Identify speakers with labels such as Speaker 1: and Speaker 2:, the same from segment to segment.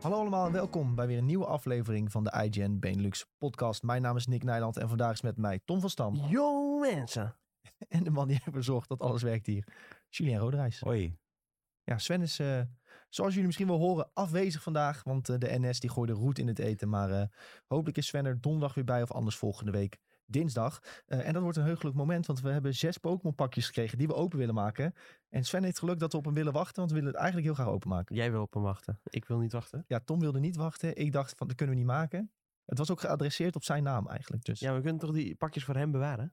Speaker 1: Hallo allemaal en welkom bij weer een nieuwe aflevering van de IGN Benelux podcast. Mijn naam is Nick Nijland en vandaag is met mij Tom van Stam
Speaker 2: Yo mensen.
Speaker 1: en de man die ervoor zorgt dat alles werkt hier, Julien Roderijs.
Speaker 3: Hoi.
Speaker 1: Ja, Sven is, eh, zoals jullie misschien wel horen, afwezig vandaag, want eh, de NS die gooide roet in het eten. Maar eh, hopelijk is Sven er donderdag weer bij of anders volgende week dinsdag. Eh, en dat wordt een heugelijk moment, want we hebben zes Pokémon pakjes gekregen die we open willen maken. En Sven heeft geluk dat we op hem willen wachten, want we willen het eigenlijk heel graag openmaken.
Speaker 2: Jij wil op hem wachten. Ik wil niet wachten.
Speaker 1: Ja, Tom wilde niet wachten. Ik dacht van, dat kunnen we niet maken. Het was ook geadresseerd op zijn naam eigenlijk. Dus
Speaker 2: Ja, we kunnen toch die pakjes voor hem bewaren?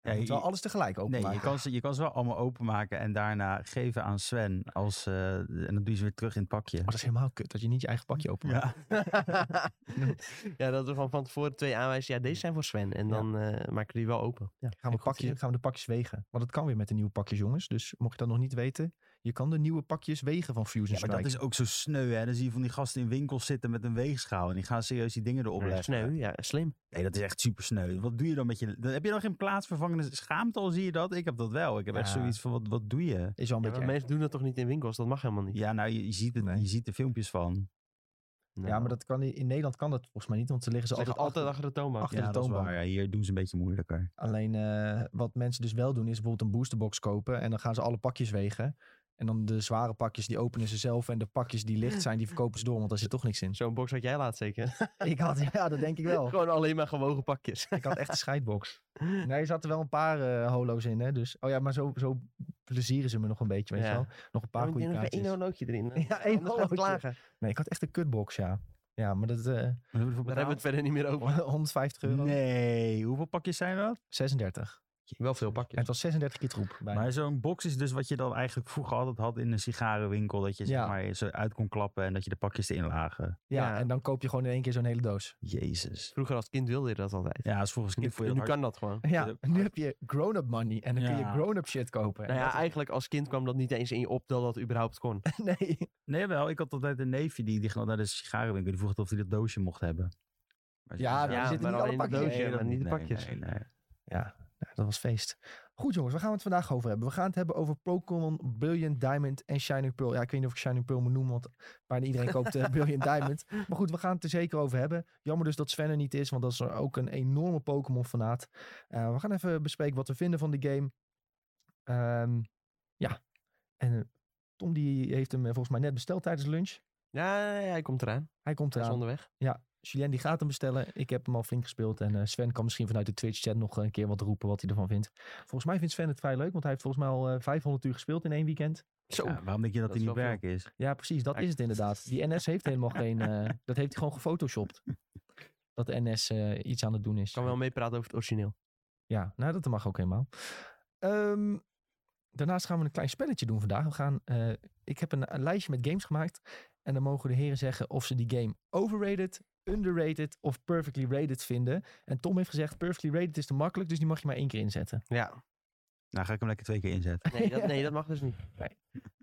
Speaker 1: je moet wel
Speaker 3: je-
Speaker 1: alles tegelijk
Speaker 3: nee,
Speaker 1: openmaken.
Speaker 3: je kan, ze, je kan ze wel allemaal openmaken en daarna geven aan Sven. Als, eh, en dan doe je ze weer terug in het pakje.
Speaker 1: Maar dat is helemaal kut, dat je niet je eigen pakje openmaakt.
Speaker 3: Ja.
Speaker 2: ja, dat we van, van tevoren twee aanwijzen. Ja, deze zijn voor Sven. En
Speaker 1: Ja.
Speaker 2: dan eh, maken we die wel open. Ja,
Speaker 1: Gaan, we
Speaker 2: goed idee.
Speaker 1: pakjes, gaan we de pakjes wegen. Want het kan weer met de nieuwe pakjes, jongens. Dus mocht je dat nog niet weten, je kan de nieuwe pakjes wegen van Fusion
Speaker 3: Ja, maar dat
Speaker 1: Strike.
Speaker 3: is ook zo sneu, hè? Dan zie je van die gasten in winkels zitten met een weegschaal. En die gaan serieus die dingen erop leggen.
Speaker 2: Sneu, ja, slim.
Speaker 3: Nee, dat is echt super sneu. Wat doe je dan met je... dan heb je dan geen plaatsvervangende schaamte al, zie je dat? Ik heb dat wel. Ik heb echt
Speaker 1: Ja.
Speaker 3: zoiets van, wat, wat doe je?
Speaker 1: Is wel een
Speaker 2: Ja,
Speaker 1: beetje
Speaker 2: maar
Speaker 1: erg.
Speaker 2: mensen doen dat toch niet in winkels? Dat mag helemaal niet.
Speaker 3: Ja, nou, je, je ziet het,
Speaker 1: Nee.
Speaker 3: je ziet er filmpjes van.
Speaker 1: Ja, maar
Speaker 2: dat
Speaker 1: dat kan, in Nederland kan dat volgens mij niet, want ze liggen ze,
Speaker 2: ze liggen
Speaker 1: altijd,
Speaker 2: altijd
Speaker 1: achter.
Speaker 2: achter de toonbank.
Speaker 1: achter-
Speaker 2: Achter...
Speaker 1: de
Speaker 3: Ja, dat is
Speaker 1: toonbank.
Speaker 3: waar. Ja, hier doen ze een beetje moeilijker.
Speaker 1: Alleen eh, wat mensen dus wel doen, is bijvoorbeeld een boosterbox kopen. En dan gaan ze alle pakjes wegen. En dan de zware pakjes, die openen ze zelf. En de pakjes die licht zijn, die verkopen ze door, want daar zit toch niks in.
Speaker 2: Zo'n box had jij laat zeker.
Speaker 1: Ik had, ja, dat denk ik wel.
Speaker 2: Gewoon alleen maar gewogen pakjes.
Speaker 1: Ik had echt een scheidbox. Nee, er zaten wel een paar eh, holo's in, hè. Dus, oh ja, maar zo, zo plezieren ze me nog een beetje, weet je
Speaker 2: Ja.
Speaker 1: wel. Nog een paar
Speaker 2: Ja,
Speaker 1: goede
Speaker 2: maar ik denk nog
Speaker 1: kaartjes.
Speaker 2: één horlootje erin.
Speaker 1: Ja, één
Speaker 2: Anders gaat het
Speaker 1: horlootje.
Speaker 2: klagen.
Speaker 1: Nee, ik had echt een kutbox, ja. Ja, maar dat... eh
Speaker 3: Wat hebben we
Speaker 2: Daar
Speaker 3: ervoor
Speaker 2: hebben we het
Speaker 3: betaald?
Speaker 2: verder niet meer over.
Speaker 1: 150 euro.
Speaker 3: Nee, hoeveel pakjes zijn dat?
Speaker 1: 36.
Speaker 2: Wel veel
Speaker 1: En
Speaker 2: pakjes.
Speaker 1: het was 36 keer troep. Bijna.
Speaker 3: Maar zo'n box is dus wat je dan eigenlijk vroeger altijd had in een sigarenwinkel. Dat je
Speaker 1: Ja.
Speaker 3: zeg maar zo uit kon klappen en dat je de pakjes erin lagen.
Speaker 1: ja,
Speaker 2: ja.
Speaker 1: en dan koop je gewoon in één keer zo'n hele doos.
Speaker 3: Jezus.
Speaker 2: Vroeger als kind wilde je dat altijd.
Speaker 3: Ja, als volgens kind voor je
Speaker 2: nu
Speaker 3: dat hard-
Speaker 2: kan dat gewoon.
Speaker 1: Ja,
Speaker 3: Dus ook-
Speaker 1: en nu heb je grown-up money en dan kun je
Speaker 3: Ja.
Speaker 1: grown-up shit kopen. En
Speaker 2: Nou ja,
Speaker 1: dat
Speaker 2: eigenlijk als kind kwam dat niet eens in je op dat dat überhaupt kon.
Speaker 1: is- nee.
Speaker 3: Nee, wel. Ik had altijd een neefje die, die ging naar de sigarenwinkel. Die vroeg of hij dat doosje mocht hebben. Maar ze-
Speaker 1: Ja, daar
Speaker 2: Ja,
Speaker 1: zitten
Speaker 2: maar
Speaker 1: niet alle
Speaker 2: alleen de
Speaker 1: pakjes.
Speaker 3: Nee,
Speaker 2: doosje,
Speaker 3: dat
Speaker 2: maar niet de pakjes.
Speaker 3: Nee, nee, nee.
Speaker 1: Ja, nou, dat was feest. Goed jongens, waar gaan we het vandaag over hebben? We gaan het hebben over Pokémon Brilliant Diamond en Shining Pearl. Ja, ik weet niet of ik Shining Pearl moet noemen, want bijna iedereen koopt eh, Brilliant Diamond. Maar goed, we gaan het er zeker over hebben. Jammer dus dat Sven er niet is, want dat is ook een enorme Pokémon-fanaat. Eh, we gaan even bespreken wat we vinden van de game. Ehm, ja, en eh, Tom die heeft hem eh, volgens mij net besteld tijdens lunch.
Speaker 2: Ja, ja, ja, hij komt eraan.
Speaker 1: Hij komt
Speaker 2: Hij is
Speaker 1: eraan.
Speaker 2: onderweg.
Speaker 1: Julien die gaat hem bestellen. Ik heb hem al flink gespeeld. En eh, Sven kan misschien vanuit de Twitch-chat nog een keer wat roepen wat hij ervan vindt. Volgens mij vindt Sven het vrij leuk, want hij heeft volgens mij al eh, 500 uur gespeeld in één weekend.
Speaker 2: Zo.
Speaker 3: Ja, waarom denk je dat
Speaker 2: Dat
Speaker 3: hij
Speaker 2: is
Speaker 3: niet
Speaker 2: wel
Speaker 3: werk is?
Speaker 1: Ja, precies. Dat
Speaker 2: Ja,
Speaker 1: is
Speaker 2: ik-
Speaker 1: het inderdaad. Die NS heeft helemaal geen... eh, dat heeft hij gewoon gefotoshopt. Dat de NS eh, iets aan het doen is.
Speaker 2: Kan wel meepraten over het origineel.
Speaker 1: Ja, nou dat mag ook helemaal. Ehm, daarnaast gaan we een klein spelletje doen vandaag. We gaan, eh, ik heb een, een lijstje met games gemaakt. En dan mogen de heren zeggen of ze die game overrated, underrated of perfectly rated vinden. En Tom heeft gezegd, perfectly rated is te makkelijk, dus die mag je maar één keer inzetten.
Speaker 2: Ja.
Speaker 3: Nou, ga ik hem lekker twee keer inzetten.
Speaker 2: Nee, dat, nee, dat mag dus niet.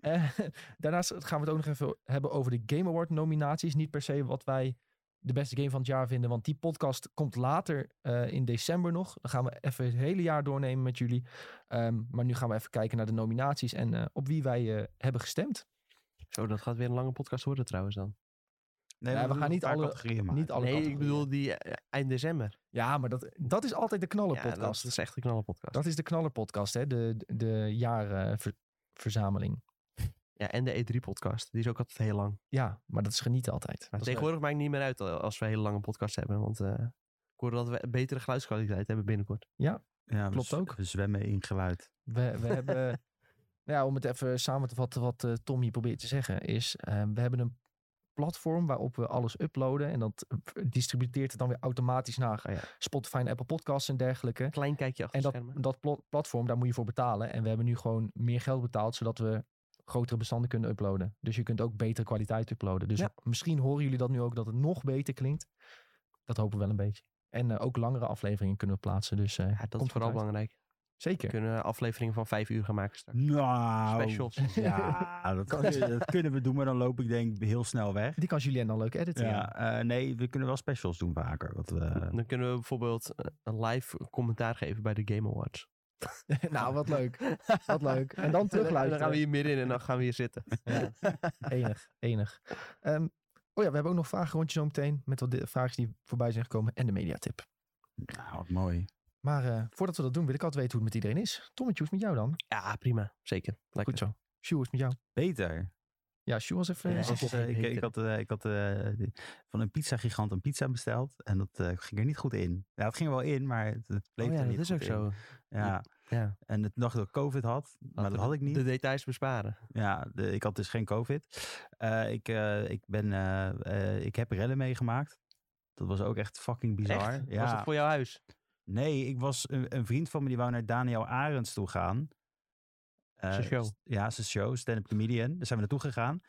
Speaker 1: Eh, daarnaast gaan we het ook nog even hebben over de Game Award nominaties. Niet per se wat wij de beste game van het jaar vinden, want die podcast komt later eh, in december nog. Dan gaan we even het hele jaar doornemen met jullie. Ehm, maar nu gaan we even kijken naar de nominaties en eh, op wie wij eh, hebben gestemd.
Speaker 2: Zo, dat gaat weer een lange podcast worden trouwens dan.
Speaker 3: Nee,
Speaker 1: Ja, we
Speaker 3: doen
Speaker 1: gaan
Speaker 3: nog
Speaker 1: niet
Speaker 3: een paar
Speaker 1: alle-
Speaker 3: categorieën maken.
Speaker 1: Niet alle
Speaker 2: nee, ik
Speaker 1: categorieën.
Speaker 2: bedoel die eh, eind december.
Speaker 1: Ja, maar dat, dat is altijd de knallen
Speaker 2: Ja, dat-
Speaker 1: podcast.
Speaker 2: dat is echt een knallen podcast.
Speaker 1: dat is de knallen podcast, hè? De, de, de jaarverzameling.
Speaker 2: Ja, en de E3 podcast. Die is ook altijd heel lang.
Speaker 1: ja, maar dat is genieten altijd. Dat
Speaker 2: Maar
Speaker 1: is leuk.
Speaker 2: tegenwoordig maakt het niet meer uit al- als we hele lange podcasts hebben. Want eh, ik hoorde dat we betere geluidskwaliteit hebben binnenkort.
Speaker 3: Ja, we
Speaker 1: Klopt
Speaker 3: z-
Speaker 1: ook.
Speaker 3: We zwemmen in geluid.
Speaker 1: We, we hebben, nou ja, om het even samen te vatten wat eh, Tom hier probeert te zeggen, is eh, we hebben een platform waarop we alles uploaden en dat eh, distributeert het dan weer automatisch naar eh,
Speaker 2: Oh ja.
Speaker 1: Spotify en Apple Podcasts en dergelijke.
Speaker 2: Klein kijkje achter
Speaker 1: En dat,
Speaker 2: schermen.
Speaker 1: dat plat- platform, daar moet je voor betalen. En we hebben nu gewoon meer geld betaald, zodat we grotere bestanden kunnen uploaden. Dus je kunt ook betere kwaliteit uploaden. Dus
Speaker 2: Ja.
Speaker 1: misschien horen jullie dat nu ook, dat het nog beter klinkt. Dat hopen we wel een beetje. En eh, ook langere afleveringen kunnen we plaatsen. Dus, eh,
Speaker 2: Ja, dat
Speaker 1: komt
Speaker 2: is
Speaker 1: goed
Speaker 2: vooral
Speaker 1: uit.
Speaker 2: belangrijk. We
Speaker 1: Zeker.
Speaker 2: kunnen afleveringen van vijf uur gaan maken straks.
Speaker 3: Nou.
Speaker 2: Specials.
Speaker 3: Ja, dat, kunnen- dat kunnen we doen, maar dan loop ik denk ik heel snel weg.
Speaker 1: Die kan Julien dan leuk editen. ja.
Speaker 3: Ja, eh, nee, we kunnen wel specials doen vaker. Wat we,
Speaker 2: Dan kunnen we bijvoorbeeld eh, een live commentaar geven bij de Game Awards.
Speaker 1: nou, wat leuk. Wat leuk. En dan
Speaker 2: En
Speaker 1: terugluisteren.
Speaker 2: Dan gaan we hier middenin en dan gaan we hier zitten.
Speaker 1: Enig, enig. Ehm, Oh ja, we hebben ook nog vragen rondje zo meteen. Met wat di- vragen die voorbij zijn gekomen. En de mediatip.
Speaker 3: Nou, wat mooi.
Speaker 1: Maar eh, voordat we dat doen, wil ik altijd weten hoe het met iedereen is. Tommetje, hoe is het met jou dan?
Speaker 2: Ja, prima. Zeker. Lekker.
Speaker 1: Goed zo. Sjoe, hoe is het met jou?
Speaker 3: Beter.
Speaker 1: Ja, Sjoe was even...
Speaker 2: Ja,
Speaker 1: eh,
Speaker 2: dat
Speaker 3: Het
Speaker 1: zat-
Speaker 3: was,
Speaker 2: is
Speaker 3: eh,
Speaker 2: geen
Speaker 3: ik,
Speaker 2: beter.
Speaker 3: ik had, eh, ik had eh, die- van een pizza-gigant een pizza besteld. En dat eh, ging er niet goed in. Ja, het ging er wel in, maar het, het bleef
Speaker 2: Oh ja,
Speaker 3: er
Speaker 2: dat
Speaker 3: niet
Speaker 2: is ook
Speaker 3: goed in.
Speaker 2: zo.
Speaker 3: Ja.
Speaker 2: Ja.
Speaker 3: En het dacht dat ik COVID had, maar dat had ik niet.
Speaker 2: De details besparen.
Speaker 3: Ja, de- ik had dus geen COVID. Eh, ik, eh, ik, ben, eh, eh, ik heb rellen meegemaakt. Dat was ook echt fucking bizar.
Speaker 2: Echt?
Speaker 3: Ja.
Speaker 2: Was dat voor jouw huis?
Speaker 3: Nee, ik was een, een vriend van me die wou naar Daniel Arends toe gaan. Eh,
Speaker 2: Zijn show.
Speaker 3: st- Ja, zijn show, stand-up comedian. Daar zijn we naartoe gegaan.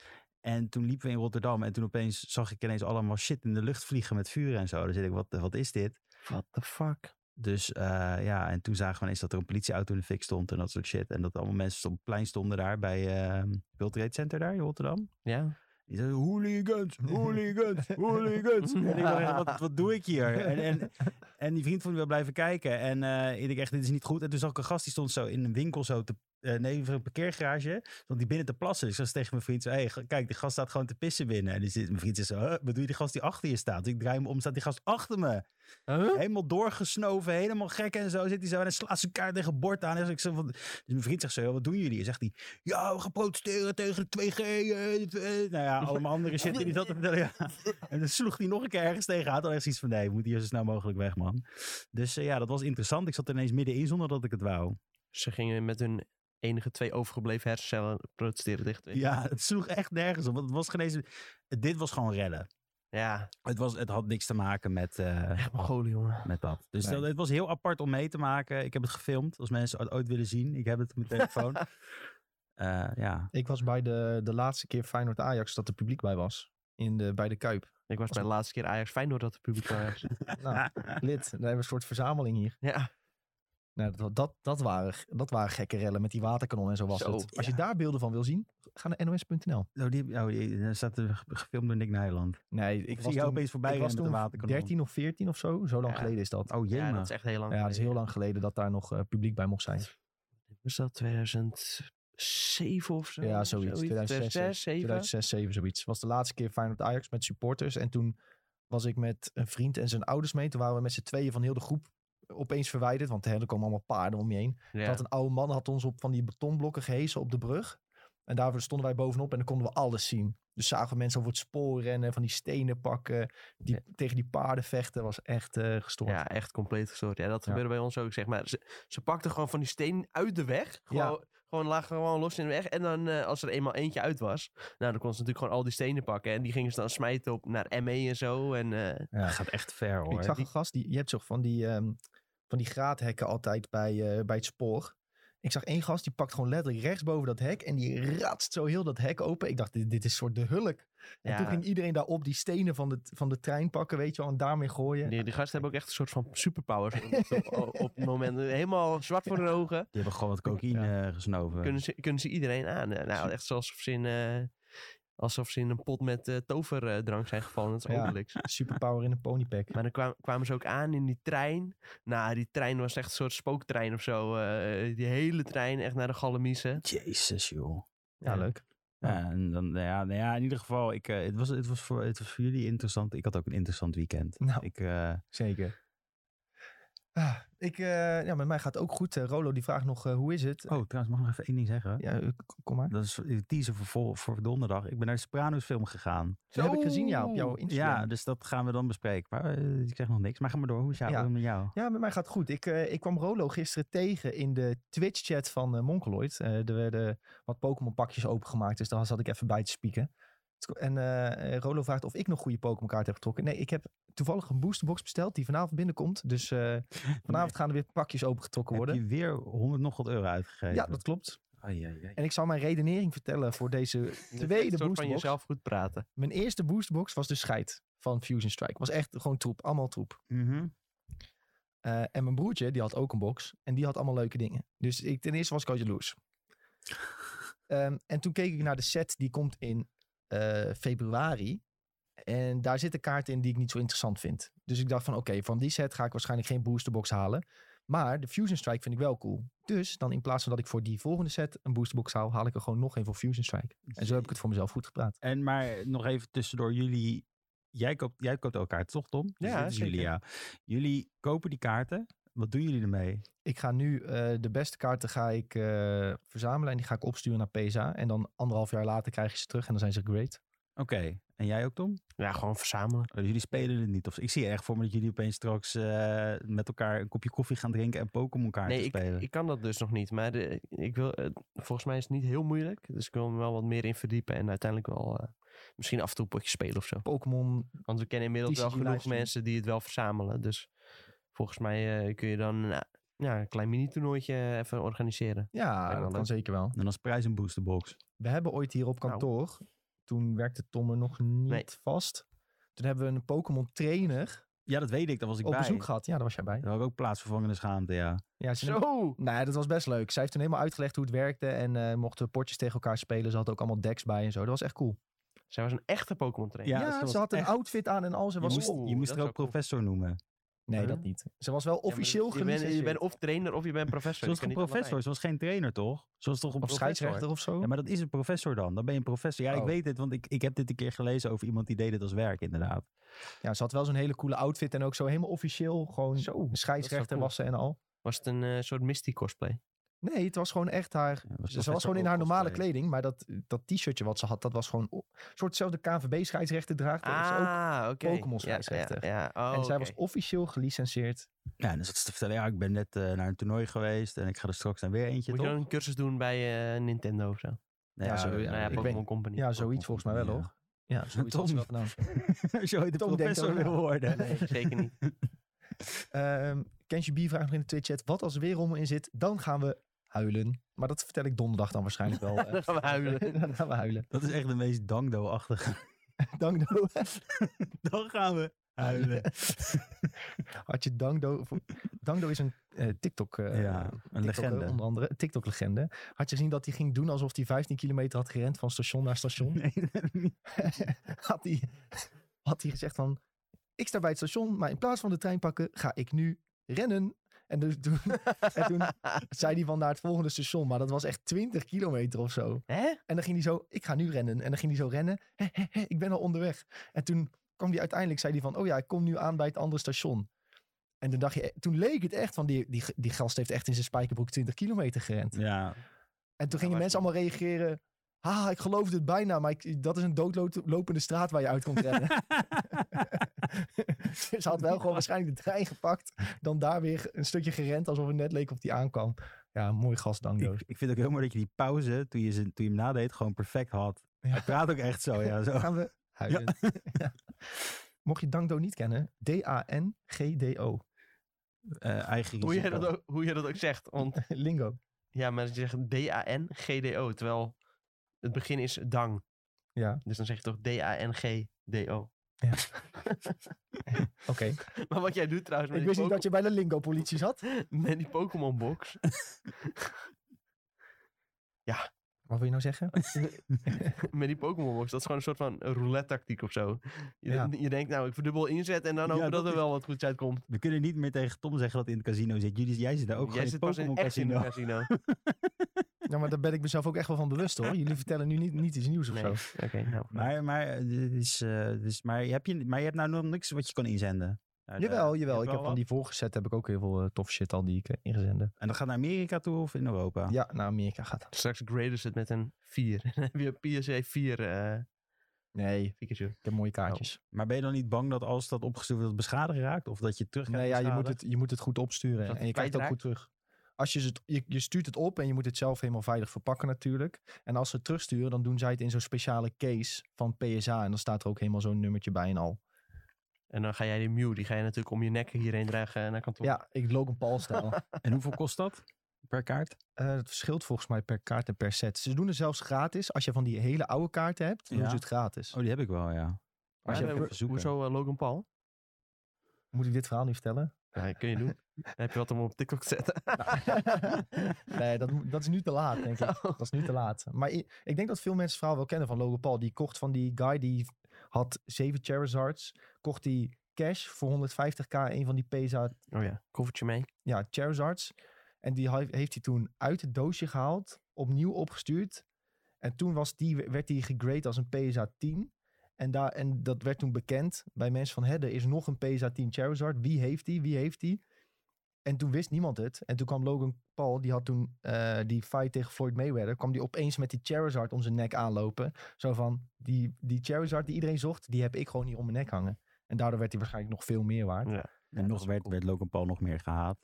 Speaker 3: En toen liepen we in Rotterdam en toen opeens zag ik ineens allemaal shit in de lucht vliegen met vuur en zo. Dan zit ik, wat, wat is dit?
Speaker 2: What the fuck?
Speaker 3: Dus eh, ja, en toen zagen we ineens dat er een politieauto in de fik stond en dat soort shit. En dat allemaal mensen op het plein stonden daar bij eh World Trade Center daar in Rotterdam.
Speaker 2: Ja.
Speaker 3: Die zei, hooligans, hooligans, hooligans. En ik dacht, echt, wat, wat doe ik hier? En, en, en die vriend van me wil blijven kijken. En eh, ik dacht echt, dit is niet goed. En toen zag ik een gast, die stond zo in een winkel zo te... eh, nee, voor een parkeergarage. Stond die binnen te plassen. Dus ik zag tegen mijn vriend zo, hey, g- kijk, die gast staat gewoon te pissen binnen. En die zit, mijn vriend zegt zo, huh, wat doe je die gast die achter je staat? Dus ik draai hem om, staat die gast achter me. Helemaal doorgesnoven, helemaal gek en zo. Zit hij zo en hij slaat zijn kaart tegen het bord aan. En zeg ik zo van, dus mijn vriend zegt zo, "Joh, wat doen jullie? En zegt hij, ja, we gaan protesteren tegen de 2G. eh, dit, eh." nou ja, allemaal andere shit die hij zat te vertellen. Ja. En dan sloeg hij nog een keer ergens tegen aan. Toen had ik zoiets van, nee, we moeten hier zo snel mogelijk weg, man. Dus eh, ja, dat was interessant. Ik zat er ineens middenin zonder dat ik het wou.
Speaker 2: Ze gingen met hun enige twee overgebleven hersencellen protesteren tegen twee.
Speaker 3: Ja, het sloeg echt nergens op. Want het was geen eens, dit was gewoon rellen.
Speaker 2: Ja.
Speaker 3: Het, was, het had niks te maken met... eh,
Speaker 2: Echt Mongolen, jongen.
Speaker 3: met dat. Dus
Speaker 1: Nee.
Speaker 3: dat, het was heel apart om mee te maken. Ik heb het gefilmd, als mensen het ooit willen zien. Ik heb het op mijn telefoon. Eh, ja.
Speaker 1: Ik was bij de, de laatste keer Feyenoord-Ajax dat er publiek bij was. In de, bij de Kuip.
Speaker 2: Ik was bij de laatste keer Ajax Feyenoord dat het publiek was.
Speaker 1: Nou, lid. Daar hebben we een soort verzameling hier.
Speaker 2: ja.
Speaker 1: Nou, dat, dat, dat, waren, dat waren gekke rellen met die waterkanon en zo was
Speaker 2: Zo,
Speaker 1: het. Als
Speaker 2: ja.
Speaker 1: je daar beelden van wil zien, ga naar nos.nl.
Speaker 3: Oh, die, oh, die daar staat er ge- gefilmd door Nick Nijland.
Speaker 1: Nee,
Speaker 3: Ik
Speaker 1: ik
Speaker 3: zie
Speaker 1: was
Speaker 3: jou
Speaker 1: toen,
Speaker 3: opeens voorbij
Speaker 1: ik was
Speaker 3: rennen met een
Speaker 1: toen
Speaker 3: waterkanon.
Speaker 1: 13 of 14 of zo. Zo lang
Speaker 2: Ja.
Speaker 1: geleden is dat.
Speaker 3: Oh, jee,
Speaker 2: ja, dat
Speaker 3: man.
Speaker 2: is echt heel lang
Speaker 1: ja, dat is heel
Speaker 2: geleden.
Speaker 1: lang geleden dat daar nog eh, publiek bij mocht zijn.
Speaker 2: Was dat 2007 of zo?
Speaker 1: Ja, zoiets. 2006,
Speaker 2: 2007.
Speaker 1: 2006, 7 zoiets. Was de laatste keer Feyenoord Ajax met supporters. En toen was ik met een vriend en zijn ouders mee. Toen waren we met z'n tweeën van heel de groep eh, opeens verwijderd. Want hè, er komen allemaal paarden om je heen.
Speaker 2: Ja.
Speaker 1: Dat een oude man had ons op van die betonblokken gehezen op de brug. En daarvoor stonden wij bovenop en dan konden we alles zien. Dus zagen we mensen over het spoor rennen, van die stenen pakken, die,
Speaker 2: Ja.
Speaker 1: tegen die paarden vechten. was echt eh, gestoord.
Speaker 2: Ja, echt compleet gestoord. Ja, dat
Speaker 1: Ja.
Speaker 2: gebeurde bij ons ook, zeg maar. Ze, ze pakten gewoon van die steen uit de weg. Gewoon, gewoon lagen gewoon los in de weg. En dan, eh, als er eenmaal eentje uit was, nou, dan kon ze natuurlijk gewoon al die stenen pakken. En die gingen ze dan smijten op naar ME en zo. En eh,
Speaker 3: Dat gaat echt ver, hoor.
Speaker 1: Ik zag
Speaker 2: Die-
Speaker 1: een gast, die, je hebt toch van die, ehm, van die graadhekken altijd bij, eh, bij het spoor. Ik zag één gast, die pakt gewoon letterlijk rechts boven dat hek. En die ratst zo heel dat hek open. Ik dacht, dit, dit is soort de hulk. En
Speaker 2: Ja.
Speaker 1: toen ging iedereen daarop die stenen van de, van de trein pakken, weet je wel. En daarmee gooien.
Speaker 2: die, die gasten hebben ook echt een soort van superpowers. op, op, op het moment helemaal zwart voor hun ogen.
Speaker 3: Die hebben gewoon wat cocaïne eh, gesnoven.
Speaker 2: Kunnen ze, kunnen ze iedereen aan. Eh, Nou, echt alsof ze in, eh, alsof ze in een pot met eh, toverdrank zijn gevallen. Dat is
Speaker 1: Ja.
Speaker 2: Obelix.
Speaker 1: Superpower in een ponypack.
Speaker 2: Maar dan kwam- kwamen ze ook aan in die trein. Nou, die trein was echt een soort spooktrein of zo. eh, die hele trein echt naar de Gallemiezen.
Speaker 3: Jezus, joh.
Speaker 1: Ja, leuk.
Speaker 3: Ja, en dan, nou ja, nou ja, in ieder geval, ik, eh, het, was, het, was voor, het was voor jullie interessant. Ik had ook een interessant weekend.
Speaker 1: Nou.
Speaker 3: Ik, eh,
Speaker 1: Zeker. Ah, ik, eh, ja, met mij gaat het ook goed. Eh, Rolo die vraagt nog, eh, hoe is het?
Speaker 3: oh, trouwens, mag ik nog even één ding zeggen?
Speaker 1: Ja, eh, k- kom maar.
Speaker 3: Dat is een teaser voor, vol- voor donderdag. Ik ben naar de Sopranos film gegaan.
Speaker 1: Dat heb ik gezien, ja, op jouw Instagram.
Speaker 3: Ja, dus dat gaan we dan bespreken. Maar eh, ik zeg nog niks. Maar ga maar door. Hoe is jou?
Speaker 1: Ja.
Speaker 3: Hoe is het met jou?
Speaker 1: Ja, met mij gaat het goed. Ik, eh, ik kwam Rolo gisteren tegen in de Twitch-chat van eh, Monkeloid. Eh, er werden wat Pokémon-pakjes opengemaakt, dus daar zat ik even bij te spieken. Het ko- En eh, eh, Rolo vraagt of ik nog goede Pokémon-kaart heb getrokken. Nee, ik heb toevallig een boosterbox besteld die vanavond binnenkomt. Dus eh, vanavond gaan er weer pakjes opengetrokken
Speaker 3: Heb
Speaker 1: worden.
Speaker 3: je weer 100 nog wat euro uitgegeven?
Speaker 1: Ja, dat klopt.
Speaker 3: Ai, ai, ai.
Speaker 1: En ik zal mijn redenering vertellen voor deze tweede
Speaker 2: soort van
Speaker 1: boosterbox.
Speaker 2: jezelf goed praten.
Speaker 1: Mijn eerste boosterbox was de scheid van Fusion Strike. Was echt gewoon troep, allemaal troep.
Speaker 3: Mhm.
Speaker 1: Eh, en mijn broertje, die had ook een box. En die had allemaal leuke dingen. Dus ik, ten eerste was ik al jaloers. Ehm, en toen keek ik naar de set. Die komt in eh, februari. En daar zitten kaarten in die ik niet zo interessant vind. Dus ik dacht van oké, van die set ga ik waarschijnlijk geen boosterbox halen. Maar de Fusion Strike vind ik wel cool. Dus dan in plaats van dat ik voor die volgende set een boosterbox haal, haal ik er gewoon nog een voor Fusion Strike. En zo heb ik het voor mezelf goed gepraat.
Speaker 3: En maar nog even tussendoor, jullie... Jij koopt, jij koopt ook kaarten, toch Tom? Dus
Speaker 2: Ja,
Speaker 3: dit is jullie,
Speaker 2: zeker.
Speaker 3: ja. Jullie kopen die kaarten. Wat doen jullie ermee?
Speaker 1: Ik ga nu eh, de beste kaarten ga ik, eh, verzamelen en die ga ik opsturen naar PSA. En dan anderhalf jaar later krijg je ze terug en dan zijn ze great.
Speaker 3: Oké. En jij ook, Tom?
Speaker 2: Ja, gewoon verzamelen.
Speaker 3: Oh, jullie spelen het niet. Of, ik zie echt voor me dat jullie opeens straks eh, met elkaar een kopje koffie gaan drinken en Pokémon kaarten
Speaker 2: Nee, ik,
Speaker 3: spelen.
Speaker 2: ik kan dat dus nog niet. Maar eh, ik wil, eh, volgens mij is het niet heel moeilijk. Dus ik wil me wel wat meer in verdiepen. En uiteindelijk wel eh, misschien af en toe een potje spelen of zo.
Speaker 1: Pokémon,
Speaker 2: Want we kennen inmiddels
Speaker 1: TCG
Speaker 2: wel genoeg
Speaker 1: livestream.
Speaker 2: mensen die het wel verzamelen. Dus volgens mij eh, kun je dan nou, ja, een klein mini-toernooitje even organiseren.
Speaker 1: ja,
Speaker 2: wel
Speaker 1: dat kan
Speaker 2: leuk.
Speaker 1: zeker wel.
Speaker 3: En als prijs een boosterbox.
Speaker 1: We hebben ooit hier op
Speaker 2: Nou.
Speaker 1: kantoor, toen werkte Tom er nog niet
Speaker 2: Nee.
Speaker 1: vast. Toen hebben we een Pokémon trainer
Speaker 3: Ja, dat weet ik. Daar was ik
Speaker 1: op
Speaker 3: bij.
Speaker 1: bezoek gehad. Ja, daar was jij bij.
Speaker 3: Dat had ik ook plaatsvervangende schaamte, ja.
Speaker 1: Ja, ze
Speaker 2: Zo!
Speaker 1: Nou, ja, dat was best leuk. Zij heeft toen helemaal uitgelegd hoe het werkte en eh, mochten we potjes tegen elkaar spelen. Ze had ook allemaal decks bij en zo. Dat was echt cool.
Speaker 2: Zij was een echte Pokémon trainer.
Speaker 3: Ja,
Speaker 1: Ja,
Speaker 3: ze was
Speaker 1: ze had een
Speaker 3: echt-
Speaker 1: outfit aan en al. Ze
Speaker 3: Je
Speaker 1: was...
Speaker 3: moest,
Speaker 2: Oeh,
Speaker 3: je moest
Speaker 2: dat
Speaker 3: er
Speaker 2: is
Speaker 3: ook
Speaker 2: wel cool.
Speaker 3: professor noemen.
Speaker 1: Nee,
Speaker 2: Huh?
Speaker 1: dat niet. Ze was wel officieel
Speaker 2: Ja, maar je bent, je
Speaker 1: gelicenseerd.
Speaker 2: bent of trainer of je bent professor.
Speaker 3: Ze was
Speaker 2: Je kan
Speaker 3: geen
Speaker 2: niet allebei.
Speaker 3: professor, ze was geen trainer, toch? Ze was toch een
Speaker 1: Of
Speaker 3: professor?
Speaker 1: scheidsrechter of zo.
Speaker 3: Ja, maar dat is een professor dan. Dan ben je een professor. Ja, ik
Speaker 1: Oh.
Speaker 3: weet het, want ik, ik heb dit een keer gelezen over iemand die deed het als werk, inderdaad.
Speaker 1: Ja, ze had wel zo'n hele coole outfit en ook zo helemaal officieel. Gewoon
Speaker 2: Zo, dat
Speaker 1: een
Speaker 2: is
Speaker 1: scheidsrechter
Speaker 2: wel cool.
Speaker 1: was ze en al.
Speaker 2: Was het een eh, soort Misty cosplay?
Speaker 1: Nee, het was gewoon echt
Speaker 2: Dus
Speaker 1: haar...
Speaker 3: Ja, was
Speaker 1: Dus ze was gewoon in haar
Speaker 3: professor
Speaker 1: normale
Speaker 3: ook cosplay.
Speaker 1: kleding, maar dat, dat t-shirtje wat ze had, dat was gewoon o- een soort zelfde KNVB-scheidsrechter draagt. Dat is ook-
Speaker 2: ah, oké.
Speaker 1: Pokémon
Speaker 2: Ja,
Speaker 1: scheidsrechter.
Speaker 2: Ja, ja. Oh,
Speaker 1: en zij
Speaker 2: oké.
Speaker 1: was officieel gelicenseerd.
Speaker 3: Ja, en dan zat ze te vertellen, ja, ik ben net eh, naar een toernooi geweest en ik ga er straks dan weer eentje,
Speaker 2: Moet je dan
Speaker 3: toch?
Speaker 2: een cursus doen bij eh, Nintendo of zo?
Speaker 3: Nou
Speaker 1: Ja, zo, ja,
Speaker 2: nou ja,
Speaker 1: ik
Speaker 2: Pokémon
Speaker 1: weet-
Speaker 2: Company.
Speaker 1: Ja, zoiets volgens mij wel,
Speaker 3: ja.
Speaker 1: hoor. Ja, zoiets had ze
Speaker 3: Tom.
Speaker 1: wel gedaan.
Speaker 3: Als je ooit een
Speaker 1: Tom denkt
Speaker 3: professor
Speaker 1: ook
Speaker 3: wil worden.
Speaker 2: Nee, zeker niet.
Speaker 1: Ehm Kensje B vraagt nog in de Twitch-chat. Wat als er weer rommel in zit, dan gaan we huilen. Maar dat vertel ik donderdag dan waarschijnlijk wel. eh.
Speaker 2: Dan gaan we huilen.
Speaker 1: dan gaan we huilen.
Speaker 3: Dat is echt de meest dangdo-achtige.
Speaker 1: Dangdo.
Speaker 3: Dan gaan we huilen.
Speaker 1: Had je Dangdo... Dangdo is een eh, TikTok... eh,
Speaker 3: ja, een
Speaker 1: TikTok, eh,
Speaker 3: legende.
Speaker 1: Onder andere, TikTok-legende. Had je gezien dat hij ging doen alsof hij 15 kilometer had gerend van station naar station?
Speaker 3: Nee, dat niet.
Speaker 1: had, hij, had hij gezegd van... Ik sta bij het station, maar in plaats van de trein pakken, ga ik nu rennen. En, dus toen, en toen zei hij van naar het volgende station. Maar dat was echt 20 kilometer of zo.
Speaker 2: Hè?
Speaker 1: En dan ging hij zo, ik ga nu rennen. En dan ging hij zo rennen. Hè, hè, hè, ik ben al onderweg. En toen kwam hij uiteindelijk, zei hij van, oh ja, ik kom nu aan bij het andere station. En toen, dacht je, toen leek het echt van, die, die, die gast heeft echt in zijn spijkerbroek 20 kilometer gerend.
Speaker 3: Ja,
Speaker 1: En toen
Speaker 2: Ja,
Speaker 1: gingen
Speaker 2: maar
Speaker 1: mensen
Speaker 2: het-
Speaker 1: allemaal reageren. Ah, ik geloofde het bijna, maar ik, dat is een doodlopende straat waar je uit komt rennen. dus hij had wel gewoon waarschijnlijk de trein gepakt. Dan daar weer een stukje gerend, alsof het net leek of die aankwam. Ja, mooi gast, Dango.
Speaker 3: ik, ik vind het ook heel mooi dat je die pauze, toen je, ze, toen je hem nadeed, gewoon perfect had.
Speaker 1: Ja.
Speaker 3: Hij praat ook echt zo, Oh ja. Zo.
Speaker 1: gaan we huilen. Ja. Mocht je Dangdo niet kennen, D-A-N-G-D-O.
Speaker 3: Eh, eigen
Speaker 2: Hoe jij,
Speaker 3: risico.
Speaker 2: dat ook, hoe jij dat ook zegt. Want
Speaker 1: Lingo.
Speaker 2: ja, maar je zegt D-A-N-G-D-O. Terwijl het begin is dang.
Speaker 1: Ja.
Speaker 2: Dus dan zeg je toch D-A-N-G-D-O.
Speaker 1: Oké.
Speaker 2: Maar wat jij doet trouwens met
Speaker 1: Ik
Speaker 2: die,
Speaker 1: wist niet dat je bij de Lingo-politie zat.
Speaker 2: Poké- met die Pokémon box.
Speaker 1: Wat wil je nou zeggen?
Speaker 2: met die Pokémon box. Dat is gewoon een soort van roulette tactiek of zo. Je,
Speaker 1: Ja.
Speaker 2: je denkt nou ik verdubbel inzet en dan
Speaker 3: Ja,
Speaker 2: hopen dat,
Speaker 3: dat
Speaker 2: er
Speaker 3: is-
Speaker 2: wel wat goeds uitkomt.
Speaker 3: We kunnen niet meer tegen Tom zeggen dat hij in het casino zit. Jullie, jij zit daar ook
Speaker 2: jij
Speaker 3: gewoon
Speaker 2: zit
Speaker 3: in
Speaker 2: pas
Speaker 3: het
Speaker 2: in
Speaker 3: Pokémon
Speaker 2: echt in
Speaker 3: casino.
Speaker 2: een casino.
Speaker 1: Ja, maar daar ben ik mezelf ook echt wel van bewust hoor. Jullie vertellen nu niet, niet iets nieuws of
Speaker 2: Nee.
Speaker 1: zo.
Speaker 2: Oké, nou.
Speaker 3: Maar, maar, eh, dit is, eh, dus, maar, heb je, maar je hebt nou nog niks wat je kan inzenden. Naar de-
Speaker 1: Jawel,
Speaker 3: je
Speaker 1: jawel.
Speaker 3: hebt
Speaker 1: Ik
Speaker 3: wel
Speaker 1: heb van die voorgezet heb ik ook heel veel eh, tof shit al die ik eh, ingezenden.
Speaker 3: wat. En dat gaat naar Amerika toe of in Europa?
Speaker 1: Ja, naar Amerika gaat dat.
Speaker 2: Straks graden ze het met een 4. Dan heb je PSA 4 eh
Speaker 1: Nee,
Speaker 2: Pikachu.
Speaker 1: ik heb mooie kaartjes.
Speaker 3: Maar ben je dan niet bang dat als dat opgestuurd wordt, dat het beschadigd raakt? Of dat je het terug
Speaker 1: nee,
Speaker 3: krijgt
Speaker 1: ja, je, moet
Speaker 3: beschadigd? Dus
Speaker 1: het, je moet het goed opsturen.
Speaker 2: Zodat
Speaker 1: En
Speaker 2: het
Speaker 1: je krijgt het ook goed
Speaker 2: kwijtraakt.
Speaker 1: terug. Als je, het, je, je stuurt het op en je moet het zelf helemaal veilig verpakken natuurlijk. En als ze het terugsturen, dan doen zij het in zo'n speciale case van PSA. En dan staat er ook helemaal zo'n nummertje bij en al.
Speaker 2: En dan ga jij die Mew, die ga je natuurlijk om je nek hierheen dragen naar kantoor.
Speaker 1: Ja, ik Logan Paul-stijl.
Speaker 3: En hoeveel kost dat per kaart?
Speaker 1: Eh, het verschilt volgens mij per kaart en per set. Ze doen het zelfs gratis. Als je van die hele oude kaarten hebt, doen
Speaker 3: Ja.
Speaker 1: ze het gratis.
Speaker 3: Oh, die heb ik wel, ja.
Speaker 2: Maar
Speaker 1: Als
Speaker 2: ja,
Speaker 1: je
Speaker 2: nee,
Speaker 1: per-
Speaker 2: ho- hoezo eh, Logan Paul?
Speaker 1: Moet ik dit verhaal nu vertellen?
Speaker 2: Ja, Eh, kun je doen. Dan heb je wat om op TikTok te zetten.
Speaker 3: Nou.
Speaker 1: nee, dat, moet- dat is nu te laat, denk ik. Dat is nu te laat. Maar i- ik denk dat veel mensen het verhaal wel kennen van Logan Paul. Die kocht van die guy die had zeven Charizards. Kocht die cash voor 150k een van die PSA
Speaker 2: Oh ja, koffertje mee.
Speaker 1: ja, Charizards. En die hij- heeft hij toen uit het doosje gehaald, opnieuw opgestuurd. En toen was die, werd die gegrade als een PSA 10. En, daar, en dat werd toen bekend bij mensen van... Hé, er is nog een PSA 10 Charizard. Wie heeft die? Wie heeft die? En toen wist niemand het. En toen kwam Logan Paul, die had toen eh, die fight tegen Floyd Mayweather... kwam die opeens met die Charizard om zijn nek aanlopen. Zo van, die, die Charizard die iedereen zocht... die heb ik gewoon hier om mijn nek hangen. En daardoor werd hij waarschijnlijk nog veel meer waard.
Speaker 3: En nog werd, werd Logan Paul nog meer gehaat.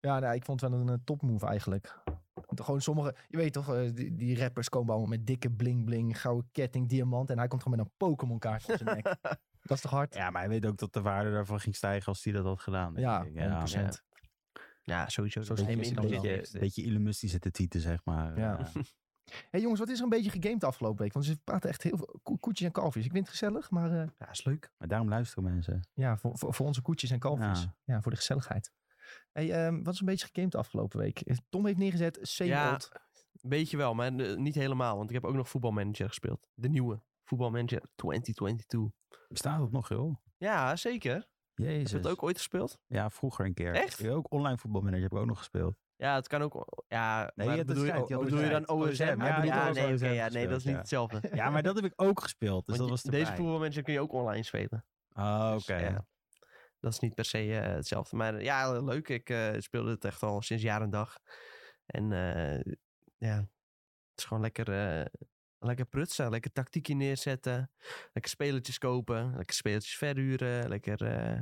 Speaker 1: Ja, nou, ik vond het wel een eh, topmove eigenlijk. Want Gewoon sommige, je weet toch, eh, die, die rappers komen allemaal met dikke bling bling, gouden ketting, diamant. En hij komt gewoon met een Pokémon kaart op zijn nek. Dat is toch hard?
Speaker 3: Ja, maar hij weet ook dat de waarde daarvan ging stijgen als hij dat had gedaan. denk
Speaker 1: Ja, 100%.
Speaker 3: ik. ja.
Speaker 2: Ja, sowieso.
Speaker 1: Zo
Speaker 2: dat
Speaker 1: slim
Speaker 2: is
Speaker 1: is
Speaker 2: een
Speaker 1: hij dan
Speaker 2: beetje-
Speaker 1: wel.
Speaker 3: Een beetje illumistie zitten tieten, zeg maar.
Speaker 1: Ja.
Speaker 3: Eh,
Speaker 1: hey, jongens, wat is er een beetje gegamed de afgelopen week? Want ze praten echt heel veel ko- koetjes en kalfjes. Ik vind het gezellig, maar eh,
Speaker 2: Ja, is leuk.
Speaker 3: maar daarom luisteren mensen.
Speaker 1: ja, voor, voor, voor onze koetjes en kalfjes. Ja,
Speaker 3: Ja.
Speaker 1: voor de gezelligheid. hey, ehm, wat is een beetje gegamed de afgelopen week? Eh, Tom heeft neergezet, same
Speaker 2: Ja.
Speaker 1: old.
Speaker 2: Beetje wel, maar eh, niet helemaal. Want ik heb ook nog voetbalmanager gespeeld. De nieuwe voetbalmanager 2022.
Speaker 3: Bestaat dat nog, joh?
Speaker 2: Ja, zeker. Heb
Speaker 3: Jezus.
Speaker 2: je dat ook ooit gespeeld?
Speaker 3: Ja, vroeger een keer.
Speaker 2: Echt?
Speaker 3: Ja, ook online voetbalmanager heb ik ook nog gespeeld.
Speaker 2: Ja, het kan ook. Ja,
Speaker 3: Nee,
Speaker 2: maar
Speaker 3: je had
Speaker 2: bedoel,
Speaker 3: het
Speaker 2: je,
Speaker 3: schijnt, je had
Speaker 2: bedoel
Speaker 3: het
Speaker 2: je dan
Speaker 3: schijnt.
Speaker 2: OSM?
Speaker 3: OSM, ja,
Speaker 2: ja,
Speaker 3: die had
Speaker 2: ja,
Speaker 3: ook
Speaker 2: nee,
Speaker 3: OSM
Speaker 2: oké, ja, nee, dat is
Speaker 3: gespeeld,
Speaker 2: niet
Speaker 3: ja.
Speaker 2: hetzelfde.
Speaker 3: Ja, maar dat heb ik ook gespeeld. Dus
Speaker 2: Want
Speaker 3: dat was
Speaker 2: je- deze
Speaker 3: erbij.
Speaker 2: voetbalmanager kun je ook online spelen.
Speaker 3: Ah, oké.
Speaker 2: Dus, ja, dat is niet per se eh, hetzelfde. Maar eh, ja, leuk. Ik eh, speelde het echt al sinds jaar en dag. En eh, ja, het is gewoon lekker, eh, lekker prutsen. Lekker tactiekje neerzetten. Lekker spelertjes kopen. Lekker spelertjes verhuren. Lekker eh,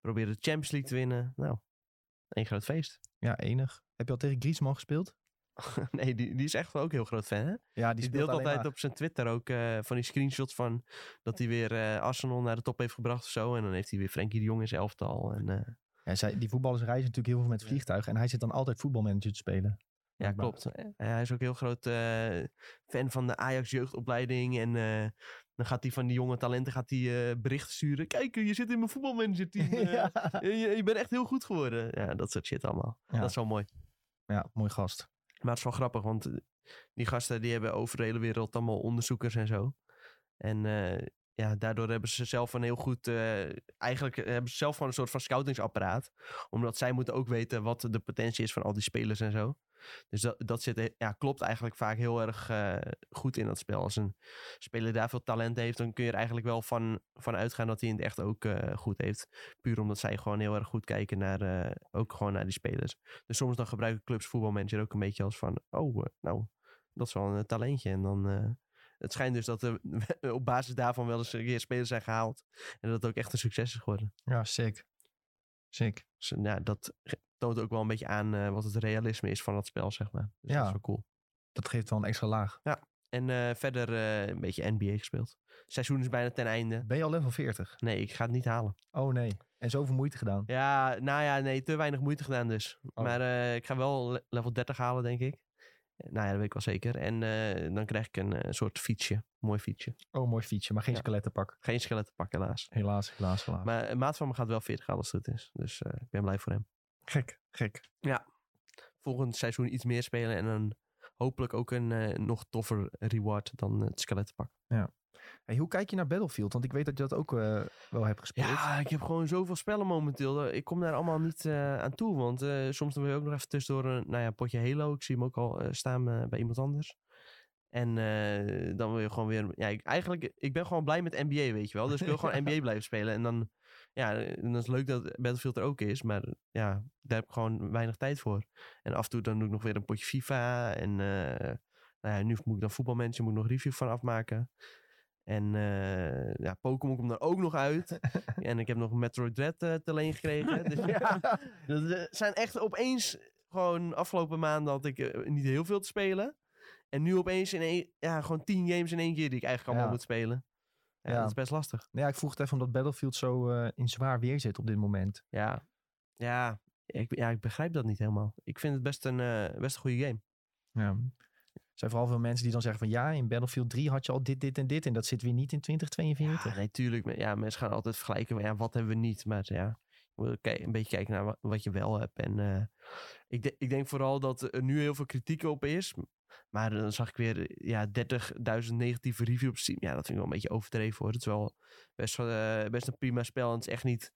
Speaker 2: proberen de Champions League te winnen. Nou, één groot feest.
Speaker 1: Ja, enig. Heb je al tegen Griezmann gespeeld?
Speaker 2: nee, die, die is echt wel ook heel groot fan, hè?
Speaker 1: Ja, die,
Speaker 2: Die
Speaker 1: speelt
Speaker 2: deelt
Speaker 1: alleen
Speaker 2: altijd
Speaker 1: maar.
Speaker 2: op zijn Twitter ook eh, van die screenshots van dat hij weer eh, Arsenal naar de top heeft gebracht of zo. En dan heeft hij weer Frenkie de Jong in zijn elftal. En, eh,
Speaker 1: Ja, zij, die voetballers reizen natuurlijk heel veel met vliegtuigen. En hij zit dan altijd voetbalmanager te spelen.
Speaker 2: ja,
Speaker 1: Blijkbaar.
Speaker 2: klopt. Eh, hij is ook heel groot eh, fan van de Ajax jeugdopleiding. En eh, dan gaat hij van die jonge talenten gaat hij, eh, berichten sturen. Kijk, eh, je zit in mijn voetbalmanager team. eh,
Speaker 1: ja.
Speaker 2: eh, je, je bent echt heel goed geworden. Ja, dat soort shit allemaal.
Speaker 1: Ja.
Speaker 2: Dat is wel mooi.
Speaker 1: ja, mooi gast.
Speaker 2: Maar het is wel grappig, want eh, die gasten die hebben over de hele wereld allemaal onderzoekers en zo. En eh, ja, daardoor hebben ze zelf een heel goed, eh, eigenlijk hebben ze zelf gewoon een soort van scoutingsapparaat. Omdat zij moeten ook weten wat de potentie is van al die spelers en zo. Dus dat, dat zit, eh, ja, klopt eigenlijk vaak heel erg eh, goed in dat spel. Als een speler daar veel talent heeft, dan kun je er eigenlijk wel van, van uitgaan dat hij in het echt ook eh, goed heeft. Puur omdat zij gewoon heel erg goed kijken naar, eh, ook gewoon naar die spelers. Dus soms dan gebruiken clubs voetbalmanager ook een beetje als van... Oh, eh, nou, dat is wel een eh, talentje. En dan... eh, het schijnt dus dat er op basis daarvan wel eens een keer spelers zijn gehaald. En dat het ook echt een succes is geworden.
Speaker 1: Ja, sick. Sick.
Speaker 2: Dus eh, nou, dat ge- toont ook wel een beetje aan eh, wat het realisme is van dat spel, zeg maar. Dus
Speaker 1: Ja.
Speaker 2: dat is wel cool.
Speaker 1: Dat geeft wel een extra laag.
Speaker 2: En eh, verder eh, een beetje NBA gespeeld. Het seizoen is bijna ten einde.
Speaker 1: Ben je al level 40?
Speaker 2: Nee, ik ga het niet halen.
Speaker 1: Oh nee. En zoveel moeite gedaan.
Speaker 2: Ja, nou ja, nee, te weinig moeite gedaan dus.
Speaker 1: Oh.
Speaker 2: Maar eh, ik ga wel le- level 30 halen, denk ik. Nou ja, dat weet ik wel zeker. En eh, dan krijg ik een eh, soort fietsje. Mooi fietsje.
Speaker 1: Oh, mooi fietsje, maar geen
Speaker 2: Ja.
Speaker 1: skelettenpak.
Speaker 2: Geen skelettenpak, helaas.
Speaker 1: Helaas, helaas, helaas.
Speaker 2: Maar een maat van me gaat wel 40 halen als het goed is. Dus eh, ik ben blij voor hem.
Speaker 1: gek, gek.
Speaker 2: Volgend seizoen iets meer spelen en dan hopelijk ook een eh, nog toffer reward dan het skelettenpak.
Speaker 1: Hey, hoe kijk je naar Battlefield? Want ik weet dat je dat ook eh, wel hebt gespeeld.
Speaker 2: Ja, ik heb gewoon zoveel spellen momenteel. Ik kom daar allemaal niet eh, aan toe. Want eh, soms dan wil je ook nog even tussendoor een nou ja, potje Halo. Ik zie hem ook al eh, staan eh, bij iemand anders. En eh, dan wil je gewoon weer... Ja, ik, eigenlijk, ik ben gewoon blij met NBA, weet je wel. Dus ik wil gewoon NBA blijven spelen. En dan, ja, eh, dan is het leuk dat Battlefield er ook is. Maar ja, daar heb ik gewoon weinig tijd voor. En af en toe dan doe ik nog weer een potje FIFA. En eh, nou ja, nu moet ik dan voetbalmensen, moet ik nog review van afmaken. En eh, ja, Pokémon komt er ook nog uit. en ik heb nog Metroid Dread eh, te leen gekregen. Dus ja, dat eh, zijn echt opeens gewoon afgelopen maanden had ik eh, niet heel veel te spelen. En nu opeens in één, ja, gewoon tien games in één keer die ik eigenlijk allemaal
Speaker 1: Ja.
Speaker 2: moet spelen. Ja,
Speaker 1: Ja.
Speaker 2: dat is best lastig.
Speaker 1: Nee, ja, ik vroeg het even omdat Battlefield zo eh, in zwaar weer zit op dit moment.
Speaker 2: Ja, ja, ik, ja, ik begrijp dat niet helemaal. Ik vind het best een, eh, best een goede game.
Speaker 1: Ja. Er zijn vooral veel mensen die dan zeggen van ja, in Battlefield 3 had je al dit, dit en dit. En dat zit weer niet in 2042.
Speaker 2: Ja, nee, tuurlijk. Maar Ja, mensen gaan altijd vergelijken. Maar ja, wat hebben we niet? Maar ja, je moet ook kijk- een beetje kijken naar wa- wat je wel hebt. En eh, ik, de- ik denk vooral dat er nu heel veel kritiek op is. Maar dan zag ik weer eh, ja, 30.000 negatieve reviews op Steam. Ja, dat vind ik wel een beetje overdreven hoor. Het is wel best, wel, eh, best een prima spel. En het is echt niet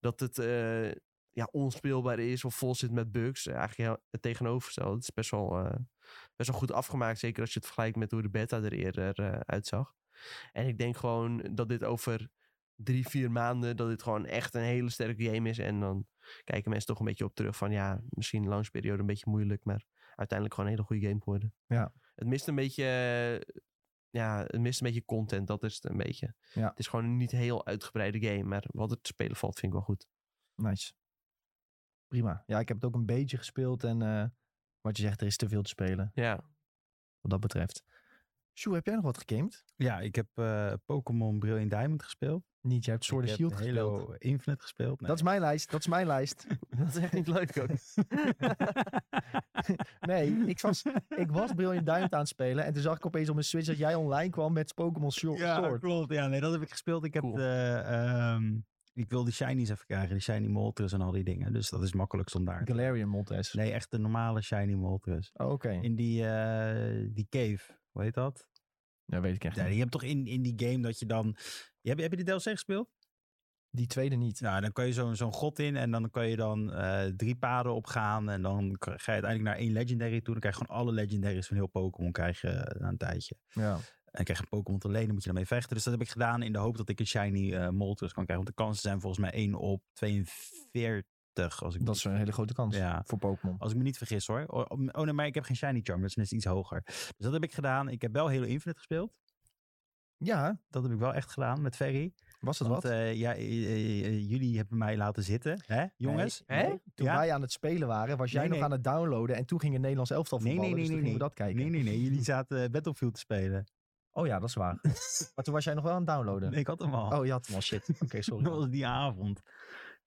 Speaker 2: dat het eh, ja, onspeelbaar is of vol zit met bugs. Eh, Eigenlijk heel- het tegenovergestelde. Het is best wel, eh, best wel goed afgemaakt. Zeker als je het vergelijkt met hoe de beta er eerder eh, uitzag. En ik denk gewoon dat dit over drie, vier maanden... dat dit gewoon echt een hele sterke game is. En dan kijken mensen toch een beetje op terug van... ja, misschien een langsperiode een beetje moeilijk... maar uiteindelijk gewoon een hele goede game geworden.
Speaker 1: Ja.
Speaker 2: Het mist een beetje... eh, ja, het mist een beetje content, dat is het een beetje.
Speaker 1: Ja.
Speaker 2: Het is gewoon een niet heel uitgebreide game, maar wat er te spelen valt vind ik wel goed.
Speaker 1: Nice. Prima. Ja, ik heb het ook een beetje gespeeld. En eh, wat je zegt, er is te veel te spelen.
Speaker 2: Ja,
Speaker 1: Wat dat betreft. Sjoe, heb jij nog wat gegamed?
Speaker 3: Ja, ik heb eh, Pokémon Brilliant Diamond gespeeld.
Speaker 1: Niet, jij hebt Sword
Speaker 3: ik
Speaker 1: and
Speaker 3: heb
Speaker 1: Shield
Speaker 3: Halo
Speaker 1: gespeeld.
Speaker 3: Infinite gespeeld. Nee.
Speaker 1: Dat is mijn lijst, dat is mijn lijst.
Speaker 2: Dat is echt niet leuk ook.
Speaker 1: Nee, ik was, ik was Brilliant Diamond aan het spelen. En toen zag ik opeens op mijn Switch dat jij online kwam met Pokémon Sho-
Speaker 3: Ja,
Speaker 1: Sword.
Speaker 3: klopt. Ja, nee, dat heb ik gespeeld. Ik heb
Speaker 2: Cool.
Speaker 3: de, ehm, ik wil die shinies even krijgen. Die shiny Moltres en al die dingen. Dus dat is makkelijk om daar. te-
Speaker 1: Galarian Montes.
Speaker 3: Nee, echt de normale shiny Moltres.
Speaker 1: Oh, Oké,
Speaker 3: In die, eh, die cave. Hoe heet dat?
Speaker 1: dat weet ik echt
Speaker 3: Ja,
Speaker 1: niet.
Speaker 3: je hebt toch in, in die game dat je dan... Je hebt, heb je de DLC gespeeld?
Speaker 1: Die tweede niet.
Speaker 3: Nou, dan kan je zo'n zo'n god in en dan kan je dan eh, drie paden opgaan. En dan k- ga je uiteindelijk naar één legendary toe. Dan krijg je gewoon alle legendaries van heel Pokémon krijg je eh, na een tijdje.
Speaker 1: Ja.
Speaker 3: En dan krijg je een Pokémon te lenen, moet je daarmee vechten. Dus dat heb ik gedaan in de hoop dat ik een shiny eh, Moltres kan krijgen. Want de kansen zijn volgens mij 1 op 42. Als ik me
Speaker 1: Dat is een hele grote kans
Speaker 3: Ja.
Speaker 1: voor Pokémon.
Speaker 3: als ik me niet vergis hoor. O- om- Oh nee, maar ik heb geen Shiny Charm. Dat is net iets hoger. Dus dat heb ik gedaan. Ik heb wel Halo Infinite gespeeld.
Speaker 1: Ja,
Speaker 3: Dat heb ik wel echt gedaan met Ferry.
Speaker 1: was dat
Speaker 3: Want
Speaker 1: wat?
Speaker 3: eh, ja, eh, eh, eh, jullie hebben mij laten zitten. Hè, jongens?
Speaker 2: Hè?
Speaker 1: Toen
Speaker 3: ja?
Speaker 1: wij aan het spelen waren, was jij
Speaker 3: Nee,
Speaker 1: nog
Speaker 3: nee.
Speaker 1: aan het downloaden. En toen ging het Nederlands elftal
Speaker 3: Nee, nee,
Speaker 1: voetballen.
Speaker 3: nee,
Speaker 1: dus toen
Speaker 3: nee,
Speaker 1: gingen we dat kijken.
Speaker 3: Nee, nee, nee. Jullie zaten eh, Battlefield te spelen.
Speaker 1: Oh ja, dat is waar. maar toen was jij nog wel aan het downloaden.
Speaker 3: Nee, ik had hem al.
Speaker 1: Oh, je had hem al. Shit. Oké, sorry.
Speaker 3: Dat was die avond.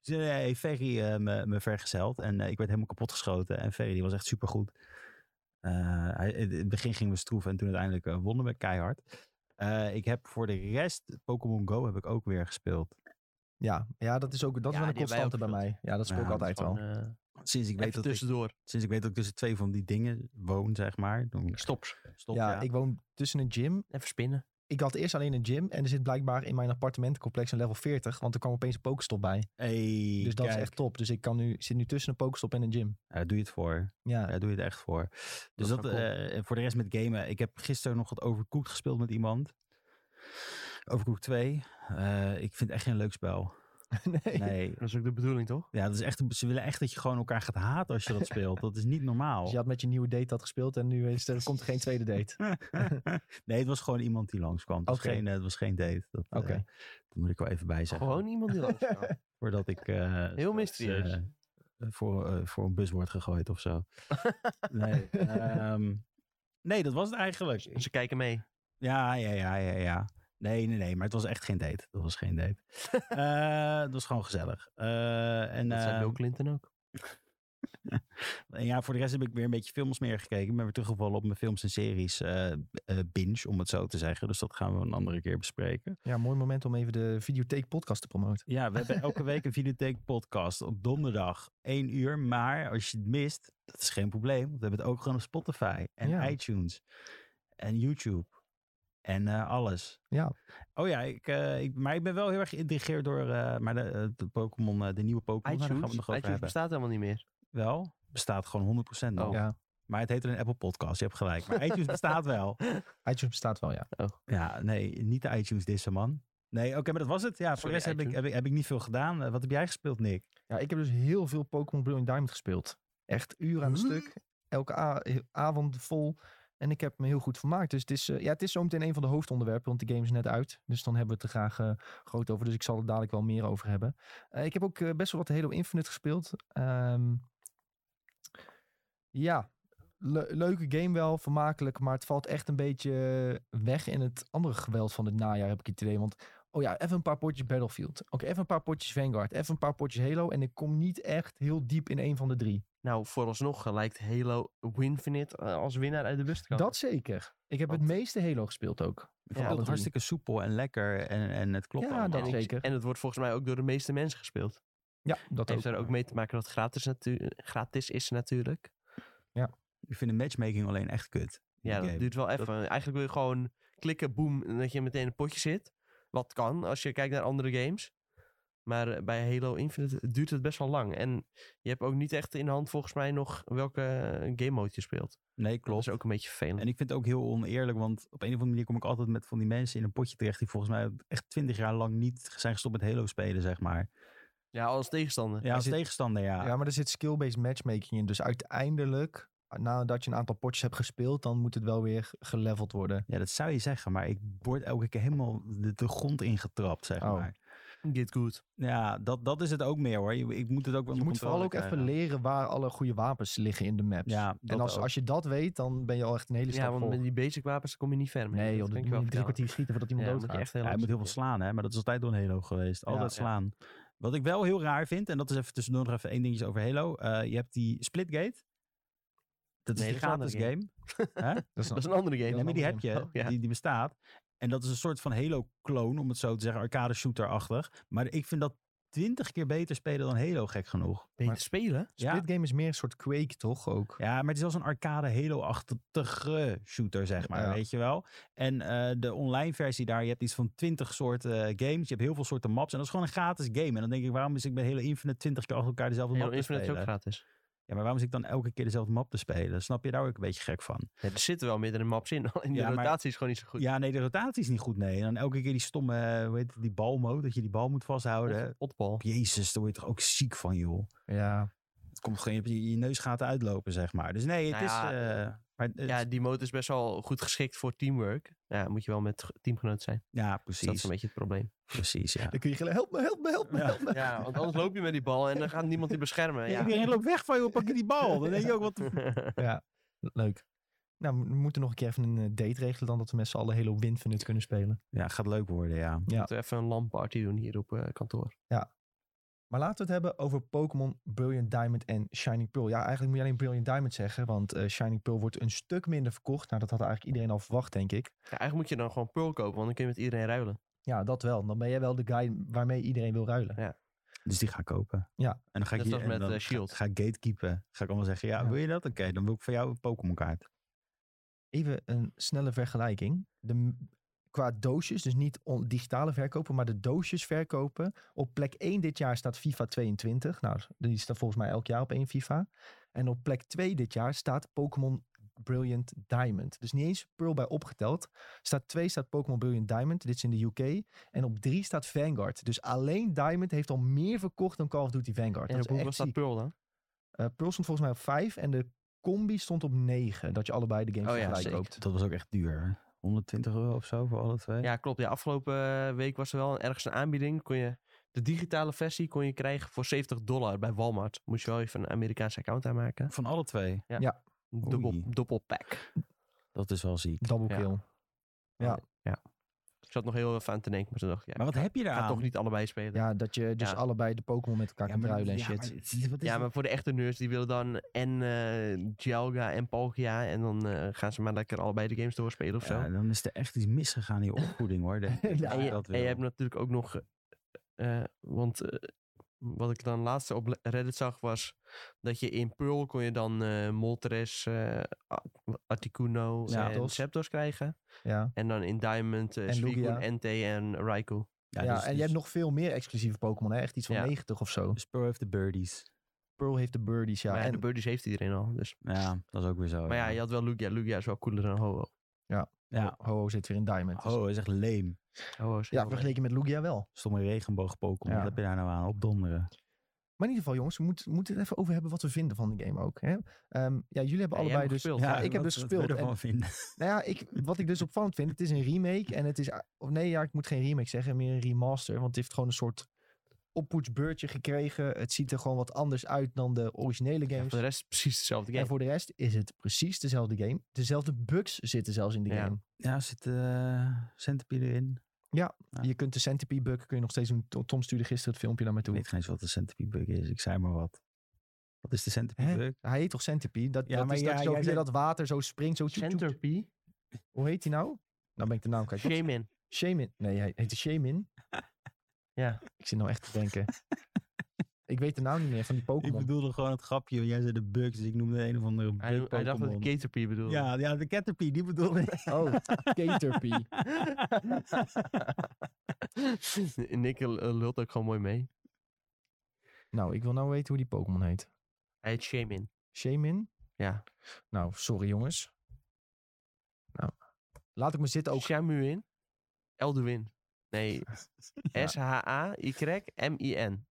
Speaker 3: Dus eh, heeft Ferry eh, me, me vergezeld. En eh, ik werd helemaal kapot geschoten. En Ferry die was echt supergoed. Eh, hij, in het begin gingen we stroeven. En toen uiteindelijk eh, wonnen we keihard. Eh, ik heb voor de rest... Pokémon Go heb ik ook weer gespeeld.
Speaker 1: Ja, ja dat is ook dat
Speaker 2: Ja,
Speaker 1: is wel een
Speaker 2: die hebben wij
Speaker 1: constante
Speaker 2: ook
Speaker 1: bij mij. Ja, dat speel
Speaker 3: Ja,
Speaker 1: ik
Speaker 3: dat eh,
Speaker 1: altijd wel.
Speaker 3: Sinds ik, weet
Speaker 2: eh, even
Speaker 3: dat ik,
Speaker 2: tussendoor.
Speaker 3: sinds ik weet dat ik tussen twee van die dingen woon, zeg maar. Dan
Speaker 2: Stops.
Speaker 3: stop
Speaker 1: ja, ik woon tussen een gym.
Speaker 2: Even spinnen.
Speaker 1: Ik had eerst alleen een gym. En er zit blijkbaar in mijn appartementencomplex een level 40. Want er kwam opeens een pokestop bij.
Speaker 3: Hey,
Speaker 1: Dus dat is
Speaker 3: kijk.
Speaker 1: echt top. Dus ik kan nu, zit nu tussen een pokestop en een gym.
Speaker 3: Ja, daar doe je het voor.
Speaker 1: Ja,
Speaker 3: Daar Nou doe je het echt voor. Dus
Speaker 2: is
Speaker 3: dat,
Speaker 2: wel cool.
Speaker 3: eh, voor de rest met gamen. Ik heb gisteren nog wat Overcooked gespeeld met iemand. Overcooked 2. Eh, ik vind het echt geen leuk spel.
Speaker 1: nee.
Speaker 3: Nee.
Speaker 2: Dat is ook de bedoeling, toch?
Speaker 3: Ja, dat is echt, ze willen echt dat je gewoon elkaar gaat haten als je dat speelt. Dat is niet normaal.
Speaker 1: Dus je had met je nieuwe date dat gespeeld. En nu is er, komt er geen tweede date.
Speaker 3: nee, het was gewoon iemand die langskwam. Het was,
Speaker 1: Oké.
Speaker 3: geen, eh, het was geen date. Dat, eh,
Speaker 1: Oké.
Speaker 3: dat moet ik wel even bij zeggen.
Speaker 2: Gewoon iemand die langs gaat.
Speaker 3: Voordat ik... eh, straks,
Speaker 2: mysterieus.
Speaker 3: eh, voor, eh, voor een bus wordt gegooid of zo. nee, ehm, nee, dat was het eigenlijk.
Speaker 2: Ze kijken mee.
Speaker 3: Ja, ja, ja, ja, ja. Nee, nee, nee, maar het was echt geen date. Dat was geen date. Eh, het was gewoon gezellig. Eh, en,
Speaker 2: Dat zei
Speaker 3: eh,
Speaker 2: Bill Clinton ook.
Speaker 3: en ja, voor de rest heb ik weer een beetje films meer gekeken. Ik ben weer teruggevallen op mijn films en series eh, b- eh, binge, om het zo te zeggen. Dus dat gaan we een andere keer bespreken.
Speaker 1: Ja, mooi moment om even de videotheek podcast te promoten.
Speaker 3: Ja, we hebben elke week een videotheek podcast op donderdag, één uur. Maar als je het mist, dat is geen probleem. Want we hebben het ook gewoon op Spotify en
Speaker 1: Ja.
Speaker 3: iTunes en YouTube en eh, alles.
Speaker 1: Ja,
Speaker 3: Oh ja, ik, eh, ik, maar ik ben wel heel erg geïntrigeerd door eh, maar de, eh, de Pokémon, eh, de nieuwe Pokémon. Daar gaan we
Speaker 2: iTunes,
Speaker 3: het nog over
Speaker 2: iTunes
Speaker 3: hebben.
Speaker 2: bestaat helemaal niet meer.
Speaker 3: Wel, bestaat gewoon 100% nog.
Speaker 2: Oh.
Speaker 1: ja.
Speaker 3: Maar het heet alleen Apple Podcast, je hebt gelijk. Maar iTunes bestaat wel.
Speaker 1: iTunes bestaat wel, ja.
Speaker 3: Ja, nee, niet de iTunes dissen, man. Nee, oké, maar dat was het. Ja, voor de
Speaker 2: Sorry,
Speaker 3: rest heb ik,
Speaker 2: iTunes.
Speaker 3: heb, ik, heb ik niet veel gedaan. Eh, wat heb jij gespeeld, Nick?
Speaker 1: Ja, ik heb dus heel veel Pokémon Brilliant Diamond gespeeld. Echt uren aan een stuk. Elke a- avond vol. En ik heb me heel goed vermaakt. Dus het is, eh, ja, het is zometeen een van de hoofdonderwerpen, want de game is net uit. Dus dan hebben we het er graag eh, groot over. Dus ik zal er dadelijk wel meer over hebben. Eh, ik heb ook eh, best wel wat Halo Infinite gespeeld. Ehm, ja, le- leuke game wel, vermakelijk. Maar het valt echt een beetje weg in het andere geweld van het najaar, heb ik het idee. Want Oh ja, even een paar potjes Battlefield. Oké, even een paar potjes Vanguard. Even een paar potjes Halo. En ik kom niet echt heel diep in een van de drie.
Speaker 2: Nou, vooralsnog eh, lijkt Halo Winfinite eh, als winnaar uit de bus te komen.
Speaker 1: Dat zeker. Ik heb het
Speaker 2: Want-
Speaker 1: meeste Halo gespeeld ook.
Speaker 3: Ik
Speaker 2: Ja,
Speaker 3: vond het
Speaker 1: alle
Speaker 3: ook hartstikke soepel en lekker en, en het klopt
Speaker 1: ja,
Speaker 3: allemaal.
Speaker 1: dat
Speaker 2: En ik-
Speaker 1: zeker.
Speaker 2: En het wordt volgens mij ook door de meeste mensen gespeeld.
Speaker 1: Ja, dat
Speaker 2: heeft
Speaker 1: ook.
Speaker 2: er ook mee te maken dat het gratis, natu- gratis is natuurlijk.
Speaker 3: Ik vind de matchmaking alleen echt kut.
Speaker 2: Ja, dat
Speaker 3: game.
Speaker 2: duurt wel even. Eigenlijk wil je gewoon klikken, boem, en dat je meteen in een potje zit. Wat kan, als je kijkt naar andere games. Maar eh, bij Halo Infinite duurt het best wel lang. En je hebt ook niet echt in de hand volgens mij nog welke eh, game mode je speelt.
Speaker 3: Nee,
Speaker 2: Klopt.
Speaker 3: klopt.
Speaker 2: Dat is ook een beetje vervelend.
Speaker 3: En ik vind het ook heel oneerlijk, want op een of andere manier kom ik altijd met van die mensen in een potje terecht die volgens mij echt twintig jaar lang niet zijn gestopt met Halo spelen, zeg maar.
Speaker 2: Ja, als tegenstander.
Speaker 3: Ja, als
Speaker 1: zit-
Speaker 3: tegenstander, ja.
Speaker 1: Ja, maar er zit skill-based matchmaking in. Dus uiteindelijk, nadat je een aantal potjes hebt gespeeld, dan moet het wel weer geleveld worden.
Speaker 3: Ja, dat zou je zeggen, maar ik word elke keer helemaal de, de grond ingetrapt, zeg
Speaker 1: Oh.
Speaker 3: maar.
Speaker 2: Get good.
Speaker 3: Ja, dat, dat is het ook meer hoor. Je- Ik moet het ook wel
Speaker 1: Je
Speaker 3: onder
Speaker 1: moet vooral ook
Speaker 3: controle
Speaker 1: even
Speaker 3: krijgen.
Speaker 1: leren waar alle goede wapens liggen in de maps.
Speaker 3: Ja, dat
Speaker 1: en als,
Speaker 3: ook.
Speaker 1: als je dat weet, dan ben je al echt een hele stap
Speaker 2: Ja, want
Speaker 1: voor.
Speaker 2: met die basic wapens kom je niet ver mee.
Speaker 1: Nee joh,
Speaker 2: dat
Speaker 1: dat
Speaker 2: kan
Speaker 1: moet
Speaker 2: ik je
Speaker 1: je
Speaker 2: wel
Speaker 1: drie kwartier
Speaker 2: vertellen.
Speaker 1: schieten voordat iemand
Speaker 2: Ja, moet je
Speaker 1: doodgaat.
Speaker 2: echt heel
Speaker 3: Ja, hij
Speaker 2: lang
Speaker 3: moet heel veel
Speaker 2: zitten.
Speaker 3: slaan, hè? maar dat is altijd door een Halo geweest.
Speaker 1: Ja.
Speaker 3: Altijd
Speaker 2: Ja.
Speaker 3: slaan. Wat ik wel heel raar vind, en dat is even tussendoor nog even één dingetje over Halo. Eh, je hebt die Splitgate. Dat is
Speaker 2: Nee,
Speaker 3: die
Speaker 2: dat is een
Speaker 3: gratis
Speaker 2: andere
Speaker 3: game.
Speaker 1: Dat is
Speaker 2: Dat is een andere game.
Speaker 1: Ja,
Speaker 3: Nee, maar die heb
Speaker 1: andere
Speaker 3: je,
Speaker 2: game. Oh, ja.
Speaker 3: die, die bestaat. En dat is een soort van Halo-kloon, om het zo te zeggen, arcade-shooter-achtig. Maar ik vind dat twintig keer beter spelen dan Halo, gek genoeg.
Speaker 2: Beter
Speaker 1: Maar-
Speaker 2: spelen?
Speaker 1: Split game is meer een soort Quake toch ook?
Speaker 3: Ja, maar het is wel zo'n arcade Halo-achtige shooter, zeg maar,
Speaker 1: Ja.
Speaker 3: weet je wel. En eh, de online versie daar, je hebt iets van twintig soorten eh, games. Je hebt heel veel soorten maps. En dat is gewoon een gratis game. En dan denk ik, waarom is ik bij Halo Infinite twintig keer achter elkaar dezelfde
Speaker 2: Halo
Speaker 3: map te
Speaker 2: Infinite is ook
Speaker 3: spelen?
Speaker 2: gratis.
Speaker 3: Ja, maar waarom is ik dan elke keer dezelfde map te spelen? Snap je daar ook een beetje gek van?
Speaker 2: Ja, er zitten wel meerdere maps in. En de
Speaker 3: Ja, maar-
Speaker 2: rotatie is gewoon niet zo goed.
Speaker 3: Ja, nee, de rotatie is niet goed, nee. En dan elke keer die stomme, eh, hoe heet het, die balmode, dat je die bal moet vasthouden.
Speaker 2: Otbal.
Speaker 3: Jezus, daar word je toch ook ziek van, joh.
Speaker 1: Ja.
Speaker 3: Het komt gewoon, je hebt je, je neusgaten uitlopen, zeg maar. Dus nee, het
Speaker 2: Nou
Speaker 3: is...
Speaker 2: ja,
Speaker 3: eh, maar het-
Speaker 2: Ja, die mode is best wel goed geschikt voor teamwork. Ja, moet je wel met teamgenoot zijn.
Speaker 3: ja,
Speaker 2: Dus dat is
Speaker 3: precies.
Speaker 2: een beetje het probleem.
Speaker 3: Precies, ja.
Speaker 1: Dan kun je gillen, help me, help me, help me,
Speaker 3: Ja.
Speaker 1: help me.
Speaker 2: Ja, want anders loop je met die bal en dan gaat niemand je beschermen. Ja.
Speaker 3: Iedereen loopt weg van je, pak je die bal. Dan denk je ook, wat
Speaker 1: Leuk. Nou, we moeten nog een keer even een eh, date regelen dan dat we met z'n allen Halo Infinite kunnen spelen.
Speaker 3: Ja, gaat leuk worden, ja.
Speaker 2: Laten we even een lamparty doen hier op eh, kantoor.
Speaker 1: Maar laten we het hebben over Pokémon Brilliant Diamond en Shining Pearl. Ja, eigenlijk moet je alleen Brilliant Diamond zeggen, want eh, Shining Pearl wordt een stuk minder verkocht. Nou, dat had eigenlijk iedereen al verwacht, denk ik.
Speaker 2: Ja, eigenlijk moet je dan gewoon Pearl kopen, want dan kun je met iedereen ruilen.
Speaker 1: Ja, dat wel. Dan ben jij wel de guy waarmee iedereen wil ruilen.
Speaker 3: Dus die ga ik kopen.
Speaker 1: Ja.
Speaker 3: En dan ga ik
Speaker 2: Net
Speaker 3: hier-
Speaker 2: als
Speaker 3: en
Speaker 2: met,
Speaker 3: dan
Speaker 2: eh,
Speaker 3: ga-
Speaker 2: Shield.
Speaker 3: Ga, ik gatekeepen. Ga ik allemaal zeggen, ja,
Speaker 1: Ja.
Speaker 3: wil je dat? Oké, dan wil ik voor jou een Pokémon kaart.
Speaker 1: Even een snelle vergelijking. De, m- qua doosjes, dus niet on- digitale verkopen, maar de doosjes verkopen. Op plek 1 dit jaar staat FIFA 22. Nou, die staat volgens mij elk jaar op één FIFA. En op plek 2 dit jaar staat Pokémon Brilliant Diamond. Dus niet eens Pearl bij opgeteld. Staat 2 staat Pokémon Brilliant Diamond. Dit is in de UK. En op 3 staat Vanguard. Dus alleen Diamond heeft al meer verkocht dan Call of Duty Vanguard.
Speaker 2: En
Speaker 1: dat is echt
Speaker 2: op hoeveel staat
Speaker 1: ziek.
Speaker 2: Pearl dan?
Speaker 1: Eh, Pearl stond volgens mij op 5 en de combi stond op 9. Dat je allebei de games
Speaker 2: Oh ja,
Speaker 1: tegelijk
Speaker 2: zeker.
Speaker 1: koopt.
Speaker 3: Dat was ook echt duur. 120 euro of zo voor alle twee.
Speaker 2: Ja, klopt. Ja, afgelopen eh, week was er wel een, ergens een aanbieding. Kon je, de digitale versie kon je krijgen voor 70 dollar bij Walmart. Moest je wel even een Amerikaanse account aanmaken.
Speaker 3: Van alle twee. Oei.
Speaker 2: Dubbel, dubbel pack.
Speaker 3: Dat is wel ziek.
Speaker 1: Double
Speaker 2: Ja.
Speaker 1: kill.
Speaker 2: Ik zat nog heel even aan te denken, maar toen dacht ik, ja,
Speaker 3: Maar wat heb je
Speaker 2: ik ga
Speaker 3: daar
Speaker 2: toch niet allebei spelen.
Speaker 1: Ja, dat je dus
Speaker 2: Ja.
Speaker 1: allebei de Pokémon met elkaar kunt ruilen en shit.
Speaker 2: Ja, maar voor de echte nerds, die willen dan en eh Dialga en Palkia. En dan eh, gaan ze maar lekker allebei de games doorspelen of zo.
Speaker 3: Ja, dan is er echt iets misgegaan in je opvoeding, hoor. denk ik.
Speaker 1: Ja,
Speaker 2: en,
Speaker 3: Als
Speaker 2: je,
Speaker 3: dat
Speaker 2: en je
Speaker 3: wil.
Speaker 2: hebt natuurlijk ook nog... eh, eh, want eh, wat ik dan laatst op Le- Reddit zag was... dat je in Pearl kon je dan eh Moltres, eh, A- Articuno en
Speaker 1: Zapdos.
Speaker 2: Zapdos krijgen.
Speaker 1: Ja,
Speaker 2: En dan in Diamond eh
Speaker 1: En
Speaker 2: Suicune,
Speaker 1: Lugia.
Speaker 2: Entei en Raikou.
Speaker 1: ja,
Speaker 3: dus-
Speaker 1: en je
Speaker 3: dus
Speaker 1: hebt nog veel meer exclusieve Pokémon. hè? Echt iets van
Speaker 2: Ja.
Speaker 1: 90 of zo.
Speaker 3: Spur heeft de birdies.
Speaker 1: Pearl heeft de birdies, ja.
Speaker 2: maar en
Speaker 1: en Oh,
Speaker 2: de Birdies heeft iedereen al. Dus.
Speaker 3: Ja, dat is ook weer zo.
Speaker 2: maar ja, je had wel Lugia. Lugia is wel cooler dan Ho-Oh.
Speaker 3: ja.
Speaker 1: Ho-Oh zit weer in Diamond. dus-
Speaker 3: Oh, dat is echt leem.
Speaker 2: Ho-Oh
Speaker 1: ja,
Speaker 2: is heel leuk.
Speaker 1: vergeleken met Lugia wel.
Speaker 3: Stomme regenboog Pokémon.
Speaker 1: Ja.
Speaker 3: Wat heb je daar nou aan? Opdonderen.
Speaker 1: Maar in ieder geval, jongens, we moet- moeten het even over hebben wat we vinden van de game ook. Hè? Ehm, ja, jullie hebben
Speaker 2: Ja, jij
Speaker 1: allebei
Speaker 2: hebt
Speaker 1: dus...
Speaker 2: gespeeld.
Speaker 1: Ja, ik heb
Speaker 3: wat-
Speaker 1: dus
Speaker 3: wat wil je
Speaker 1: gespeeld.
Speaker 3: ervan
Speaker 1: En,
Speaker 3: vinden?
Speaker 1: nou ja, ik, wat ik dus opvallend vind, het is een remake en het is... Of nee, ja, ik moet geen remake zeggen, meer een remaster. Want het heeft gewoon een soort oppoetsbeurtje gekregen. Het ziet er gewoon wat anders uit dan de originele
Speaker 2: Ja,
Speaker 1: games.
Speaker 2: voor de rest precies dezelfde game.
Speaker 1: En voor de rest is het precies dezelfde game. Dezelfde bugs zitten zelfs in de
Speaker 2: Ja.
Speaker 1: game.
Speaker 3: Ja, zit eh Centipede erin? Ja.
Speaker 1: Je kunt de centipede bug, kun je nog steeds doen. To- Tom stuurde gisteren het filmpje naar me
Speaker 3: Ik
Speaker 1: toe.
Speaker 3: weet geen eens wat de Centipede bug is. Ik zei maar wat. Wat is de Centipede
Speaker 1: Hè?
Speaker 3: bug?
Speaker 1: Hij heet toch centipede? Dat,
Speaker 3: Ja,
Speaker 1: dat
Speaker 3: maar
Speaker 1: is
Speaker 3: ja,
Speaker 1: dat je
Speaker 3: jij
Speaker 1: zo via
Speaker 3: zei-
Speaker 1: dat water zo springt. Zo tjoet, tjoet.
Speaker 2: Centerpie,
Speaker 1: Hoe heet hij nou? Nou ben ik de naam kwijt.
Speaker 2: Shaman.
Speaker 1: Shamin. Nee, hij heet de Shamin.
Speaker 2: Ja.
Speaker 1: Ik zit nou echt te denken. Ik weet de naam niet meer van die
Speaker 3: Ik
Speaker 1: Pokémon.
Speaker 3: bedoelde gewoon het grapje. Jij zei de bugs, dus ik noemde een of andere bug
Speaker 2: Hij, hij dacht dat ik
Speaker 3: Pokémon.
Speaker 2: Caterpie bedoelde.
Speaker 3: ja, ja, de Caterpie, die bedoelde ik.
Speaker 1: Oh, Caterpie.
Speaker 2: Nick eh, lult ook gewoon mooi mee.
Speaker 1: Nou, ik wil nou weten hoe die Pokémon heet.
Speaker 2: Hij heet Shamin.
Speaker 1: Shamin?
Speaker 2: Ja.
Speaker 1: Nou, sorry jongens. Nou, laat ik me zitten ook.
Speaker 2: Ook Shamuin. Elduin. Nee.
Speaker 1: Ja.
Speaker 2: S-H-A-Y-M-I-N.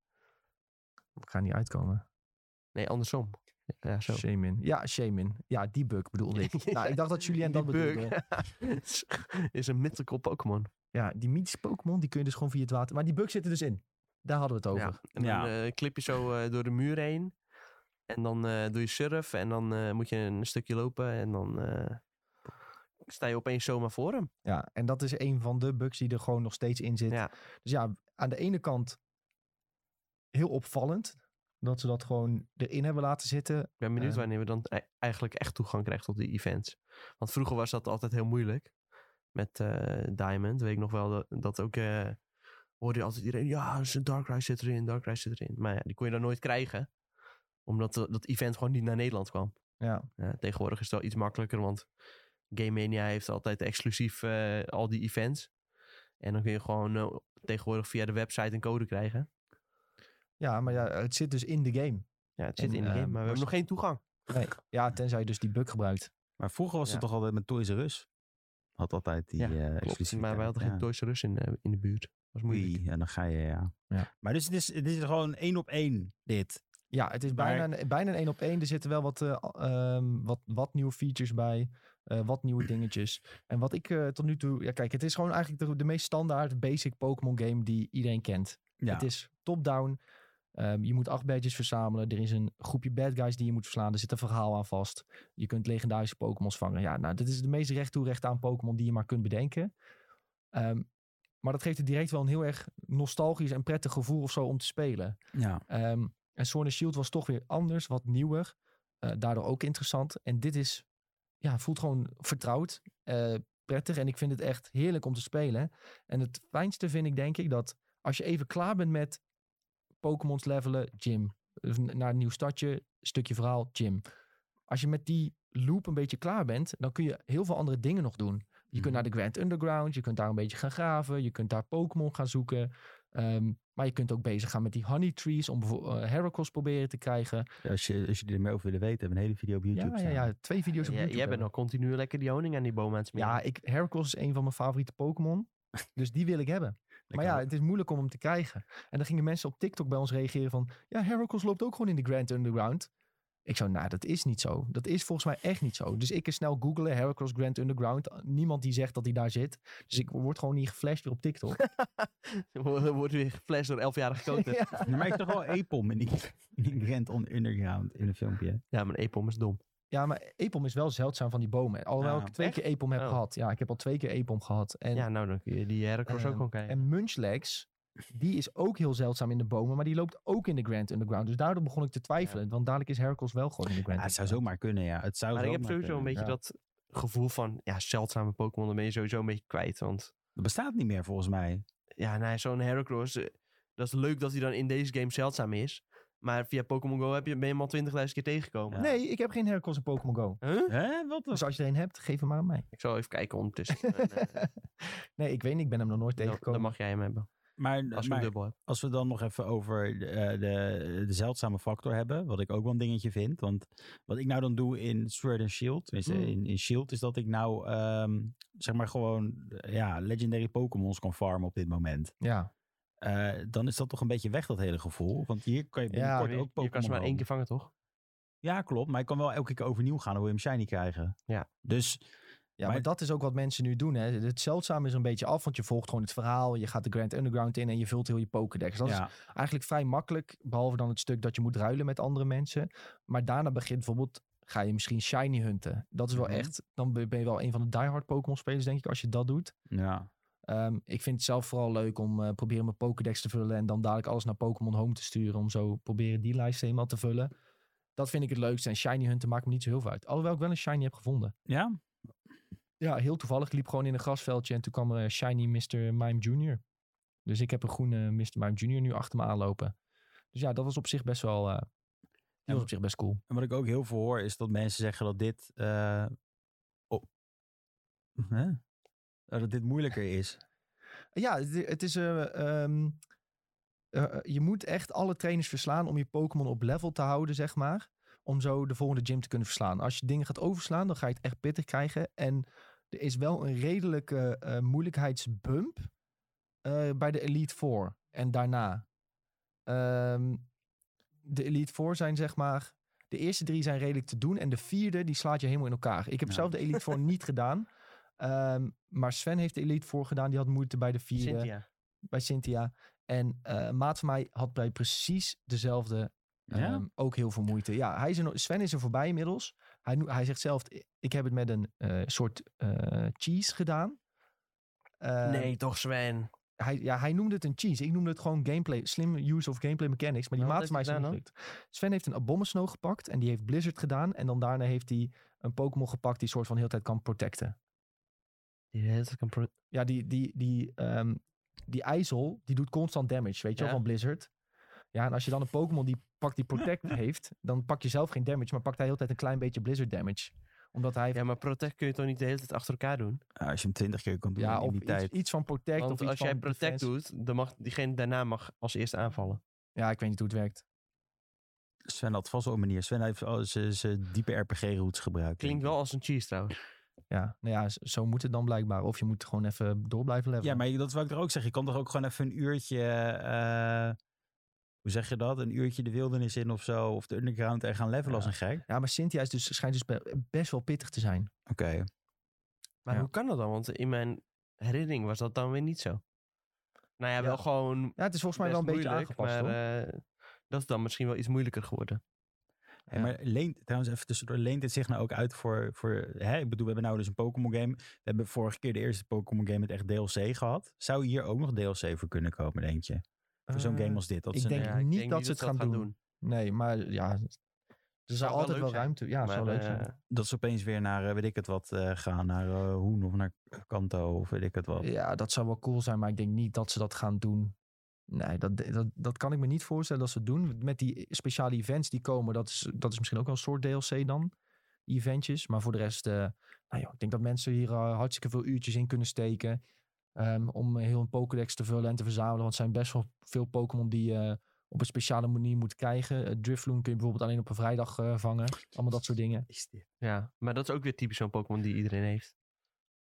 Speaker 1: Ik ga niet uitkomen.
Speaker 2: Nee, andersom. Ja, zo.
Speaker 1: Shamin. Ja, Shamin. Ja, die bug bedoelde ik. Nou, ik dacht dat Julien dat
Speaker 2: Die bug.
Speaker 1: bedoelde.
Speaker 2: Is- is een mythical Pokémon.
Speaker 1: Ja, die mythische Pokémon, die kun je dus gewoon via het water... Maar die bug zit er dus in. Daar hadden we het over.
Speaker 2: Ja. En dan
Speaker 3: Ja.
Speaker 2: eh, klip je zo eh, door de muur heen. En dan eh, doe je surf. En dan eh, moet je een stukje lopen. En dan eh, sta je opeens zomaar voor hem.
Speaker 1: Ja, en dat is een van de bugs die er gewoon nog steeds in zit.
Speaker 2: Ja.
Speaker 1: Dus ja, aan de ene kant heel opvallend dat ze dat gewoon erin hebben laten zitten.
Speaker 2: Ik ben benieuwd
Speaker 1: Eh.
Speaker 2: wanneer we dan e- eigenlijk echt toegang krijgen tot die events. Want vroeger was dat altijd heel moeilijk. Met eh, Diamond weet ik nog wel dat, dat ook... eh, hoorde je altijd iedereen... Ja, er is een Darkrai zit erin, Darkrai zit erin. Maar ja, die kon je dan nooit krijgen. Omdat dat- dat event gewoon niet naar Nederland kwam.
Speaker 1: Ja,
Speaker 2: Ja, tegenwoordig is het wel iets makkelijker, want Game Mania heeft altijd exclusief eh, al die events. En dan kun je gewoon eh, tegenwoordig via de website een code krijgen.
Speaker 1: ja maar ja, het zit dus in de game.
Speaker 2: Ja, het zit
Speaker 1: En,
Speaker 2: in de
Speaker 1: eh,
Speaker 2: game, maar we
Speaker 1: was-
Speaker 2: hebben nog geen toegang.
Speaker 1: Nee, ja, tenzij je dus die bug gebruikt.
Speaker 3: Maar vroeger was het
Speaker 2: Ja.
Speaker 3: toch altijd met Toys R Us? Had altijd die
Speaker 2: Ja,
Speaker 3: eh
Speaker 2: Klopt,
Speaker 3: exclusiviteit,
Speaker 2: maar wij hadden
Speaker 3: ja.
Speaker 2: geen Toys R Us in, eh, in de buurt. was moeilijk.
Speaker 3: Oei, en dan ga je, ja.
Speaker 1: Ja.
Speaker 3: Maar dus het is, het is gewoon één op één, dit.
Speaker 1: Ja, het is
Speaker 3: Maar-
Speaker 1: bijna, een- bijna een één op één. Er zitten wel wat, eh, a- ehm, wat, wat nieuwe features bij. eh, wat nieuwe dingetjes. En wat ik eh, tot nu toe... Ja, kijk, het is gewoon eigenlijk de, de meest standaard basic Pokémon game die iedereen kent.
Speaker 3: Ja.
Speaker 1: Het is top-down. Ehm, je moet acht badges verzamelen. Er is een groepje bad guys die je moet verslaan. Er zit een verhaal aan vast. Je kunt legendarische Pokémon's vangen. Ja, nou, dit is de meest recht toe recht aan Pokémon die je maar kunt bedenken. Ehm, maar dat geeft het direct wel een heel erg nostalgisch en prettig gevoel of zo om te spelen.
Speaker 3: ja.
Speaker 1: Ehm, en Sword and Shield was toch weer anders, wat nieuwer. eh, daardoor ook interessant. En dit is, ja, voelt gewoon vertrouwd, eh, prettig. En ik vind het echt heerlijk om te spelen. En het fijnste vind ik, denk ik, dat als je even klaar bent met Pokémon's levelen, gym. Of n- Naar een nieuw stadje, stukje verhaal, gym. Als je met die loop een beetje klaar bent, dan kun je heel veel andere dingen nog doen. Je
Speaker 3: Mhm.
Speaker 1: kunt naar de Grand Underground, je kunt daar een beetje gaan graven, je kunt daar Pokémon gaan zoeken. Ehm, maar je kunt ook bezig gaan met die honey trees om bijvoorbeeld eh, Heracross proberen te krijgen.
Speaker 3: Als, je, als jullie er meer over willen weten, hebben we een hele video op YouTube
Speaker 1: ja, ja,
Speaker 3: staan.
Speaker 1: ja, twee video's op
Speaker 2: Ja,
Speaker 1: YouTube.
Speaker 2: jij
Speaker 1: hebben.
Speaker 2: bent nog continu lekker die honing aan die boom aan het smeren.
Speaker 1: Ja, ik, Heracross is een van mijn favoriete Pokémon. Dus die wil ik hebben.
Speaker 3: Lekker
Speaker 1: Maar ja,
Speaker 3: hoor.
Speaker 1: het is moeilijk om hem te krijgen. En dan gingen mensen op TikTok bij ons reageren van... Ja, Heracross loopt ook gewoon in de Grand Underground. Ik zou, nou, dat is niet zo. Dat is volgens mij echt niet zo. Dus ik kan snel googlen Heracross Grand Underground. Niemand die zegt dat hij daar zit. Dus ik word gewoon niet geflasht weer op TikTok.
Speaker 2: Wo- Wordt weer geflasht door elfjarige koten. ja.
Speaker 1: ja.
Speaker 3: Nee, maar ik zag wel Epom in die, in die Grand on Underground in een filmpje.
Speaker 2: maar Epom is dom.
Speaker 1: ja, maar Epom is wel zeldzaam van die bomen. Alhoewel
Speaker 3: Ja.
Speaker 1: ik twee
Speaker 2: Echt?
Speaker 1: keer Epom heb
Speaker 2: Oh.
Speaker 1: gehad. Ja, ik heb al twee keer Epom gehad. En
Speaker 2: ja, nou dan kun je die Heracross ook
Speaker 1: Ehm,
Speaker 2: gewoon kijken.
Speaker 1: En Munchlax, die is ook heel zeldzaam in de bomen, maar die loopt ook in de Grand Underground. Dus daardoor begon ik te twijfelen, want dadelijk is Heracles wel gewoon in de Grand
Speaker 3: Ja, het zou
Speaker 1: Underground.
Speaker 3: zomaar kunnen, ja. Het zou
Speaker 2: Maar ik heb
Speaker 3: zomaar
Speaker 2: sowieso een
Speaker 3: kunnen.
Speaker 2: beetje
Speaker 1: ja.
Speaker 2: dat gevoel van... Ja, zeldzame Pokémon, dan ben je sowieso een beetje kwijt. Want
Speaker 3: Dat bestaat niet meer volgens mij.
Speaker 2: ja, nou, zo'n Heracross, eh, dat is leuk dat hij dan in deze game zeldzaam is. Maar via Pokémon Go heb je, ben je hem al 20.000 keer tegengekomen.
Speaker 3: zomaar-
Speaker 1: Nee, ik heb geen Heracles in Pokémon Go.
Speaker 2: Huh?
Speaker 3: Hè? Wat
Speaker 1: Dus
Speaker 3: de...
Speaker 1: als je er een hebt, geef hem maar aan mij.
Speaker 2: Ik zal even kijken ondertussen. En, eh,
Speaker 1: nee, ik weet niet, ik ben hem nog nooit
Speaker 2: dan, dan
Speaker 1: tegengekomen.
Speaker 2: mag jij hem hebben,
Speaker 3: Maar,
Speaker 2: als je
Speaker 3: maar
Speaker 2: hem dubbel hebt.
Speaker 3: als we dan nog even over de, eh, de, de zeldzame factor hebben, wat ik ook wel een dingetje vind. Want wat ik nou dan doe in Sword and Shield, tenminste
Speaker 1: Mm.
Speaker 3: in, in Shield, is dat ik nou ehm, zeg maar gewoon eh, ja, legendary Pokémons kan farmen op dit moment.
Speaker 1: Ja,
Speaker 3: Eh, dan is dat toch een beetje weg, dat hele gevoel. Want hier kan je binnenkort
Speaker 2: Je,
Speaker 3: ook Pokémon
Speaker 2: je kan ze maar één
Speaker 3: roamen.
Speaker 2: keer vangen, toch?
Speaker 3: Ja, klopt. Maar ik kan wel elke keer overnieuw gaan en wil je hem shiny krijgen.
Speaker 2: Ja.
Speaker 3: Dus
Speaker 1: ja maar,
Speaker 3: Maar-
Speaker 1: dat is ook wat mensen nu doen. Hè. Het zeldzaam is een beetje af, want je volgt gewoon het verhaal. Je gaat de Grand Underground in en je vult heel je Pokédex. Dat is
Speaker 3: ja,
Speaker 1: eigenlijk vrij makkelijk. Behalve dan het stuk dat je moet ruilen met andere mensen. Maar daarna begint bijvoorbeeld, ga je misschien shiny hunten. Dat is wel
Speaker 3: Mhm.
Speaker 1: echt, dan ben ben je wel een van de diehard Pokémon spelers denk ik, als je dat doet.
Speaker 3: ja.
Speaker 1: Ehm, ik vind het zelf vooral leuk om eh, proberen mijn Pokédex te vullen en dan dadelijk alles naar Pokémon Home te sturen om zo proberen die lijst helemaal te vullen. Dat vind ik het leukste en shiny hunten maakt me niet zo heel veel uit. Alhoewel ik wel een shiny heb gevonden.
Speaker 3: Ja?
Speaker 1: Ja, heel toevallig Ik liep gewoon in een grasveldje en toen kwam er eh, shiny Mr. Mime Jr. Dus ik heb een groene Mr. Mime Jr. nu achter me aanlopen. Dus ja, dat was op zich best wel... eh, dat was op zich best cool.
Speaker 3: En wat ik ook heel veel hoor is dat mensen zeggen dat dit. eh, op- Hè? Oh, Dat dit moeilijker is.
Speaker 1: Ja, het, het is... eh, ehm, eh, je moet echt alle trainers verslaan om je Pokémon op level te houden, zeg maar. Om zo de volgende gym te kunnen verslaan. Als je dingen gaat overslaan, dan ga je het echt pittig krijgen. En er is wel een redelijke eh, moeilijkheidsbump eh, bij de Elite Four. En daarna. Ehm, de Elite Four zijn zeg maar... De eerste drie zijn redelijk te doen. En de vierde, die slaat je helemaal in elkaar. Ik heb
Speaker 3: Nou.
Speaker 1: zelf de Elite Four niet gedaan. Ehm, maar Sven heeft de Elite Four gedaan. Die had moeite bij de vierde
Speaker 2: Cynthia.
Speaker 1: bij Cynthia. En eh, een maat van mij had bij precies dezelfde
Speaker 3: Ja?
Speaker 1: ehm, ook heel veel moeite. Ja, hij is er, nog- Sven is er voorbij inmiddels. Hij, noe- hij zegt zelf, ik heb het met een eh, soort eh, cheese gedaan. Ehm,
Speaker 2: nee, toch Sven.
Speaker 1: Hij, ja, hij noemde het een cheese. Ik noemde het gewoon gameplay. Slim use of gameplay mechanics. Maar die
Speaker 2: Maar
Speaker 1: maat
Speaker 2: Oh, wat
Speaker 1: van mij is
Speaker 2: heeft
Speaker 1: er
Speaker 2: hij
Speaker 1: niet gelukt. Sven heeft een Abomasnow gepakt. En die heeft Blizzard gedaan. En dan daarna heeft hij een Pokémon gepakt die soort van heel de tijd kan protecten. Ja, die, die, die, ehm, die IJssel, die doet constant damage, weet je wel,
Speaker 2: Ja.
Speaker 1: van Blizzard. Ja, en als je dan een Pokémon die pakt die Protect heeft, dan pak je zelf geen damage, maar pakt hij heel de tijd een klein beetje Blizzard damage. Omdat hij, ja,
Speaker 2: Ja, maar Protect kun je toch niet de hele tijd achter elkaar doen?
Speaker 3: Ah, als je hem twintig keer kan doen in
Speaker 1: of
Speaker 3: die
Speaker 1: iets,
Speaker 3: tijd.
Speaker 1: iets van Protect of
Speaker 2: Want
Speaker 1: iets
Speaker 2: als jij
Speaker 1: van
Speaker 2: Protect
Speaker 1: defense.
Speaker 2: doet, dan mag diegene daarna mag als eerste aanvallen.
Speaker 1: Ja, ik weet niet hoe het werkt.
Speaker 3: Sven had vast wel een manier. Sven heeft al zijn- zijn diepe RPG-routes gebruikt.
Speaker 2: Klinkt wel als een cheese trouwens.
Speaker 1: Ja, nou ja, z- zo moet het dan blijkbaar. Of je moet gewoon even door blijven levelen.
Speaker 3: Ja, maar je- dat wil ik er ook zeggen. Je kan toch ook gewoon even een uurtje. eh, hoe zeg je dat? Een uurtje de wildernis in of zo. Of de underground en gaan levelen
Speaker 1: Ja.
Speaker 3: als een gek. Oké.
Speaker 1: Ja, maar Cynthia is dus, schijnt dus be- best wel pittig te zijn.
Speaker 2: Maar
Speaker 1: Ja.
Speaker 2: hoe kan dat dan? Want in mijn herinnering was dat dan weer niet zo. Nou ja, wel
Speaker 1: Ja.
Speaker 2: gewoon
Speaker 1: Ja, het is volgens mij wel
Speaker 2: best
Speaker 1: een beetje
Speaker 2: moeilijk,
Speaker 1: aangepast hoor.
Speaker 2: maar eh, dat is dan misschien wel iets moeilijker geworden.
Speaker 3: Hey,
Speaker 1: Ja.
Speaker 3: Maar leent, trouwens even tussendoor, leent het zich nou ook uit voor, voor hè? ik bedoel, we hebben nou dus een Pokémon game. We hebben vorige keer de eerste Pokémon game met echt DLC gehad. Zou hier ook nog DLC voor kunnen komen, denk je? Voor zo'n
Speaker 1: Eh,
Speaker 3: game als dit. Dat
Speaker 1: ik
Speaker 3: is een-
Speaker 1: denk
Speaker 2: Ja,
Speaker 1: niet dat ze het
Speaker 2: dat
Speaker 1: gaan doen. Nee, maar ja, er
Speaker 2: eh, zou
Speaker 1: zou
Speaker 2: wel
Speaker 1: altijd
Speaker 2: leuk
Speaker 1: wel
Speaker 2: zijn,
Speaker 1: ruimte. Ja, het
Speaker 2: maar,
Speaker 1: zou leuk
Speaker 2: eh,
Speaker 1: zijn.
Speaker 3: dat ze opeens weer naar, eh, weet ik het wat, eh, gaan. Naar eh, Hoen of naar Kanto of weet ik het wat.
Speaker 1: Ja, dat zou wel cool zijn, maar ik denk niet dat ze dat gaan doen. Nee, dat, dat, dat kan ik me niet voorstellen dat ze het doen. Met die speciale events die komen, dat is, dat is misschien ook wel een soort DLC dan. Eventjes, maar voor de rest, eh, nou joh, ik denk dat mensen hier eh, hartstikke veel uurtjes in kunnen steken. ehm, om heel een Pokédex te vullen en te verzamelen. Want er zijn best wel veel Pokémon die je op een speciale manier moet krijgen. Eh, Drifloon kun je bijvoorbeeld alleen op een vrijdag eh, vangen. Allemaal dat soort dingen.
Speaker 3: Is dit?
Speaker 2: Ja, maar dat is ook weer typisch zo'n Pokémon die iedereen heeft.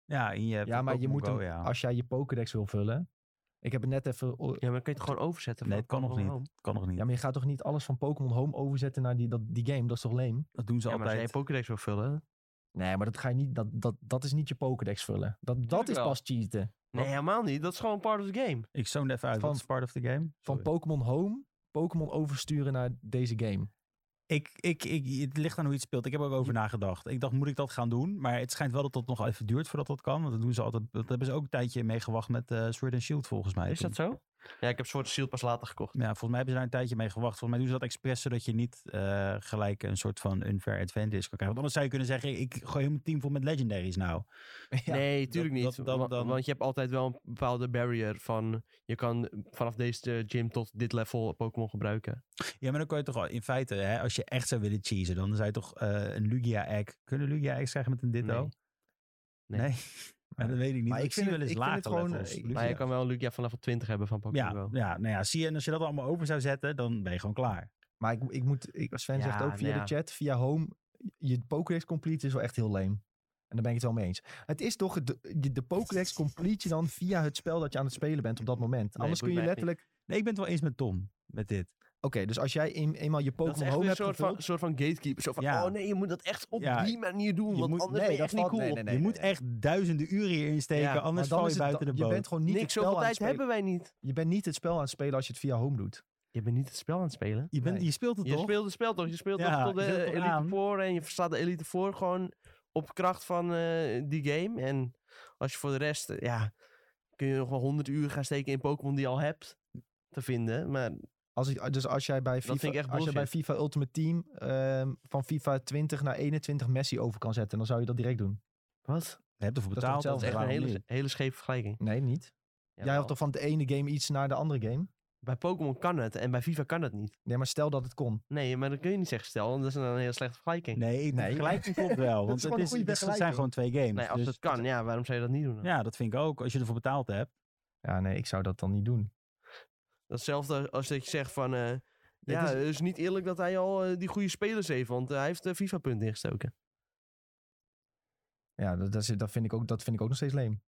Speaker 3: Ja, en je hebt
Speaker 1: Ja, maar je
Speaker 3: Pokémon
Speaker 1: moet
Speaker 3: Go,
Speaker 1: hem-
Speaker 3: ja.
Speaker 1: als jij je Pokédex wil vullen. Ik heb het net even o-
Speaker 2: Ja, maar dan kun je het gewoon overzetten.
Speaker 3: Nee,
Speaker 2: van
Speaker 3: het kan nog
Speaker 2: Pokémon
Speaker 3: niet.
Speaker 2: Home.
Speaker 3: Kan nog niet.
Speaker 1: Ja, maar je gaat toch niet alles van Pokémon Home overzetten naar die, dat, die game? Dat is toch lame?
Speaker 3: dat doen ze
Speaker 2: Ja, maar als
Speaker 3: altijd.
Speaker 2: jij je Pokédex wil vullen.
Speaker 1: Nee, maar dat, ga je niet, dat, dat, dat is niet je Pokédex vullen. Dat, dat
Speaker 2: Tuurlijk
Speaker 1: is
Speaker 2: wel.
Speaker 1: pas cheaten.
Speaker 2: Nee, helemaal niet. Dat is gewoon part of the game.
Speaker 3: Ik zoom even uit.
Speaker 1: Van-
Speaker 3: Wat is part of the game?
Speaker 1: Van
Speaker 3: Sorry.
Speaker 1: Pokémon Home, Pokémon oversturen naar deze game.
Speaker 3: Ik, ik, ik, het ligt aan hoe je het speelt. Ik heb er ook over nagedacht. Ik dacht, moet ik dat gaan doen? Maar het schijnt wel dat dat nog even duurt voordat dat kan. Want dat doen ze altijd. Dat hebben ze ook een tijdje mee gewacht met eh Sword and Shield, volgens mij.
Speaker 2: Is
Speaker 3: Toen-
Speaker 2: dat zo? Ja, ik heb soort Shield pas later gekocht.
Speaker 3: Ja, volgens mij hebben ze daar een tijdje mee gewacht. Volgens mij doen ze dat expres, zodat je niet eh, gelijk een soort van unfair advantage kan krijgen. Want anders zou je kunnen zeggen, ik gooi heel mijn team vol met legendaries nou.
Speaker 1: Ja,
Speaker 2: nee, tuurlijk
Speaker 3: dat-
Speaker 2: niet.
Speaker 3: dat-
Speaker 2: wa-
Speaker 3: dan-
Speaker 2: Want je hebt altijd wel een bepaalde barrier van... Je kan vanaf deze gym tot dit level Pokémon gebruiken.
Speaker 3: Ja, maar dan kan je toch al, in feite, hè, als je echt zou willen cheesen, dan zou je toch eh, een Lugia-egg... Kunnen Lugia-eggs krijgen met een ditto?
Speaker 2: Nee. Nee.
Speaker 3: Maar dat weet ik niet.
Speaker 1: Maar
Speaker 3: Maar ik,
Speaker 1: ik
Speaker 3: zie
Speaker 1: vind
Speaker 3: wel eens
Speaker 1: het- ik vind het
Speaker 3: lage
Speaker 1: gewoon,
Speaker 3: levels.
Speaker 1: eh,
Speaker 3: Lugia.
Speaker 2: Maar je kan wel een Lugia vanaf 20 hebben van Pokémon
Speaker 3: Ja,
Speaker 2: Go.
Speaker 3: ja, nou ja, zie je. En als je dat allemaal over zou zetten, dan ben je gewoon klaar.
Speaker 1: Maar ik, ik moet, ik, Sven zegt
Speaker 2: Ja,
Speaker 1: ook via
Speaker 2: nou
Speaker 1: de chat, via Home, je Pokédex complete is wel echt heel lame. En daar ben ik het wel mee eens. Het is toch, de, de- de Pokédex complete je dan via het spel dat je aan het spelen bent op dat moment.
Speaker 2: Nee,
Speaker 1: Anders
Speaker 2: boeit
Speaker 1: kun je
Speaker 2: mij echt niet.
Speaker 1: letterlijk...
Speaker 3: Nee, ik ben het wel eens met Tom, met dit.
Speaker 1: Oké, dus als jij een- eenmaal je
Speaker 2: Dat is
Speaker 1: Pokémon
Speaker 2: echt
Speaker 1: Home
Speaker 2: weer een
Speaker 1: hebt
Speaker 2: soort
Speaker 1: gevuld...
Speaker 2: van, soort van gatekeeper. Zo van,
Speaker 3: Ja.
Speaker 2: oh nee, je moet dat echt op
Speaker 3: Ja.
Speaker 2: die manier doen.
Speaker 3: Je
Speaker 2: want
Speaker 3: moet-
Speaker 2: anders ben je echt niet
Speaker 1: valt-
Speaker 2: cool.
Speaker 1: nee, nee, nee,
Speaker 3: je
Speaker 1: nee,
Speaker 3: moet
Speaker 1: nee.
Speaker 3: echt duizenden uren hierin steken,
Speaker 2: Ja, maar
Speaker 3: anders
Speaker 1: dan
Speaker 3: val
Speaker 1: is
Speaker 3: je
Speaker 1: het
Speaker 3: buiten
Speaker 1: da-
Speaker 3: de boot.
Speaker 1: Je bent gewoon niet het
Speaker 2: Niks,
Speaker 1: spel
Speaker 2: zoveel
Speaker 1: aan het
Speaker 2: tijd
Speaker 1: spelen.
Speaker 2: hebben wij niet.
Speaker 1: Je bent niet het spel aan het spelen als je het via home doet.
Speaker 2: Je bent niet het spel aan het spelen.
Speaker 3: je, bent,
Speaker 1: nee.
Speaker 3: je speelt het
Speaker 2: Je
Speaker 3: toch?
Speaker 2: speelt het spel toch? Je speelt
Speaker 3: Ja,
Speaker 2: toch tot
Speaker 3: je zet
Speaker 2: de
Speaker 3: het toch
Speaker 2: Elite
Speaker 3: aan?
Speaker 2: Four en je verslaat de Elite Four gewoon op kracht van eh, die game. En als je voor de rest, eh, ja, kun je nog wel 100 uur gaan steken in Pokémon die je al hebt te vinden. Maar
Speaker 1: Als ik, dus als jij bij FIFA,
Speaker 2: vind ik echt
Speaker 1: als jij bij FIFA Ultimate Team ehm, van FIFA 20 naar 21 Messi over kan zetten, dan zou je dat direct doen.
Speaker 2: wat?
Speaker 3: Je hebt ervoor
Speaker 1: Dat is toch
Speaker 2: Dat is
Speaker 3: betaald.
Speaker 1: hetzelfde?
Speaker 2: echt een
Speaker 3: waarom
Speaker 2: hele,
Speaker 3: niet?
Speaker 2: hele scheve vergelijking.
Speaker 1: Nee, niet. jij
Speaker 2: Jawel.
Speaker 1: had toch van de ene game iets naar de andere game?
Speaker 2: Bij Pokémon kan het en bij FIFA kan het niet.
Speaker 1: Nee, maar stel dat het kon.
Speaker 2: Nee, maar dat kun je niet zeggen. Stel, want dat is een hele slechte vergelijking. Nee,
Speaker 3: Nee,
Speaker 1: Nee.
Speaker 3: nee. gelijk klopt wel.
Speaker 1: Dat is gewoon
Speaker 3: Want het,
Speaker 1: een
Speaker 3: is,
Speaker 1: goede
Speaker 3: het zijn
Speaker 1: vergelijking.
Speaker 3: gewoon twee games.
Speaker 2: als
Speaker 3: dus-
Speaker 2: het kan, ja, waarom zou je dat niet doen? dan?
Speaker 3: Ja, dat vind ik ook. Als je ervoor betaald hebt.
Speaker 1: Ja, nee, ik zou dat dan niet doen.
Speaker 2: Datzelfde als dat je zegt van... eh, ja,
Speaker 1: is-
Speaker 2: het is niet eerlijk dat hij al eh, die goede spelers heeft, want eh, hij heeft de FIFA-punten ingestoken.
Speaker 1: Ja, dat, dat, is- dat, vind, ik ook, dat vind ik ook nog steeds leem.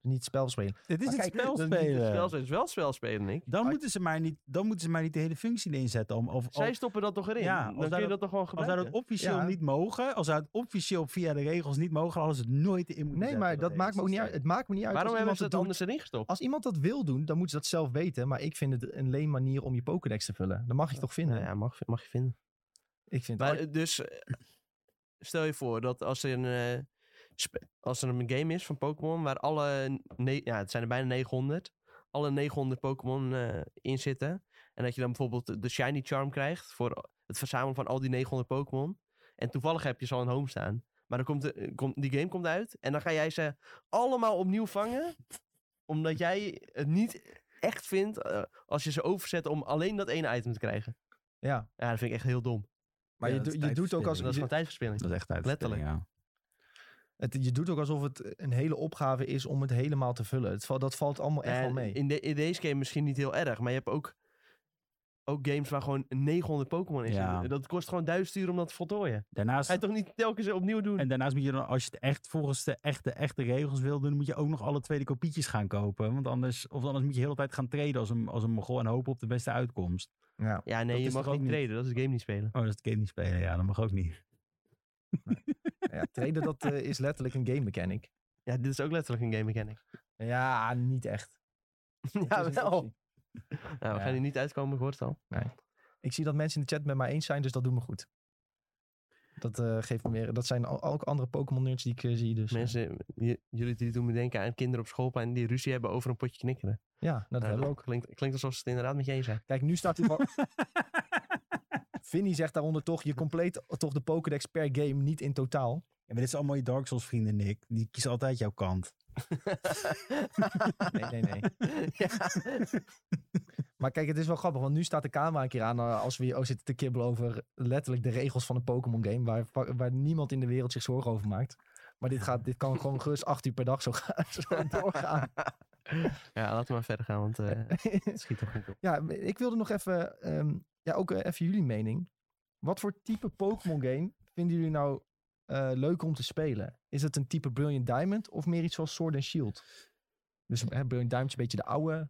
Speaker 1: Niet het spel spelen.
Speaker 3: Dit is
Speaker 1: Maar
Speaker 3: het
Speaker 1: kijk,
Speaker 3: spel
Speaker 2: Dat is niet het
Speaker 3: spelen.
Speaker 2: spel, het is wel spel spelen, Nick.
Speaker 3: Dan
Speaker 1: Maar-
Speaker 3: moeten, ze maar niet, dan moeten ze maar niet de hele functie erin zetten. Om, of,
Speaker 2: Zij
Speaker 3: of-
Speaker 2: stoppen dat toch erin?
Speaker 3: Ja, als
Speaker 2: dan kun
Speaker 3: daar
Speaker 2: je dat
Speaker 3: dat-
Speaker 2: toch gewoon
Speaker 3: als zij
Speaker 2: gebruiken?
Speaker 3: dat officieel
Speaker 1: Ja.
Speaker 3: niet mogen, als zij het officieel via de regels niet mogen, hadden ze het nooit in moeten
Speaker 1: Nee,
Speaker 3: zetten,
Speaker 1: maar dat
Speaker 3: hele
Speaker 1: maakt me ook niet uit.
Speaker 3: systeem.
Speaker 1: Het maakt me niet uit.
Speaker 2: Waarom
Speaker 1: als iemand
Speaker 2: hebben ze
Speaker 1: het
Speaker 2: het
Speaker 1: doet.
Speaker 2: anders erin gestopt?
Speaker 1: Als iemand dat wil doen, dan moeten ze dat zelf weten. Maar ik vind het een leem manier om je Pokédex te vullen. Dat mag je toch vinden?
Speaker 2: Nou ja, mag, mag je vinden.
Speaker 1: Ik vind
Speaker 2: Maar
Speaker 1: het...
Speaker 2: eh, dus, eh, stel je voor dat als er een, eh, spe- als er een game is van Pokémon waar alle, ne- ja, het zijn er bijna 900, alle 900 Pokémon eh, in zitten. En dat je dan bijvoorbeeld de Shiny Charm krijgt voor het verzamelen van al die 900 Pokémon. En toevallig heb je ze al in home staan. Maar dan komt, de, eh, komt die game komt uit en dan ga jij ze allemaal opnieuw vangen. omdat jij het niet echt vindt eh, als je ze overzet om alleen dat ene item te krijgen.
Speaker 1: Ja,
Speaker 2: Ja, dat vind ik echt heel dom.
Speaker 1: maar
Speaker 3: Ja,
Speaker 1: je,
Speaker 3: dat is
Speaker 1: doet- je, doet ook als,
Speaker 2: Dat is
Speaker 1: je,
Speaker 2: gewoon tijdverspilling.
Speaker 3: Dat is echt uit.
Speaker 2: Letterlijk.
Speaker 3: Ja.
Speaker 1: het, je doet ook alsof het een hele opgave is om het helemaal te vullen. Het, val- dat valt allemaal echt
Speaker 2: En
Speaker 1: wel mee.
Speaker 2: In, de, in deze game misschien niet heel erg, maar je hebt ook, ook games waar gewoon 900 Pokémon in
Speaker 3: Ja.
Speaker 2: zitten. Dat kost gewoon 1000 uur om dat te voltooien.
Speaker 3: Daarnaast,
Speaker 2: Ga je toch niet telkens opnieuw doen?
Speaker 3: en daarnaast moet je dan, als je het echt volgens de echte, echte regels wil doen, moet je ook nog alle tweede kopietjes gaan kopen. Want anders, of anders moet je de hele tijd gaan traden als een, als een mogol en hopen op de beste uitkomst.
Speaker 1: Ja.
Speaker 2: ja, nee,
Speaker 3: dat
Speaker 2: je
Speaker 3: is
Speaker 2: mag
Speaker 3: toch ook
Speaker 2: niet
Speaker 3: niet-
Speaker 2: treden. Dat is de game niet spelen.
Speaker 3: Oh, dat is het game niet spelen. Ja, dat mag ook niet.
Speaker 1: ja, traden dat eh, is letterlijk een game mechanic.
Speaker 2: Ja, dit is ook letterlijk een game mechanic.
Speaker 1: Ja, niet echt. Het is
Speaker 2: ja,
Speaker 1: een
Speaker 2: wel.
Speaker 1: optie.
Speaker 2: Nou, we
Speaker 1: Ja.
Speaker 2: gaan hier niet uitkomen, ik hoor het al.
Speaker 1: Ik zie dat mensen in de chat met mij eens zijn, dus dat doet me goed. Dat, eh, geeft me weer, dat zijn al- ook andere Pokémon-nerds die ik eh, zie. Dus, eh,
Speaker 2: Mensen, j- jullie die doen me denken aan kinderen op schoolplein die ruzie hebben over een potje knikkeren.
Speaker 1: ja, nou, dat
Speaker 2: Nou,
Speaker 1: hebben we
Speaker 2: dat
Speaker 1: ook.
Speaker 2: Klinkt, klinkt alsof ze het inderdaad met je eens zijn.
Speaker 1: Kijk, nu staat hij van... Vinnie zegt daaronder toch, je compleet toch de Pokédex per game, niet in totaal.
Speaker 3: Ja, maar dit zijn allemaal je Dark Souls vrienden, Nick. Die kiezen altijd jouw kant.
Speaker 1: Nee, nee, nee.
Speaker 2: ja.
Speaker 1: Maar kijk, het is wel grappig, want nu staat de camera een keer aan eh, als we hier ook zitten te kibbelen over letterlijk de regels van een Pokémon game, waar, va- waar niemand in de wereld zich zorgen over maakt. Maar dit, gaat, dit kan gewoon gerust acht uur per dag zo, gaan, zo doorgaan.
Speaker 2: ja, laten we maar verder gaan, want eh, het schiet toch niet op.
Speaker 1: Ja, ik wilde nog even, ehm, ja, ook eh, even jullie mening. Wat voor type Pokémon game vinden jullie nou eh, leuk om te spelen? Is het een type Brilliant Diamond of meer iets zoals Sword and Shield? Dus hè, Brilliant Diamond is een beetje de oude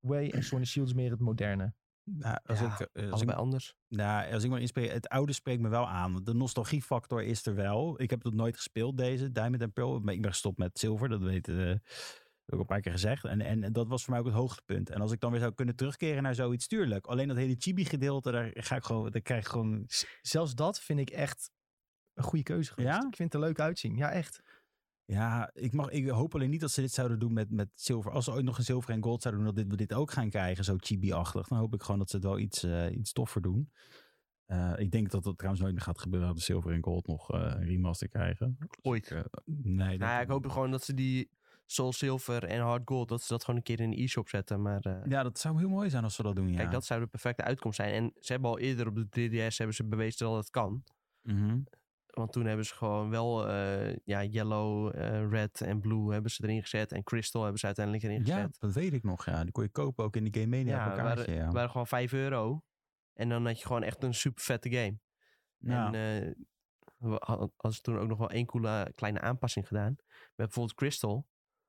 Speaker 1: way en Sword and Shield is meer het moderne.
Speaker 3: Nou, als,
Speaker 2: Ja,
Speaker 3: ik, eh, als, ik,
Speaker 2: Allebei anders.
Speaker 3: nou, als ik maar inspreek, het oude spreekt me wel aan. want De nostalgiefactor is er wel. Ik heb het nooit gespeeld, deze Diamond en Pearl. Maar ik ben gestopt met zilver, dat weet eh, ook een paar keer gezegd. En, en, en dat was voor mij ook het hoogtepunt. En als ik dan weer zou kunnen terugkeren naar zoiets, tuurlijk. Alleen dat hele chibi-gedeelte, daar ga ik gewoon, daar krijg ik gewoon...
Speaker 1: Zelfs dat vind ik echt een goede keuze geweest.
Speaker 3: Ja?
Speaker 1: Ik vind het er leuk uitzien. Ja, echt.
Speaker 3: Ja, ik, mag, ik hoop alleen niet dat ze dit zouden doen met, met zilver. Als ze ooit nog een zilver en gold zouden doen, dat dit, we dit ook gaan krijgen, zo chibi-achtig. Dan hoop ik gewoon dat ze het wel iets, eh, iets toffer doen. Eh, ik denk dat dat trouwens nooit meer gaat gebeuren, dat de zilver en gold nog eh, een remaster krijgen.
Speaker 2: Ooit.
Speaker 3: Eh, nee, dat-
Speaker 2: Nou ja, ik hoop gewoon dat ze die Soul Silver en Hard Gold, dat ze dat gewoon een keer in de e-shop zetten. Maar eh,
Speaker 3: Ja, dat zou heel mooi zijn als ze dat doen, ja.
Speaker 2: kijk, dat zou de perfecte uitkomst zijn. En ze hebben al eerder op de 3DS hebben ze bewezen dat het kan.
Speaker 3: Mhm.
Speaker 2: Want toen hebben ze gewoon wel eh, ja, Yellow, eh, Red en Blue hebben ze erin gezet. En Crystal hebben ze uiteindelijk erin
Speaker 3: Ja,
Speaker 2: gezet.
Speaker 3: dat weet ik nog, ja. Die kon je kopen ook in de Game Mania op een kaartje,
Speaker 2: waren,
Speaker 3: ja.
Speaker 2: waren gewoon 5 euro. En dan had je gewoon echt een super vette game.
Speaker 3: Ja.
Speaker 2: En eh, we had- hadden ze toen ook nog wel één coole eh, kleine aanpassing gedaan. Met bijvoorbeeld Crystal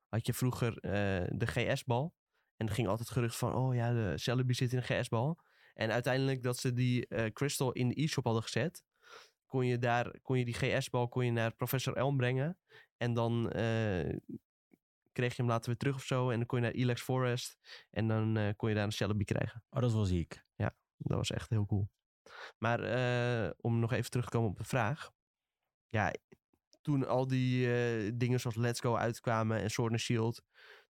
Speaker 2: had je vroeger eh, de GS-bal. En er ging altijd gerucht van, oh ja, de Celebi zit in een GS-bal. En uiteindelijk dat ze die eh, Crystal in de e-shop hadden gezet, kon je, daar, kon je die GS-bal kon je naar Professor Elm brengen. En dan eh, kreeg je hem later weer terug of zo. En dan kon je naar Elex Forest. En dan eh, kon je daar een Celebi krijgen.
Speaker 3: Oh, dat was ziek.
Speaker 2: Dat was echt heel cool. Maar eh, om nog even terug te komen op de vraag. Ja, toen al die eh, dingen zoals Let's Go uitkwamen en Sword and Shield.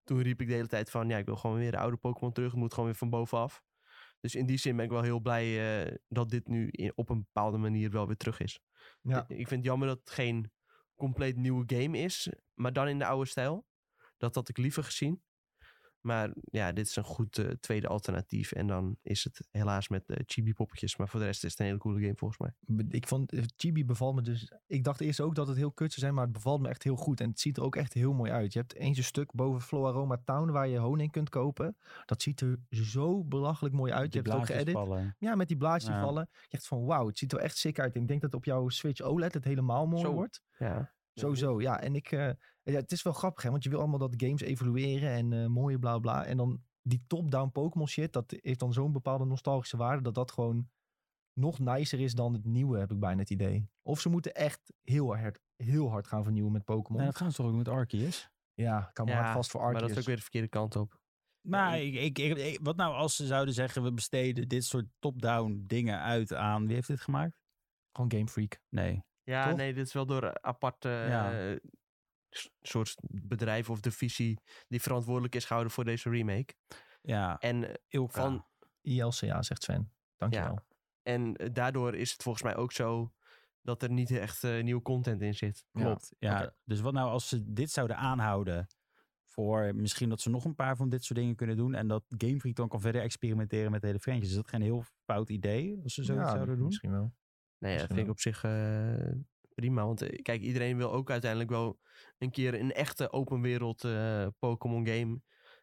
Speaker 2: Toen riep ik de hele tijd van, ja, ik wil gewoon weer de oude Pokémon terug. Het moet gewoon weer van bovenaf. Dus in die zin ben ik wel heel blij eh, dat dit nu in- op een bepaalde manier wel weer terug is.
Speaker 1: Ja.
Speaker 2: Ik vind het jammer dat het geen compleet nieuwe game is, maar dan in de oude stijl. Dat had ik liever gezien. Maar ja, dit is een goed eh, tweede alternatief. En dan is het helaas met eh, chibi-poppetjes. Maar voor de rest is het een hele coole game volgens mij.
Speaker 1: Be- Ik vond, eh, Chibi bevalt me dus... Ik dacht eerst ook dat het heel kut zou zijn, maar het bevalt me echt heel goed. En het ziet er ook echt heel mooi uit. Je hebt eens een stuk boven Floroma Town waar je honing kunt kopen. Dat ziet er zo belachelijk mooi uit. Je hebt het ook geëdit.
Speaker 3: vallen.
Speaker 1: Ja, met die blaadjes die
Speaker 3: Ja.
Speaker 1: vallen. Je zegt van wauw, het ziet er echt sick uit. Ik denk dat op jouw Switch OLED het helemaal mooi
Speaker 2: Zo.
Speaker 1: wordt.
Speaker 2: Ja.
Speaker 1: Sowieso, ja. En ik, eh, ja, het is wel grappig, hè, want je wil allemaal dat games evolueren en eh, mooie bla bla. En dan die top-down Pokémon shit, dat heeft dan zo'n bepaalde nostalgische waarde dat dat gewoon nog nicer is dan het nieuwe, heb ik bijna het idee. Of ze moeten echt heel hard, heel hard gaan vernieuwen met Pokémon.
Speaker 3: En dat gaan ze toch ook met Arceus?
Speaker 1: Ja, ik kan me
Speaker 2: Ja,
Speaker 1: hard vast voor
Speaker 2: Maar dat
Speaker 1: Arceus.
Speaker 2: is ook weer de verkeerde kant op.
Speaker 3: Maar ik, ik, ik- ik- wat nou als ze zouden zeggen, we besteden dit soort top-down dingen uit aan... Wie heeft dit gemaakt?
Speaker 1: Gewoon Game Freak.
Speaker 3: Nee.
Speaker 2: Ja,
Speaker 1: Toch?
Speaker 2: nee, dit is wel door een aparte
Speaker 3: Ja.
Speaker 2: eh, s- soort bedrijf of divisie die verantwoordelijk is gehouden voor deze remake.
Speaker 3: Ja,
Speaker 2: En, eh,
Speaker 3: Ilka.
Speaker 2: van-
Speaker 1: ILCA, zegt Sven. Dankjewel.
Speaker 2: en eh, daardoor is het volgens mij ook zo dat er niet echt eh, nieuwe content in zit.
Speaker 3: Klopt. Ja.
Speaker 1: Oké.
Speaker 3: Dus wat nou als ze dit zouden aanhouden voor misschien dat ze nog een paar van dit soort dingen kunnen doen en dat Game Freak dan kan verder experimenteren met de hele franchise. Is dat geen heel fout idee als ze zoiets
Speaker 1: Ja,
Speaker 3: zouden doen?
Speaker 1: Misschien wel.
Speaker 2: Nee, ja,
Speaker 1: Misschien
Speaker 2: dat vind ik
Speaker 1: wel.
Speaker 2: op zich eh, prima. Want eh, kijk, iedereen wil ook uiteindelijk wel een keer een echte open wereld eh, Pokémon game.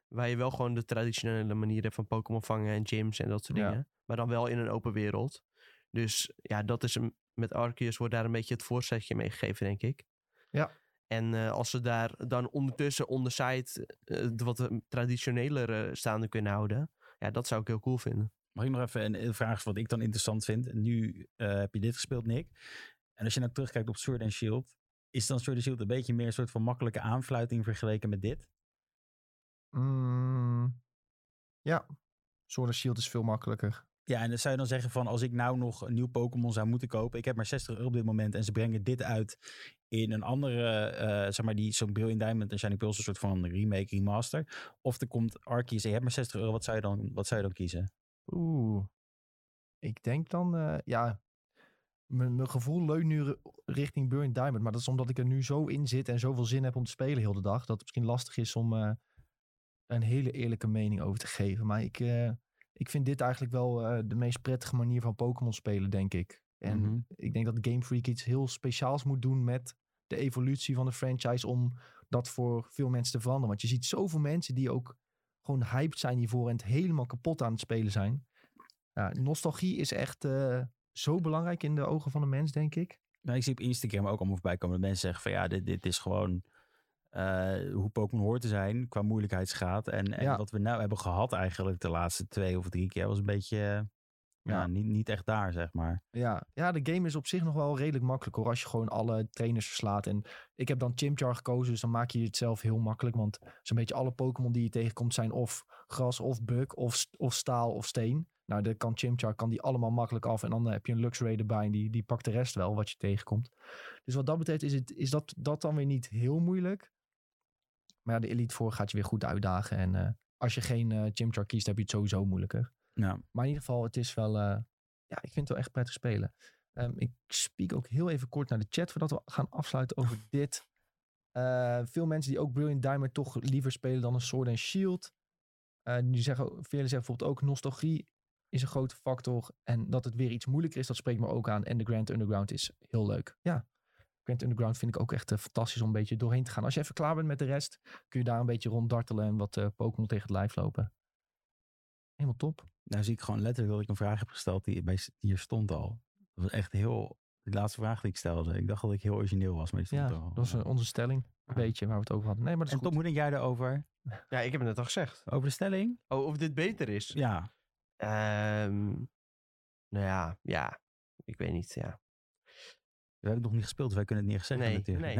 Speaker 2: Waar je wel gewoon de traditionele manieren van Pokémon vangen en gyms en dat soort
Speaker 1: Ja.
Speaker 2: dingen. Maar dan wel in een open wereld. Dus ja, dat is een, met Arceus wordt daar een beetje het voorzetje mee gegeven, denk ik.
Speaker 1: Ja.
Speaker 2: En eh, als ze daar dan ondertussen on the side eh, de wat traditionelere staande kunnen houden. Ja, dat zou ik heel cool vinden.
Speaker 3: Mag ik nog even een, een vraag wat ik dan interessant vind? Nu eh, heb je dit gespeeld, Nick. En als je nou terugkijkt op Sword and Shield, is dan Sword and Shield een beetje meer een soort van makkelijke aanfluiting vergeleken met dit?
Speaker 1: Mm, ja. Sword and Shield is veel makkelijker.
Speaker 3: Ja, en dan zou je dan zeggen van als ik nou nog een nieuw Pokémon zou moeten kopen. Ik heb maar 60 euro op dit moment en ze brengen dit uit in een andere, eh, zeg maar die zo'n Brilliant Diamond en Shining Pearls, een soort van remake, remaster. Of er komt Arceus en je hebt maar 60 euro, wat zou je dan, wat zou je dan kiezen?
Speaker 1: Oeh. Ik denk dan, eh, ja. Mijn mijn gevoel leunt nu ri- richting Burn Diamond. Maar dat is omdat ik er nu zo in zit en zoveel zin heb om te spelen heel de dag. Dat het misschien lastig is om eh, daar een hele eerlijke mening over te geven. Maar ik, eh, ik vind dit eigenlijk wel eh, de meest prettige manier van Pokémon spelen, denk ik. En
Speaker 3: Mhm.
Speaker 1: ik denk dat Game Freak iets heel speciaals moet doen met de evolutie van de franchise. Om dat voor veel mensen te veranderen. Want je ziet zoveel mensen die ook gewoon hyped zijn hiervoor. En het helemaal kapot aan het spelen zijn. Ja, nostalgie is echt eh, zo belangrijk in de ogen van de mens, denk ik.
Speaker 3: Nou, ik zie op Instagram ook allemaal voorbij komen dat mensen zeggen van ja, dit, dit is gewoon eh, hoe Pokémon hoort te zijn qua moeilijkheidsgraad. En, en
Speaker 1: Ja.
Speaker 3: wat we nou hebben gehad eigenlijk de laatste twee of drie keer was een beetje, eh, ja,
Speaker 1: Ja.
Speaker 3: niet, niet echt daar zeg maar.
Speaker 1: Ja, ja, de game is op zich nog wel redelijk makkelijk hoor. Als je gewoon alle trainers verslaat. En ik heb dan Chimchar gekozen, dus dan maak je het zelf heel makkelijk. Want zo'n beetje alle Pokémon die je tegenkomt zijn of gras, of buk, of, st- of staal, of steen. Nou, dan kan Chimchar kan die allemaal makkelijk af. En dan eh, heb je een Luxray erbij en die, die pakt de rest wel wat je tegenkomt. Dus wat dat betreft is, het, is dat, dat dan weer niet heel moeilijk. Maar ja, de Elite voor gaat je weer goed uitdagen. En eh, als je geen eh, Chimchar kiest, heb je het sowieso moeilijker.
Speaker 3: Ja.
Speaker 1: Maar in ieder geval, het is wel. eh, ja, ik vind het wel echt prettig spelen. Ehm, ik speak ook heel even kort naar de chat voordat we gaan afsluiten over dit. Eh, veel mensen die ook Brilliant Diamond toch liever spelen dan een Sword and Shield. Eh die zeggen, velen zeggen bijvoorbeeld ook nostalgie is een grote factor. En dat het weer iets moeilijker is, dat spreekt me ook aan. En de Grand Underground is heel leuk. Ja, Grand Underground vind ik ook echt eh, fantastisch om een beetje doorheen te gaan. Als je even klaar bent met de rest, kun je daar een beetje ronddartelen en wat eh, Pokémon tegen het lijf lopen. Helemaal top.
Speaker 3: Nou zie ik gewoon letterlijk dat ik een vraag heb gesteld die bij, hier stond al. Dat was echt heel... De laatste vraag die ik stelde. Ik dacht dat ik heel origineel was, maar die stond
Speaker 1: Ja,
Speaker 3: er al. Ah.
Speaker 1: dat was eh, onze stelling. Een beetje waar we het over hadden. Nee, maar dat
Speaker 3: en
Speaker 1: is
Speaker 3: Tom,
Speaker 1: goed.
Speaker 3: hoe denk jij daarover?
Speaker 2: Ja, ik heb het net al gezegd.
Speaker 3: Over de stelling?
Speaker 2: Oh, of dit beter is.
Speaker 3: Ja.
Speaker 2: Ehm nou ja, ja. Ik weet niet, ja.
Speaker 3: We hebben het nog niet gespeeld, dus wij kunnen het niet echt zeggen
Speaker 2: Nee,
Speaker 3: natuurlijk.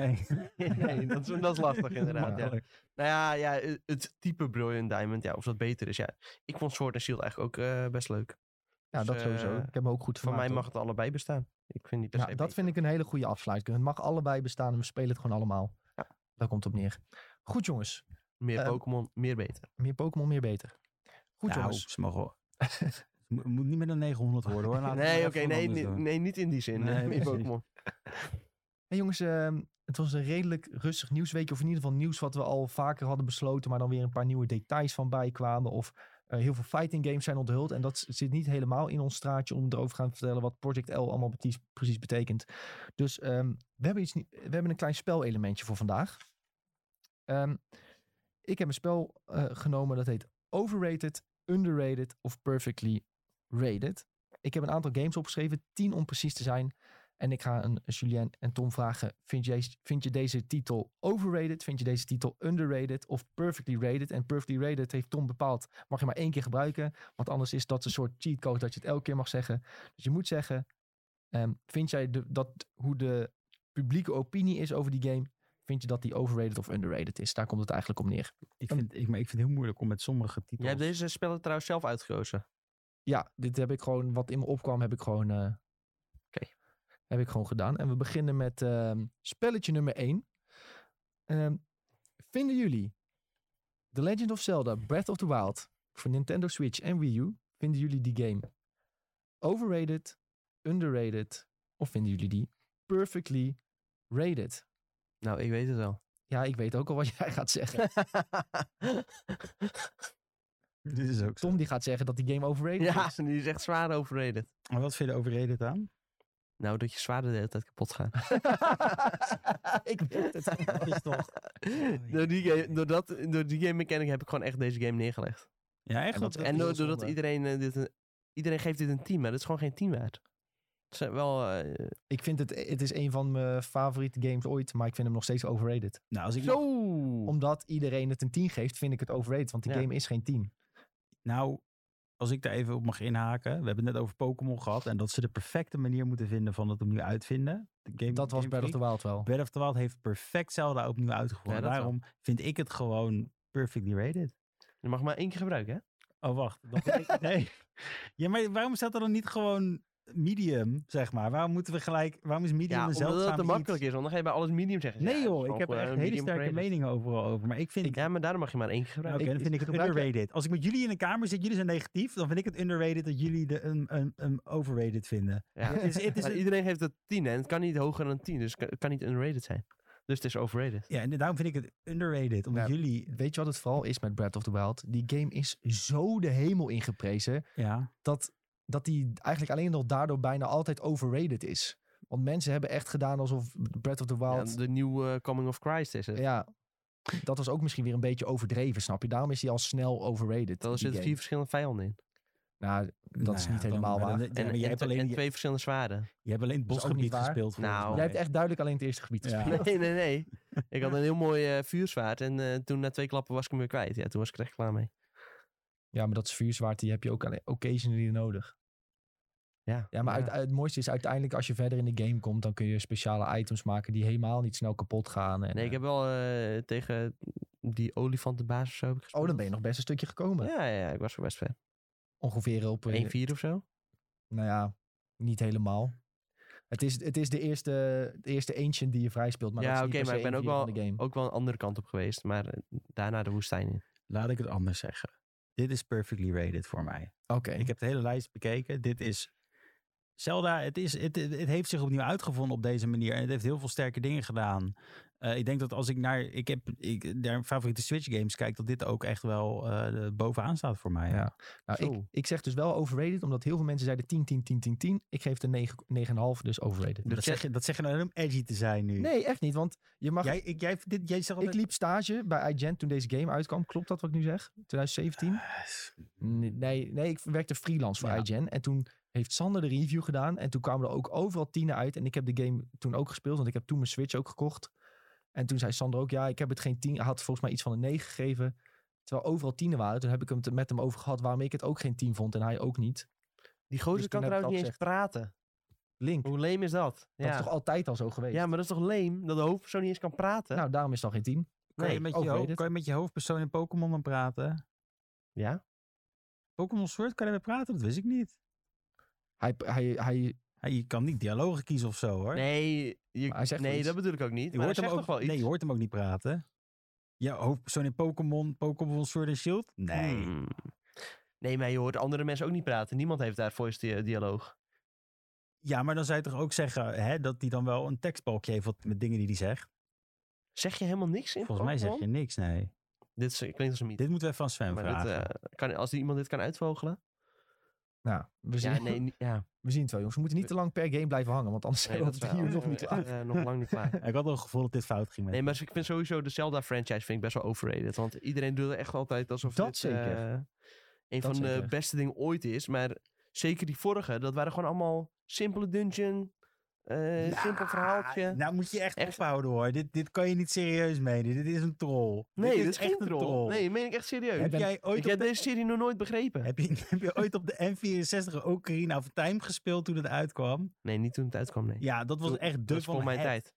Speaker 2: nee. Nee, dat is- dat is lastig inderdaad, ja.
Speaker 3: Makkelijk.
Speaker 2: Nou ja, ja het- het type Brilliant Diamond, ja, of dat beter is. Ja, ik vond Sword and Shield eigenlijk ook eh, best leuk.
Speaker 1: Ja, dat
Speaker 2: Dus,
Speaker 1: sowieso.
Speaker 2: eh,
Speaker 1: Ik heb me ook goed
Speaker 2: Voor
Speaker 1: vermaakt,
Speaker 2: mij mag
Speaker 1: hoor.
Speaker 2: het dus allebei bestaan. Ik vind niet per
Speaker 1: Ja,
Speaker 2: se
Speaker 1: dat
Speaker 2: beter.
Speaker 1: vind ik een hele goede afsluiting. Het mag allebei bestaan en we spelen het gewoon allemaal.
Speaker 2: Ja.
Speaker 1: Daar komt het op neer. Goed jongens.
Speaker 2: Meer
Speaker 1: ehm,
Speaker 2: Pokémon, meer beter.
Speaker 1: Meer Pokémon, meer beter. Goed
Speaker 3: nou,
Speaker 1: jongens.
Speaker 3: ze mogen wel... Het moet- moet niet meer dan 900 worden hoor. Laten we
Speaker 2: Nee,
Speaker 3: even
Speaker 2: oké,
Speaker 3: wat
Speaker 2: nee,
Speaker 3: anders
Speaker 2: nee,
Speaker 3: doen.
Speaker 2: nee, niet in die zin.
Speaker 3: Nee,
Speaker 2: meer
Speaker 3: precies.
Speaker 2: Pokémon.
Speaker 1: Hey jongens, ehm, het was een redelijk rustig nieuwsweekje. Of in ieder geval nieuws wat we al vaker hadden besloten. Maar dan weer een paar nieuwe details van bijkwamen. Of eh, heel veel fighting games zijn onthuld. En dat zit niet helemaal in ons straatje om erover gaan vertellen wat Project L allemaal precies, precies betekent. Dus ehm, we, hebben iets, nie- we hebben een klein spelelementje voor vandaag. Ehm, ik heb een spel eh, genomen dat heet Overrated, Underrated of Perfectly Rated. Ik heb een aantal games opgeschreven, 10 om precies te zijn. En ik ga een Julien en Tom vragen: vind je, vind je deze titel overrated? Vind je deze titel underrated? Of perfectly rated? En perfectly rated heeft Tom bepaald: mag je maar één keer gebruiken. Want anders is dat een soort cheatcode dat je het elke keer mag zeggen. Dus je moet zeggen: ehm, vind jij de, dat hoe de publieke opinie is over die game? Vind je dat die overrated of underrated is? Daar komt het eigenlijk om neer.
Speaker 3: Ik vind, ik, maar ik vind het heel moeilijk om met sommige titels...
Speaker 2: Jij hebt deze spellen trouwens zelf uitgekozen.
Speaker 1: Ja, dit heb ik gewoon, wat in me opkwam, heb ik gewoon, eh, heb ik gewoon gedaan. En we beginnen met ehm, spelletje nummer 1. vinden jullie The Legend of Zelda Breath of the Wild voor Nintendo Switch en Wii U, vinden jullie die game overrated, underrated of vinden jullie die perfectly rated?
Speaker 2: Nou, ik weet het al.
Speaker 1: Ja, ik weet ook al wat jij gaat zeggen.
Speaker 3: Dit is ook zo.
Speaker 1: Tom die gaat zeggen dat die game overrated
Speaker 2: ja,
Speaker 1: is.
Speaker 2: die is echt zwaar overrated.
Speaker 3: Maar wat vind je overreden aan?
Speaker 2: Nou, dat je zwaarder de hele tijd kapot gaat.
Speaker 1: ik weet het.
Speaker 3: Dat is toch...
Speaker 2: door, die game, door, dat, door die game mechanic heb ik gewoon echt deze game neergelegd.
Speaker 3: Ja, echt?
Speaker 1: En
Speaker 3: wat-
Speaker 1: dat-
Speaker 2: en
Speaker 1: is
Speaker 2: door-
Speaker 1: heel
Speaker 2: doordat
Speaker 1: zonde.
Speaker 2: iedereen eh, dit een- iedereen geeft dit een team, maar dat is gewoon geen team waard. Het is wel, eh,
Speaker 1: Ik vind het, het is een van mijn favoriete games ooit, maar ik vind hem nog steeds overrated.
Speaker 3: Nou, als ik,
Speaker 2: zo!
Speaker 1: Omdat iedereen het een 10 geeft, vind ik het overrated, want die
Speaker 2: Ja.
Speaker 1: game is geen 10.
Speaker 3: nou, als ik daar even op mag inhaken. We hebben het net over Pokémon gehad. En dat ze de perfecte manier moeten vinden van het opnieuw uitvinden. De game,
Speaker 1: Dat was
Speaker 3: Game
Speaker 1: Breath of the
Speaker 3: Freak.
Speaker 1: Wild wel.
Speaker 3: Breath of the Wild heeft perfect Zelda opnieuw
Speaker 2: Ja,
Speaker 3: uitgevoerd.
Speaker 2: dat wel.
Speaker 3: Daarom vind ik het gewoon perfectly rated.
Speaker 2: Je mag maar één keer gebruiken, hè?
Speaker 3: Oh, wacht. Dat had ik- nee. Ja, maar waarom staat er dan niet gewoon medium, zeg maar? Waarom moeten we gelijk... Waarom is medium
Speaker 2: Ja,
Speaker 3: een
Speaker 2: omdat dat
Speaker 3: zeldzaam
Speaker 2: te makkelijk
Speaker 3: iets?
Speaker 2: is, want dan ga je bij alles medium zeggen. Ja,
Speaker 3: Nee
Speaker 2: het is
Speaker 3: joh, ik
Speaker 2: gewoon
Speaker 3: heb er
Speaker 2: gewoon
Speaker 3: echt hele
Speaker 2: medium
Speaker 3: sterke
Speaker 2: graded.
Speaker 3: meningen overal over. Maar ik vind...
Speaker 2: Ja, maar daarom mag je maar één keer
Speaker 3: Oké,
Speaker 2: gebruiken.
Speaker 1: ik-
Speaker 3: dan vind ik
Speaker 1: ik
Speaker 3: het
Speaker 1: gebruik-
Speaker 3: underrated. Als ik met jullie in een kamer zit, jullie zijn negatief, dan vind ik het underrated dat jullie de, een, een, een overrated vinden.
Speaker 2: Ja.
Speaker 3: Het is, het is
Speaker 2: Maar
Speaker 3: een-
Speaker 2: iedereen heeft het 10 en het kan niet hoger dan 10, dus het kan- het kan niet unrated zijn. Dus het is overrated.
Speaker 3: ja, en daarom vind ik het underrated, omdat
Speaker 1: Ja.
Speaker 3: jullie...
Speaker 1: Weet je wat het vooral is met Breath of the Wild? Die game is zo de hemel ingeprezen,
Speaker 3: Ja,
Speaker 1: dat, dat die eigenlijk alleen nog daardoor bijna altijd overrated is. Want mensen hebben echt gedaan alsof Breath of the
Speaker 2: Ja,
Speaker 1: Wild... Ja,
Speaker 2: de nieuwe eh, Coming of Christ is het.
Speaker 1: dat was ook misschien weer een beetje overdreven, snap je? Daarom is die al snel overrated.
Speaker 2: Dan
Speaker 1: die
Speaker 2: zitten
Speaker 1: game.
Speaker 2: vier verschillende vijanden in.
Speaker 1: Nou, dat
Speaker 3: nou
Speaker 1: is
Speaker 3: ja,
Speaker 1: niet
Speaker 3: dan-
Speaker 1: helemaal
Speaker 3: maar
Speaker 1: waar.
Speaker 3: dan- ja,
Speaker 2: En,
Speaker 3: maar
Speaker 2: en
Speaker 3: jij hebt
Speaker 2: twee- en
Speaker 3: alleen, je,
Speaker 2: twee verschillende zwaarden.
Speaker 3: je hebt alleen het
Speaker 1: Dat is ook
Speaker 3: bosgebied
Speaker 1: niet waar.
Speaker 3: gespeeld. volgens
Speaker 2: Nou,
Speaker 3: mij.
Speaker 1: Jij hebt echt duidelijk alleen het eerste gebied
Speaker 3: Ja.
Speaker 1: gespeeld.
Speaker 2: Nee, nee, nee. Ik had een heel mooi eh, vuurzwaard en eh, toen na twee klappen was ik hem weer kwijt. Ja, toen was ik er echt klaar mee.
Speaker 1: Ja, maar dat vuurzwaard, die heb je ook alleen occasionally nodig.
Speaker 2: Ja,
Speaker 1: Ja, maar uit- het mooiste is uiteindelijk als je verder in de game komt, dan kun je speciale items maken die helemaal niet snel kapot gaan. En,
Speaker 2: Nee, ik
Speaker 1: eh,
Speaker 2: heb wel eh, tegen die olifantenbaas of zo heb ik
Speaker 1: Oh, dan
Speaker 2: gespeeld.
Speaker 1: ben je nog best een stukje gekomen.
Speaker 2: Ja, ja, ja, ik was er best ver.
Speaker 1: Ongeveer op, eh,
Speaker 2: 1-4 of zo.
Speaker 1: nou ja, niet helemaal. Het is, het is de, eerste, de eerste ancient die je vrij speelt. Maar
Speaker 2: Ja,
Speaker 1: dat is niet
Speaker 2: oké,
Speaker 1: per
Speaker 2: maar
Speaker 1: se
Speaker 2: ik ben
Speaker 1: een
Speaker 2: ook
Speaker 1: vier van de game.
Speaker 2: Ook wel een andere kant op geweest, maar eh, daarna de woestijn in.
Speaker 3: Laat ik het anders zeggen. Dit is perfectly rated voor mij.
Speaker 1: Oké.
Speaker 3: Ik heb de hele lijst bekeken. Dit is. Zelda, het, is, het, het het heeft zich opnieuw uitgevonden op deze manier. En het heeft heel veel sterke dingen gedaan. Eh, ik denk dat als ik naar, ik heb, ik, naar favoriete Switch games kijk, dat dit ook echt wel eh, bovenaan staat voor mij.
Speaker 1: Ja. Nou, ik,
Speaker 2: Zo.
Speaker 1: ik zeg dus wel overrated, omdat heel veel mensen zeiden 10, 10, 10, 10, 10. Ik geef het een 9 9,5, dus overrated.
Speaker 2: De
Speaker 3: Dat, zeg
Speaker 2: chat-
Speaker 3: je, dat zeg je nou om edgy te zijn nu.
Speaker 1: Nee, echt niet, want je mag
Speaker 3: Jij, ik, jij, dit, jij zegt
Speaker 1: Ik
Speaker 3: altijd...
Speaker 1: liep stage bij iGen toen deze game uitkwam. Klopt dat wat ik nu zeg? 2017?
Speaker 3: Ah,
Speaker 1: Nee, nee ik werkte freelance voor
Speaker 3: Ja.
Speaker 1: iGen. En toen heeft Sander de review gedaan. En toen kwamen er ook overal tienen uit. En ik heb de game toen ook gespeeld. Want ik heb toen mijn Switch ook gekocht. En toen zei Sander ook, ja, ik heb het geen tien. Hij had volgens mij iets van een 9 gegeven. Terwijl overal tienen waren. Toen heb ik het met hem over gehad waarom ik het ook geen 10 vond. En hij ook niet.
Speaker 2: Die gozer
Speaker 1: Dus
Speaker 2: kan
Speaker 1: toen heb ik
Speaker 2: trouwens niet
Speaker 1: het
Speaker 2: eens praten.
Speaker 1: Link,
Speaker 2: Hoe leem is dat?
Speaker 1: dat is
Speaker 2: ja.
Speaker 1: toch altijd al zo geweest?
Speaker 2: ja, maar dat is toch leem dat de hoofdpersoon niet eens kan praten?
Speaker 1: Nou, daarom is het al geen 10.
Speaker 3: kan, je
Speaker 2: nee.
Speaker 3: met je
Speaker 1: overrated.
Speaker 3: hoofd- kan je met je hoofdpersoon in Pokémon dan praten?
Speaker 2: Ja?
Speaker 3: Pokémon Sword kan je mee praten? Dat wist ik niet.
Speaker 1: Hij, hij, hij,
Speaker 3: Hij- Je kan niet dialogen kiezen of zo hoor.
Speaker 2: Nee, je,
Speaker 1: Maar hij zegt wel
Speaker 2: nee
Speaker 1: iets.
Speaker 2: dat bedoel ik ook niet.
Speaker 3: Je
Speaker 2: maar
Speaker 3: hoort
Speaker 2: hij zegt
Speaker 3: hem ook,
Speaker 2: toch wel iets.
Speaker 3: Nee, je hoort hem ook niet praten. Ja, hoofdpersoon in Pokémon, Pokémon Sword and Shield? Nee.
Speaker 2: Hmm. Nee, maar je hoort andere mensen ook niet praten. Niemand heeft daar voice dia- dialoog.
Speaker 3: Ja, maar dan zou je toch ook zeggen hè, dat hij dan wel een tekstbalkje heeft wat, met dingen die hij zegt.
Speaker 2: Zeg je helemaal niks in
Speaker 3: Volgens mij zeg
Speaker 2: Pokémon?
Speaker 3: je niks, nee.
Speaker 2: Dit is- klinkt als een mythe.
Speaker 3: Dit moeten we even van Sven
Speaker 2: maar dit,
Speaker 3: vragen.
Speaker 2: eh, kan, als die- iemand dit kan uitvogelen.
Speaker 1: Nou, we zien,
Speaker 2: Ja, nee, niet- ja.
Speaker 1: we zien het wel, jongens. We moeten niet te lang per game blijven hangen, want anders
Speaker 2: Nee,
Speaker 1: zijn we
Speaker 2: dat
Speaker 1: tot drie uur
Speaker 2: is
Speaker 1: nog
Speaker 2: wel-
Speaker 1: niet klaar.
Speaker 2: eh, nog lang niet klaar.
Speaker 3: Ik had wel het gevoel dat dit fout ging met
Speaker 2: Nee, maar ik vind sowieso de Zelda-franchise vind ik best wel overrated. Want iedereen doet er echt altijd alsof
Speaker 1: Dat
Speaker 2: dit,
Speaker 1: zeker.
Speaker 2: eh, een
Speaker 1: Dat
Speaker 2: van de
Speaker 1: zeker.
Speaker 2: beste dingen ooit is. Maar zeker die vorige, dat waren gewoon allemaal simpele dungeon, eh,
Speaker 3: Ja,
Speaker 2: simpel verhaaltje.
Speaker 3: Nou moet je echt,
Speaker 2: Echt.
Speaker 3: ophouden hoor. Dit, dit kan je niet serieus menen. Dit is een troll.
Speaker 2: nee,
Speaker 3: dit
Speaker 2: dat is echt een troll. Nee, dat meen ik echt serieus.
Speaker 3: Heb
Speaker 1: ben-
Speaker 3: jij ooit
Speaker 2: ik
Speaker 3: op
Speaker 2: heb deze serie nog nooit begrepen.
Speaker 3: Heb je, heb je ooit op de N64 Ocarina of Time gespeeld toen het uitkwam?
Speaker 2: Nee, niet toen het uitkwam, nee.
Speaker 3: Ja, dat was
Speaker 2: Toen-
Speaker 3: echt de
Speaker 2: dat is
Speaker 3: van
Speaker 2: voor mijn
Speaker 3: het.
Speaker 2: tijd.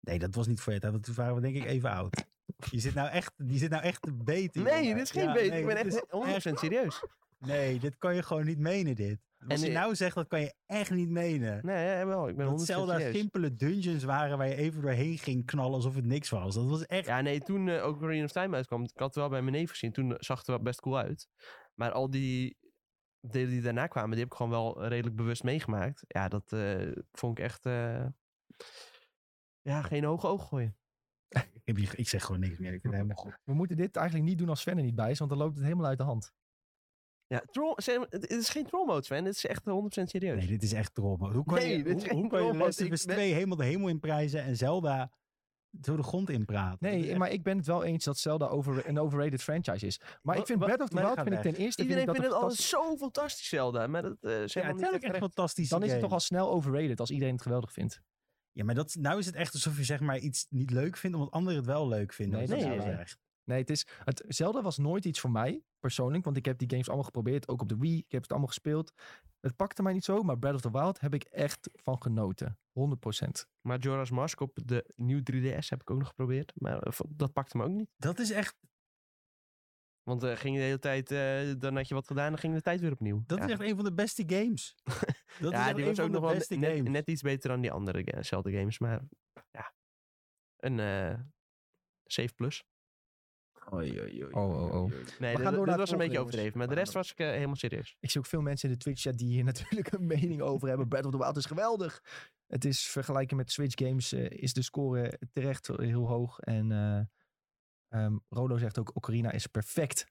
Speaker 3: Nee, dat was niet voor je tijd, want toen waren we denk ik even oud. Je zit nou echt, je zit nou echt te beten.
Speaker 2: Nee,
Speaker 3: jongen.
Speaker 2: dit is geen
Speaker 3: Ja,
Speaker 2: beet.
Speaker 3: nee,
Speaker 2: ik ben
Speaker 3: dit
Speaker 2: echt
Speaker 3: is
Speaker 2: 100% serieus.
Speaker 3: Nee, dit kan je gewoon niet menen dit. Wat
Speaker 2: En,
Speaker 3: je
Speaker 2: eh,
Speaker 3: nou zegt, dat kan je echt niet menen.
Speaker 2: Nee, ja, wel. Ik ben 100%
Speaker 3: dat Zelda
Speaker 2: serieus.
Speaker 3: simpele dungeons waren waar je even doorheen ging knallen alsof het niks was. Dat was echt...
Speaker 2: Ja, nee, toen eh, ook Ocarina of Time uitkwam, ik had het wel bij mijn neef gezien. Toen eh, zag het er wel best cool uit. Maar al die delen die daarna kwamen, die heb ik gewoon wel redelijk bewust meegemaakt. Ja, dat eh, vond ik echt... eh, ja, geen hoge oog gooien.
Speaker 3: Ik, heb hier- ik zeg gewoon niks meer. Ik vind het helemaal goed.
Speaker 1: We moeten dit eigenlijk niet doen als Sven er niet bij is, want dan loopt het helemaal uit de hand.
Speaker 2: Ja, troll, Sam, het het is geen troll mode, Sven. Het is echt 100% serieus.
Speaker 3: Nee, dit is echt troll. mode. Hoe kan
Speaker 2: Nee,
Speaker 3: je,
Speaker 2: dit is
Speaker 3: hoe,
Speaker 2: geen
Speaker 3: hoe kan je
Speaker 2: troll mode.
Speaker 3: Last of
Speaker 2: Ik
Speaker 3: Us
Speaker 2: ben-
Speaker 3: 2 helemaal de hemel in prijzen en Zelda door de grond in praten? Dat is
Speaker 1: Nee,
Speaker 3: echt-
Speaker 1: maar ik ben het wel eens dat Zelda over, een overrated franchise is. Maar
Speaker 2: Wa-
Speaker 1: ik vind
Speaker 2: wa-
Speaker 1: Breath of the
Speaker 3: maar
Speaker 1: Wild
Speaker 3: ga
Speaker 1: vind ik
Speaker 3: weg.
Speaker 1: ten eerste...
Speaker 2: Iedereen
Speaker 1: vind
Speaker 2: vindt
Speaker 1: ik dat
Speaker 2: het
Speaker 1: een
Speaker 2: altijd
Speaker 1: fantastisch-
Speaker 2: zo fantastisch, Zelda. Maar dat eh is
Speaker 3: Ja,
Speaker 2: helemaal niet
Speaker 3: uiteindelijk echt
Speaker 2: terecht.
Speaker 3: fantastisch.
Speaker 1: Dan is het toch al snel overrated als iedereen het geweldig vindt.
Speaker 3: Ja, maar dat, nou is het echt alsof je zeg maar iets niet leuk vindt, omdat anderen het wel leuk vinden.
Speaker 1: Nee,
Speaker 3: Als je
Speaker 2: nee,
Speaker 3: dat zo
Speaker 1: nee.
Speaker 3: zegt.
Speaker 1: Nee, het is, het, Zelda was nooit iets voor mij, persoonlijk. Want ik heb die games allemaal geprobeerd, ook op de Wii. Ik heb het allemaal gespeeld. Het pakte mij niet zo, maar Breath of the Wild heb ik echt van genoten. 100%.
Speaker 2: Maar Jorah's Mask op de nieuwe 3DS heb ik ook nog geprobeerd. Maar eh, v- dat pakte me ook niet.
Speaker 3: Dat is echt,
Speaker 2: Want eh, ging de hele tijd, eh, dan had je wat gedaan, dan ging de tijd weer opnieuw.
Speaker 3: dat
Speaker 2: ja.
Speaker 3: is echt een van de beste games. Dat is
Speaker 2: ja,
Speaker 3: echt
Speaker 2: die was
Speaker 3: een
Speaker 2: ook
Speaker 3: van de
Speaker 2: nog wel
Speaker 3: beste games.
Speaker 2: net, net iets beter dan die andere ga- Zelda games. Maar ja, een eh 7 plus.
Speaker 3: Oei, oei, oei,
Speaker 1: Oh, oh,
Speaker 3: oei,
Speaker 1: oh.
Speaker 3: oei,
Speaker 1: We
Speaker 2: Nee,
Speaker 3: oei.
Speaker 2: dat,
Speaker 1: gaan door naar
Speaker 2: dat
Speaker 1: het
Speaker 2: was een beetje
Speaker 1: volgende,
Speaker 2: overdreven. Maar de
Speaker 1: jongens.
Speaker 2: rest was ik eh, helemaal serieus.
Speaker 1: Ik zie ook veel mensen in de Twitch chat die hier natuurlijk een mening over hebben. Breath of the Wild is geweldig. Het is vergelijken met Switch games eh, is de score terecht heel hoog. En eh, ehm, Rolo zegt ook Ocarina is perfect.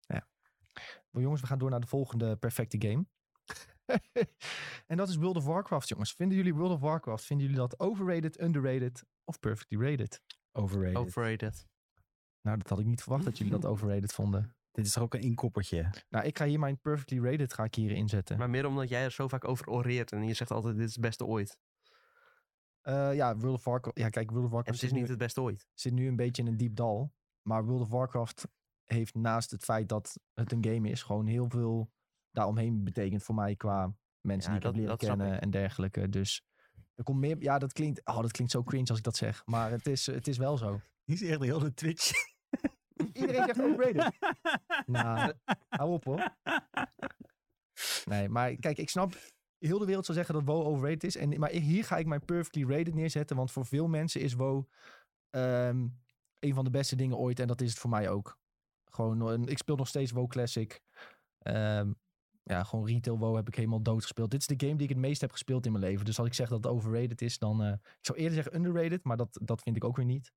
Speaker 1: Ja. Wel, jongens, we gaan door naar de volgende perfecte game. en dat is World of Warcraft, jongens. Vinden jullie World of Warcraft, vinden jullie dat overrated, underrated of perfectly rated?
Speaker 3: Overrated.
Speaker 2: Overrated.
Speaker 1: Nou, dat had ik niet verwacht dat jullie dat overrated vonden.
Speaker 3: Dit is toch ook een inkoppertje?
Speaker 1: Nou, ik ga hier mijn perfectly rated ga ik hier inzetten.
Speaker 2: Maar meer omdat jij er zo vaak over oreert. En je zegt altijd, dit is het beste ooit.
Speaker 1: Eh, ja, World of Warcraft. Ja, kijk, World of
Speaker 2: En
Speaker 1: Warcraft
Speaker 2: het is
Speaker 1: zit
Speaker 2: niet
Speaker 1: nu-
Speaker 2: het beste ooit.
Speaker 1: zit nu een beetje in een diep dal. Maar World of Warcraft heeft naast het feit dat het een game is, gewoon heel veel daaromheen betekent voor mij qua mensen die
Speaker 2: Ja,
Speaker 1: ik heb
Speaker 2: dat-
Speaker 1: leren
Speaker 2: dat snap
Speaker 1: kennen en dergelijke. Dus er komt meer. Ja, dat klinkt. Oh, dat klinkt zo cringe als ik dat zeg. Maar het is, het is wel zo.
Speaker 3: Die is echt heel de Twitch.
Speaker 1: Iedereen zegt overrated. nou, hou op hoor. Nee, maar kijk, ik snap. Heel de wereld zal zeggen dat WoW overrated is. En, maar hier ga ik mijn perfectly rated neerzetten. Want voor veel mensen is WoW ehm, een van de beste dingen ooit. En dat is het voor mij ook. Gewoon, een- ik speel nog steeds WoW Classic. Ehm, ja, gewoon retail WoW heb ik helemaal dood gespeeld. Dit is de game die ik het meest heb gespeeld in mijn leven. Dus als ik zeg dat het overrated is, dan... eh, ik zou eerder zeggen underrated, maar dat, dat vind ik ook weer niet.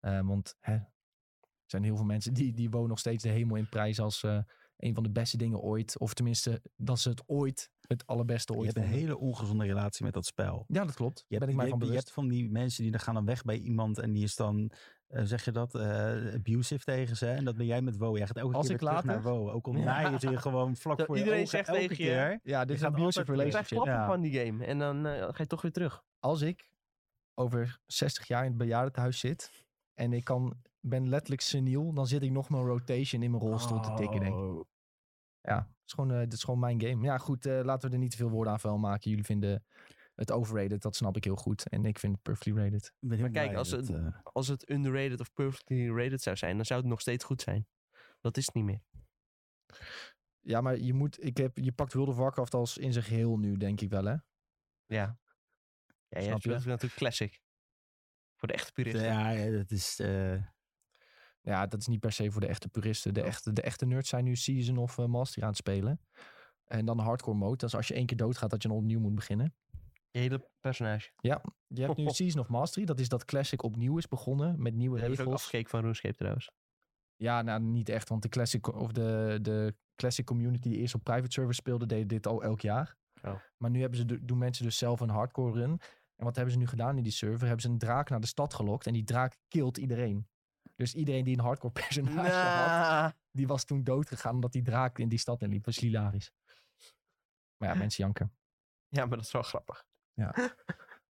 Speaker 1: Eh, want hè, er zijn heel veel mensen die, die WoW nog steeds de hemel in prijs als... eh, een van de beste dingen ooit. Of tenminste, dat ze het ooit het allerbeste
Speaker 3: Je
Speaker 1: ooit
Speaker 3: hebt een
Speaker 1: vonden.
Speaker 3: hele ongezonde relatie met dat spel.
Speaker 1: Ja, dat klopt.
Speaker 3: Je
Speaker 1: Daar
Speaker 3: hebt,
Speaker 1: ben ik mij
Speaker 3: je,
Speaker 1: van
Speaker 3: hebt- je
Speaker 1: bewust.
Speaker 3: hebt van die mensen die dan gaan dan weg bij iemand en die is dan, eh, zeg je dat, eh, abusive tegen ze. En dat ben jij met WoW. Jij gaat elke
Speaker 1: Als
Speaker 3: keer
Speaker 1: ik
Speaker 3: weer terug
Speaker 1: later-
Speaker 3: naar WoW. Ook al naaien ze je gewoon vlak
Speaker 2: Dat
Speaker 3: voor je
Speaker 2: iedereen
Speaker 3: ogen
Speaker 2: zegt
Speaker 3: elke
Speaker 2: tegen je,
Speaker 3: keer.
Speaker 1: Ja, dit is
Speaker 3: gaat
Speaker 1: een
Speaker 3: altijd
Speaker 1: abusive
Speaker 3: terug.
Speaker 2: Je krijgt
Speaker 1: relationship.
Speaker 2: klappen
Speaker 3: Ja.
Speaker 2: van die game. En dan eh, ga je toch weer terug.
Speaker 1: Als ik over 60 jaar in het bejaardentehuis zit en ik kan, ben letterlijk seniel, dan zit ik nog mijn rotation in mijn rolstoel te tikken, denk ik.
Speaker 3: Oh.
Speaker 1: Ja, het is gewoon, eh, dit is gewoon mijn game. Ja, goed, eh, laten we er niet te veel woorden aan vuil maken. Jullie vinden het overrated, dat snap ik heel goed. En ik vind het perfectly rated.
Speaker 3: Ik ben heel
Speaker 2: Maar kijk,
Speaker 3: blij
Speaker 2: als
Speaker 3: dat,
Speaker 2: het-
Speaker 3: eh,
Speaker 2: Als het underrated of perfectly rated zou zijn, dan zou het nog steeds goed zijn. Dat is het niet meer.
Speaker 1: Ja, maar je, moet, ik heb, je pakt World of Warcraft als in zijn geheel nu, denk ik wel, hè?
Speaker 2: Ja.
Speaker 1: Snap
Speaker 2: Ja, jij
Speaker 1: je?
Speaker 2: speelt natuurlijk classic. Voor de echte puristen.
Speaker 3: ja, ja, dat is... eh,
Speaker 1: Ja, dat is niet per se voor de echte puristen. De echte, de echte nerds zijn nu Season of eh, Master aan het spelen. En dan hardcore mode. Dat is als je één keer doodgaat dat je dan opnieuw moet beginnen.
Speaker 2: Je hele personage.
Speaker 1: Je hebt nu Season of Mastery. Dat is dat Classic opnieuw is begonnen met nieuwe
Speaker 2: Dat heb ik ook
Speaker 1: regels.
Speaker 2: afgekeken van RuneScape trouwens.
Speaker 1: Ja, nou niet echt, want de Classic, of de, de classic community die eerst op private servers speelde, deed dit al elk jaar.
Speaker 2: Oh.
Speaker 1: Maar nu hebben ze, do- doen mensen dus zelf een hardcore run. En wat hebben ze nu gedaan in die server? Hebben ze een draak naar de stad gelokt en die draak killt iedereen. Dus iedereen die een hardcore personage had, die was toen doodgegaan omdat die draak in die stad inliep. Dat was hilarisch. Maar ja, mensen janken.
Speaker 2: Ja, maar dat is wel grappig.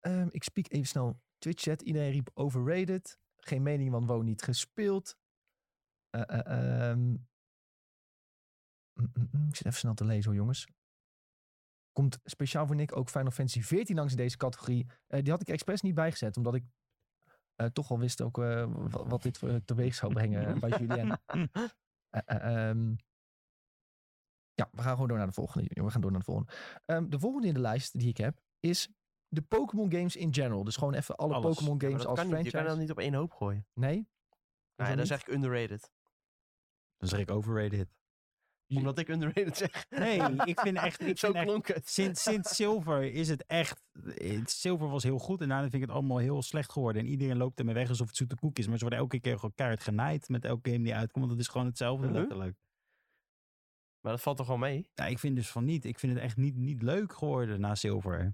Speaker 1: Ehm, ik speak even snel Twitch chat. Iedereen riep overrated. Geen mening, want Wo niet gespeeld. Eh, eh, ehm. Mm, mm, mm. Ik zit even snel te lezen hoor, jongens. Komt speciaal voor Nick ook Final Fantasy 14 langs in deze categorie. Eh, die had ik expres niet bijgezet, omdat ik eh, toch al wist ook, eh, wa- wat, dit voor- teweeg zou brengen eh, bij Julien. Eh, eh, ehm. ja, we gaan gewoon door naar de volgende. We gaan door naar de volgende. Ehm, de volgende in de lijst die ik heb is de Pokémon games in general. Dus gewoon even alle
Speaker 3: Alles.
Speaker 1: Pokémon
Speaker 2: Ja, maar
Speaker 1: games
Speaker 2: dat
Speaker 1: als
Speaker 2: kan niet. Je
Speaker 1: franchise.
Speaker 2: kan dat niet op één hoop gooien.
Speaker 1: Nee?
Speaker 2: Nou ja,
Speaker 1: Hoezo
Speaker 2: dat
Speaker 1: niet?
Speaker 2: is eigenlijk underrated.
Speaker 3: Dan zeg ik overrated.
Speaker 2: Omdat ik underrated zeg.
Speaker 3: Nee, ik vind echt... Ik
Speaker 2: Zo
Speaker 3: vind echt
Speaker 2: klonk het.
Speaker 3: sinds, sinds Silver is het echt... het- Silver was heel goed en daarna vind ik het allemaal heel slecht geworden. En iedereen loopt ermee weg alsof het zoete koek is. Maar ze worden elke keer gewoon keihard genaaid met elke game die uitkomt. Want het is gewoon hetzelfde
Speaker 2: Mhm.
Speaker 3: letterlijk.
Speaker 2: Maar dat valt toch wel mee?
Speaker 3: Ja, ik vind dus van niet. Ik vind het echt niet, niet leuk geworden na Silver. En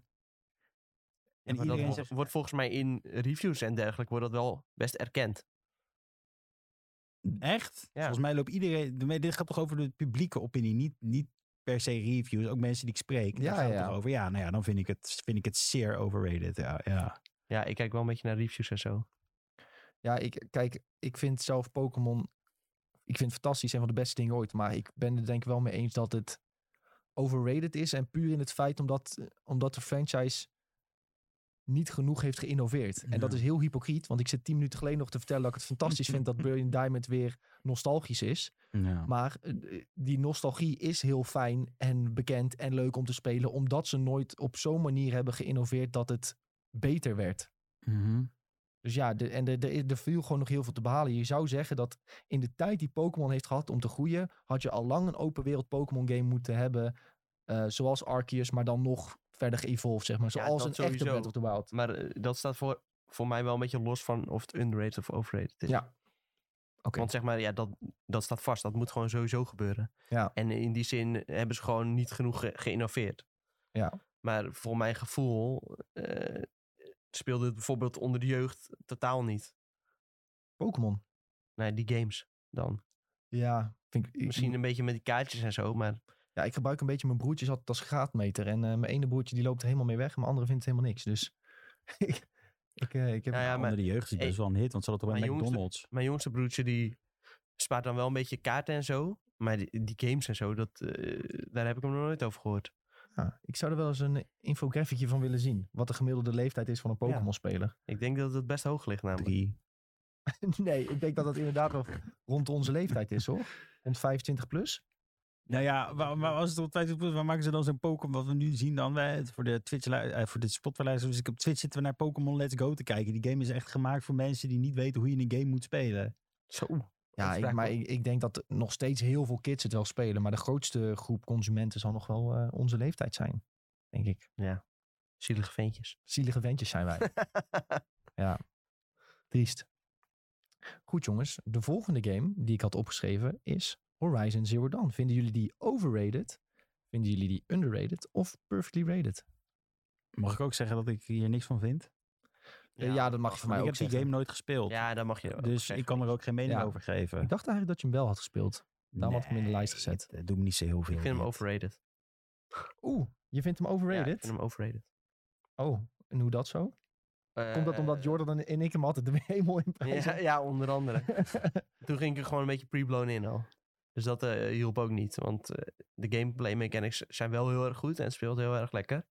Speaker 2: Maar dat
Speaker 3: iedereen
Speaker 2: wo-
Speaker 3: zegt...
Speaker 2: wordt volgens mij in reviews en dergelijke wordt dat wel best erkend.
Speaker 3: Echt?
Speaker 2: Ja.
Speaker 3: Volgens mij loopt iedereen... maar Dit gaat toch over de publieke opinie, niet, niet per se reviews. Ook mensen die ik spreek, daar
Speaker 1: Ja,
Speaker 3: gaat het
Speaker 1: ja.
Speaker 3: toch over. Ja, nou ja, dan vind ik het, vind ik het zeer overrated. Ja, ja.
Speaker 2: Ja, ik kijk wel een beetje naar reviews en zo.
Speaker 1: Ja, ik, kijk, ik vind zelf Pokémon... Ik vind het fantastisch en van de beste dingen ooit. Maar ik ben het denk ik wel mee eens dat het overrated is. En puur in het feit omdat, omdat de franchise niet genoeg heeft geïnnoveerd. En dat
Speaker 3: Ja.
Speaker 1: is heel hypocriet. Want ik zit tien minuten geleden nog te vertellen dat ik het fantastisch vind... dat Brilliant Diamond weer nostalgisch is.
Speaker 3: ja.
Speaker 1: Maar eh, die nostalgie is heel fijn en bekend en leuk om te spelen. Omdat ze nooit op zo'n manier hebben geïnnoveerd dat het beter werd.
Speaker 3: Mhm.
Speaker 1: Dus ja, de, en er de, de, er viel gewoon nog heel veel te behalen. Je zou zeggen dat in de tijd die Pokémon heeft gehad om te groeien, had je al lang een open wereld Pokémon game moeten hebben. eh, zoals Arceus, maar dan nog verder geëvolved, zeg maar.
Speaker 2: Ja,
Speaker 1: Zoals een
Speaker 2: dat
Speaker 1: echte
Speaker 2: sowieso.
Speaker 1: Breath of the Wild.
Speaker 2: Maar eh, dat staat voor, voor mij wel een beetje los van of het underrated of overrated is.
Speaker 1: Ja, oké.
Speaker 2: Want zeg maar, ja, dat, dat staat vast. Dat moet gewoon sowieso gebeuren.
Speaker 1: Ja.
Speaker 2: En in die zin hebben ze gewoon niet genoeg ge- geïnnoveerd.
Speaker 1: Ja.
Speaker 2: Maar voor mijn gevoel eh, speelde het bijvoorbeeld onder de jeugd totaal niet.
Speaker 1: Pokémon.
Speaker 2: Nee, die games dan.
Speaker 1: Ja, vind ik, ik-
Speaker 2: Misschien een beetje met die kaartjes en zo, maar
Speaker 1: ja, ik gebruik een beetje mijn broertjes altijd als graadmeter. En eh, mijn ene broertje die loopt er helemaal mee weg, mijn andere vindt het helemaal niks. Dus ik, ik, eh, ik heb...
Speaker 2: nou Ja, ja, maar-
Speaker 3: Onder de jeugd is het
Speaker 2: Hey.
Speaker 3: best wel een hit, want ze hadden toch
Speaker 2: Maar
Speaker 3: bij
Speaker 2: jongens,
Speaker 3: McDonald's.
Speaker 2: mijn jongste broertje die spaart dan wel een beetje kaarten en zo. Maar die, die games en zo, dat, eh, daar heb ik hem nog nooit over gehoord.
Speaker 1: ja, ik zou er wel eens een infographietje van willen zien. Wat de gemiddelde leeftijd is van een
Speaker 2: Ja.
Speaker 1: Pokémon-speler.
Speaker 2: Ik denk dat het best hoog ligt namelijk.
Speaker 3: Drie.
Speaker 1: Nee, ik denk dat dat inderdaad wel rond onze leeftijd is, hoor. Rond 25 plus.
Speaker 3: Nou ja, waar, waar, als het op tijd is, waar maken ze dan zo'n Pokémon? Wat we nu zien dan, wij, voor de Twitch, eh, voor de Spotify-luisteraars, dus ik op Twitch zitten we naar Pokémon Let's Go te kijken. Die game is echt gemaakt voor mensen die niet weten hoe je een game moet spelen.
Speaker 2: Zo.
Speaker 1: Ja,
Speaker 2: dat
Speaker 1: ik,
Speaker 2: vraag
Speaker 1: maar
Speaker 2: me-
Speaker 1: ik, ik denk dat nog steeds heel veel kids het wel spelen. Maar de grootste groep consumenten zal nog wel eh, onze leeftijd zijn, denk ik.
Speaker 2: Zielige ventjes.
Speaker 1: Zielige ventjes zijn wij. ja, triest. Goed jongens, de volgende game die ik had opgeschreven is Horizon Zero Dawn. Vinden jullie die overrated? Vinden jullie die underrated of perfectly rated?
Speaker 3: Mag ik ook zeggen dat ik hier niks van vind?
Speaker 1: Eh, Ja, dat mag je van mij
Speaker 3: Want ik
Speaker 1: ook
Speaker 3: heb die
Speaker 1: zeggen.
Speaker 3: game nooit gespeeld.
Speaker 2: Ja, dat mag je ook
Speaker 3: dus
Speaker 2: zeggen.
Speaker 3: ik kan er ook geen mening
Speaker 1: Ja.
Speaker 3: over geven.
Speaker 1: Ik dacht eigenlijk dat je hem wel had gespeeld. Daarom had ik hem in de lijst
Speaker 3: Nee,
Speaker 1: gezet.
Speaker 3: Dat doet me niet zo heel veel.
Speaker 2: Ik vind hem
Speaker 3: dit.
Speaker 2: overrated.
Speaker 1: Oeh, je vindt hem overrated?
Speaker 2: Ja, ik vind hem overrated.
Speaker 1: Oh, en hoe dat zo? Komt dat omdat
Speaker 2: Eh,
Speaker 1: Jordan en- en ik hem altijd de hemel in
Speaker 2: Ja,
Speaker 1: prijzen?
Speaker 2: ja, onder andere. Toen ging ik er gewoon een beetje pre-blown in al. Dus dat eh, hielp ook niet. Want eh, de gameplay mechanics zijn wel heel erg goed en het speelt heel erg lekker.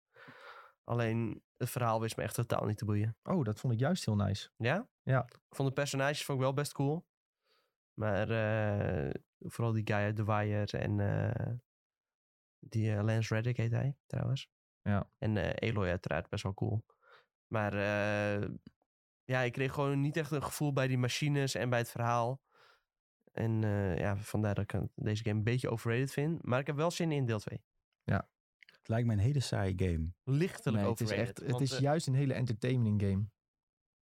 Speaker 2: Alleen het verhaal wist me echt totaal niet te boeien.
Speaker 1: Oh, dat vond ik juist heel nice.
Speaker 2: Ja?
Speaker 1: Ja.
Speaker 2: Ik Vond de personages vond ik wel best cool. Maar eh, vooral die guy uit The Wire en eh, die eh, Lance Reddick heet hij trouwens.
Speaker 1: Ja.
Speaker 2: En eh, Eloy uiteraard best wel cool. Maar eh, ja, ik kreeg gewoon niet echt een gevoel bij die machines en bij het verhaal. En eh, ja, vandaar dat ik deze game een beetje overrated vind. Maar ik heb wel zin in deel 2.
Speaker 3: Het lijkt me een hele saaie game.
Speaker 2: Lichtelijk
Speaker 1: Nee, het is,
Speaker 2: overrated.
Speaker 1: echt, het
Speaker 2: want,
Speaker 1: is
Speaker 2: eh,
Speaker 1: juist een hele entertaining game.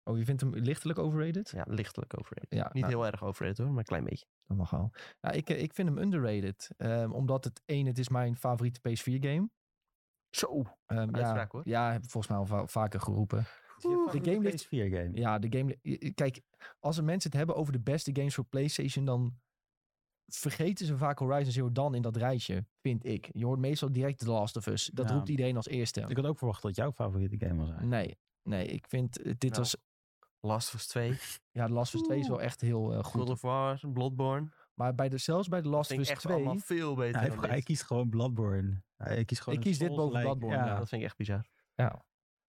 Speaker 1: Oh, je vindt hem lichtelijk overrated?
Speaker 2: ja, lichtelijk overrated.
Speaker 1: Ja,
Speaker 2: Niet
Speaker 1: nou,
Speaker 2: heel erg overrated hoor, maar een klein beetje.
Speaker 1: dat mag wel. Nou, ik, eh, ik vind hem underrated. Ehm, omdat het één, het is mijn favoriete PS4 game.
Speaker 2: Zo.
Speaker 1: Ehm, ja,
Speaker 2: Uitspraak, hoor.
Speaker 1: ja, heb ik volgens mij al va- vaker geroepen. de game ligt-
Speaker 3: PS4 game.
Speaker 1: Ja, de game. eh, Kijk, als er mensen het hebben over de beste games voor PlayStation, dan vergeten ze vaak Horizon Zero Dawn in dat rijtje, vind ik. Je hoort meestal direct The Last of Us. Dat
Speaker 3: Ja.
Speaker 1: roept iedereen als eerste.
Speaker 3: Ik had ook verwacht dat jouw favoriete game was eigenlijk.
Speaker 1: Nee, nee, ik vind eh, dit
Speaker 2: Nou.
Speaker 1: was.
Speaker 2: Last of Us 2,
Speaker 1: Ja, The Last of Us 2 is wel echt heel eh,
Speaker 2: God
Speaker 1: goed.
Speaker 2: of War, Bloodborne.
Speaker 1: Maar bij de, zelfs bij The
Speaker 2: Dat
Speaker 1: Last of
Speaker 2: vind ik
Speaker 1: Us
Speaker 2: echt allemaal
Speaker 1: 2.
Speaker 2: veel beter
Speaker 1: Nou,
Speaker 3: Hij,
Speaker 2: dan
Speaker 3: heeft- hij
Speaker 2: dit.
Speaker 3: kiest gewoon Bloodborne. Hij kiest gewoon
Speaker 1: Ik
Speaker 3: een
Speaker 1: kies dit boven
Speaker 3: Souls-like-
Speaker 1: Bloodborne, ja.
Speaker 2: Dat vind ik echt bizar.
Speaker 1: Ja.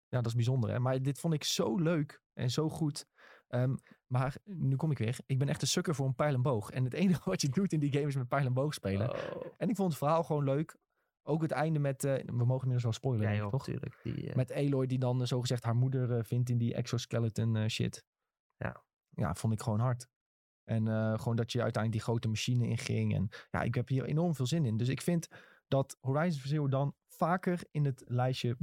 Speaker 1: ja, dat is bijzonder. Hè? Maar dit vond ik zo leuk en zo goed. Ehm, maar nu kom ik weer. Ik ben echt een sukker voor een pijl en boog. En het enige wat je doet in die game is met pijl en boog spelen.
Speaker 2: Oh.
Speaker 1: En ik vond het verhaal gewoon leuk. Ook het einde met, eh, we mogen inmiddels wel spoilen,
Speaker 2: Ja
Speaker 1: denk ik,
Speaker 2: joh,
Speaker 1: toch?
Speaker 2: natuurlijk. Die, eh,
Speaker 1: Met Aloy die dan eh, zogezegd haar moeder eh, vindt in die exoskeleton eh, shit.
Speaker 2: Ja.
Speaker 1: Ja, vond ik gewoon hard. En eh, gewoon dat je uiteindelijk die grote machine inging. En ja, ik heb hier enorm veel zin in. Dus ik vind dat Horizon Zero dan vaker in het lijstje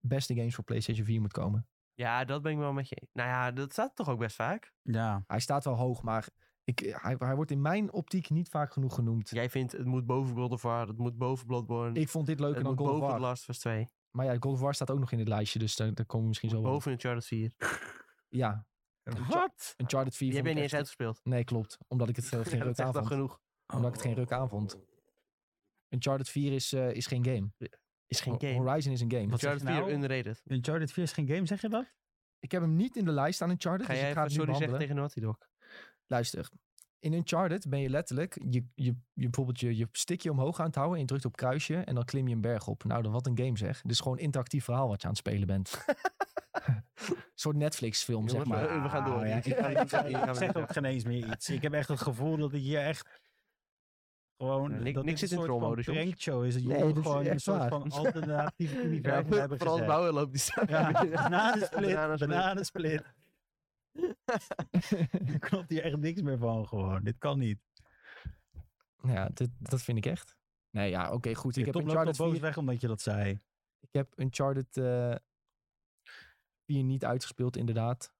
Speaker 1: beste games voor PlayStation 4 moet komen.
Speaker 2: Ja, dat ben ik wel met je. Nou ja, dat staat toch ook best vaak.
Speaker 3: Ja,
Speaker 1: Hij staat wel hoog, maar ik, eh, hij, hij wordt in mijn optiek niet vaak genoeg genoemd.
Speaker 2: Jij vindt het moet boven God of War, het moet boven Bloodborne.
Speaker 1: Ik vond dit leuker
Speaker 2: het
Speaker 1: dan
Speaker 2: moet
Speaker 1: God of
Speaker 2: boven
Speaker 1: War.
Speaker 2: The Last of Us 2.
Speaker 1: Maar ja, God of War staat ook nog in het lijstje, dus daar, daar komen we misschien zo wel op.
Speaker 2: Boven Uncharted 4.
Speaker 1: Ja,
Speaker 3: Wat?
Speaker 1: Uncharted 4
Speaker 2: Die heb
Speaker 1: vond
Speaker 2: je
Speaker 1: ik
Speaker 2: niet eens
Speaker 1: echt-
Speaker 2: uitgespeeld.
Speaker 1: Nee, klopt. Omdat ik het eh, geen
Speaker 2: Ja,
Speaker 1: ruk
Speaker 2: dat is
Speaker 1: aan
Speaker 2: echt al
Speaker 1: vond.
Speaker 2: genoeg.
Speaker 1: Omdat ik het geen ruk aan vond. Uncharted 4 is, eh, is geen game.
Speaker 2: Is geen
Speaker 1: Ho-
Speaker 2: game.
Speaker 1: Horizon is een game.
Speaker 3: Wat zeg je
Speaker 2: Uncharted 4
Speaker 3: nou?
Speaker 2: underrated.
Speaker 3: Uncharted 4 is geen game, zeg je dat?
Speaker 1: Ik heb hem niet in de lijst aan Uncharted,
Speaker 2: Ga
Speaker 1: dus
Speaker 2: jij
Speaker 1: ik ga
Speaker 2: even
Speaker 1: het nu
Speaker 2: sorry zeggen
Speaker 1: behandelen.
Speaker 2: tegen Naughty Dog?
Speaker 1: Luister. In Uncharted ben je letterlijk, je, je, je, bijvoorbeeld je, je stickje omhoog aan het houden en je drukt op kruisje en dan klim je een berg op. Nou, dan wat een game zeg. Dit is gewoon een interactief verhaal wat je aan het spelen bent. een soort Netflix film, zeg
Speaker 2: Jongens,
Speaker 1: maar.
Speaker 2: Eh, we- we gaan door.
Speaker 3: Ah, ja,
Speaker 2: Hier
Speaker 3: ik,
Speaker 2: gaan we niet zeggen, hier gaan
Speaker 3: ik
Speaker 2: we
Speaker 3: zeg
Speaker 2: niet
Speaker 3: ook geen eens meer iets. Ik heb echt het gevoel dat ik hier echt gewoon...
Speaker 2: Ja,
Speaker 3: dat
Speaker 2: ni-
Speaker 3: dit
Speaker 2: niks
Speaker 3: een
Speaker 2: zit in
Speaker 3: soort
Speaker 2: trollmodus,
Speaker 3: van
Speaker 2: jongens.
Speaker 3: prankshow is. Dat jullie
Speaker 1: Nee, dit is
Speaker 3: gewoon een
Speaker 1: echt
Speaker 3: soort
Speaker 1: waar.
Speaker 3: van alternatief universum hebben
Speaker 2: Frans
Speaker 3: gezet.
Speaker 2: Bauer loopt die staan.
Speaker 3: Ja, bananensplit,
Speaker 2: Bananensplit.
Speaker 3: bananensplit. Er klopt hier echt niks meer van gewoon. Dit kan niet.
Speaker 1: Ja, dit, dat vind ik echt. Nee, ja, oké, goed. Dus Ik heb
Speaker 3: Ik Tom loopt al
Speaker 1: Uncharted 4
Speaker 3: boos weg omdat je dat zei.
Speaker 1: Ik heb Uncharted eh 4 niet uitgespeeld, inderdaad.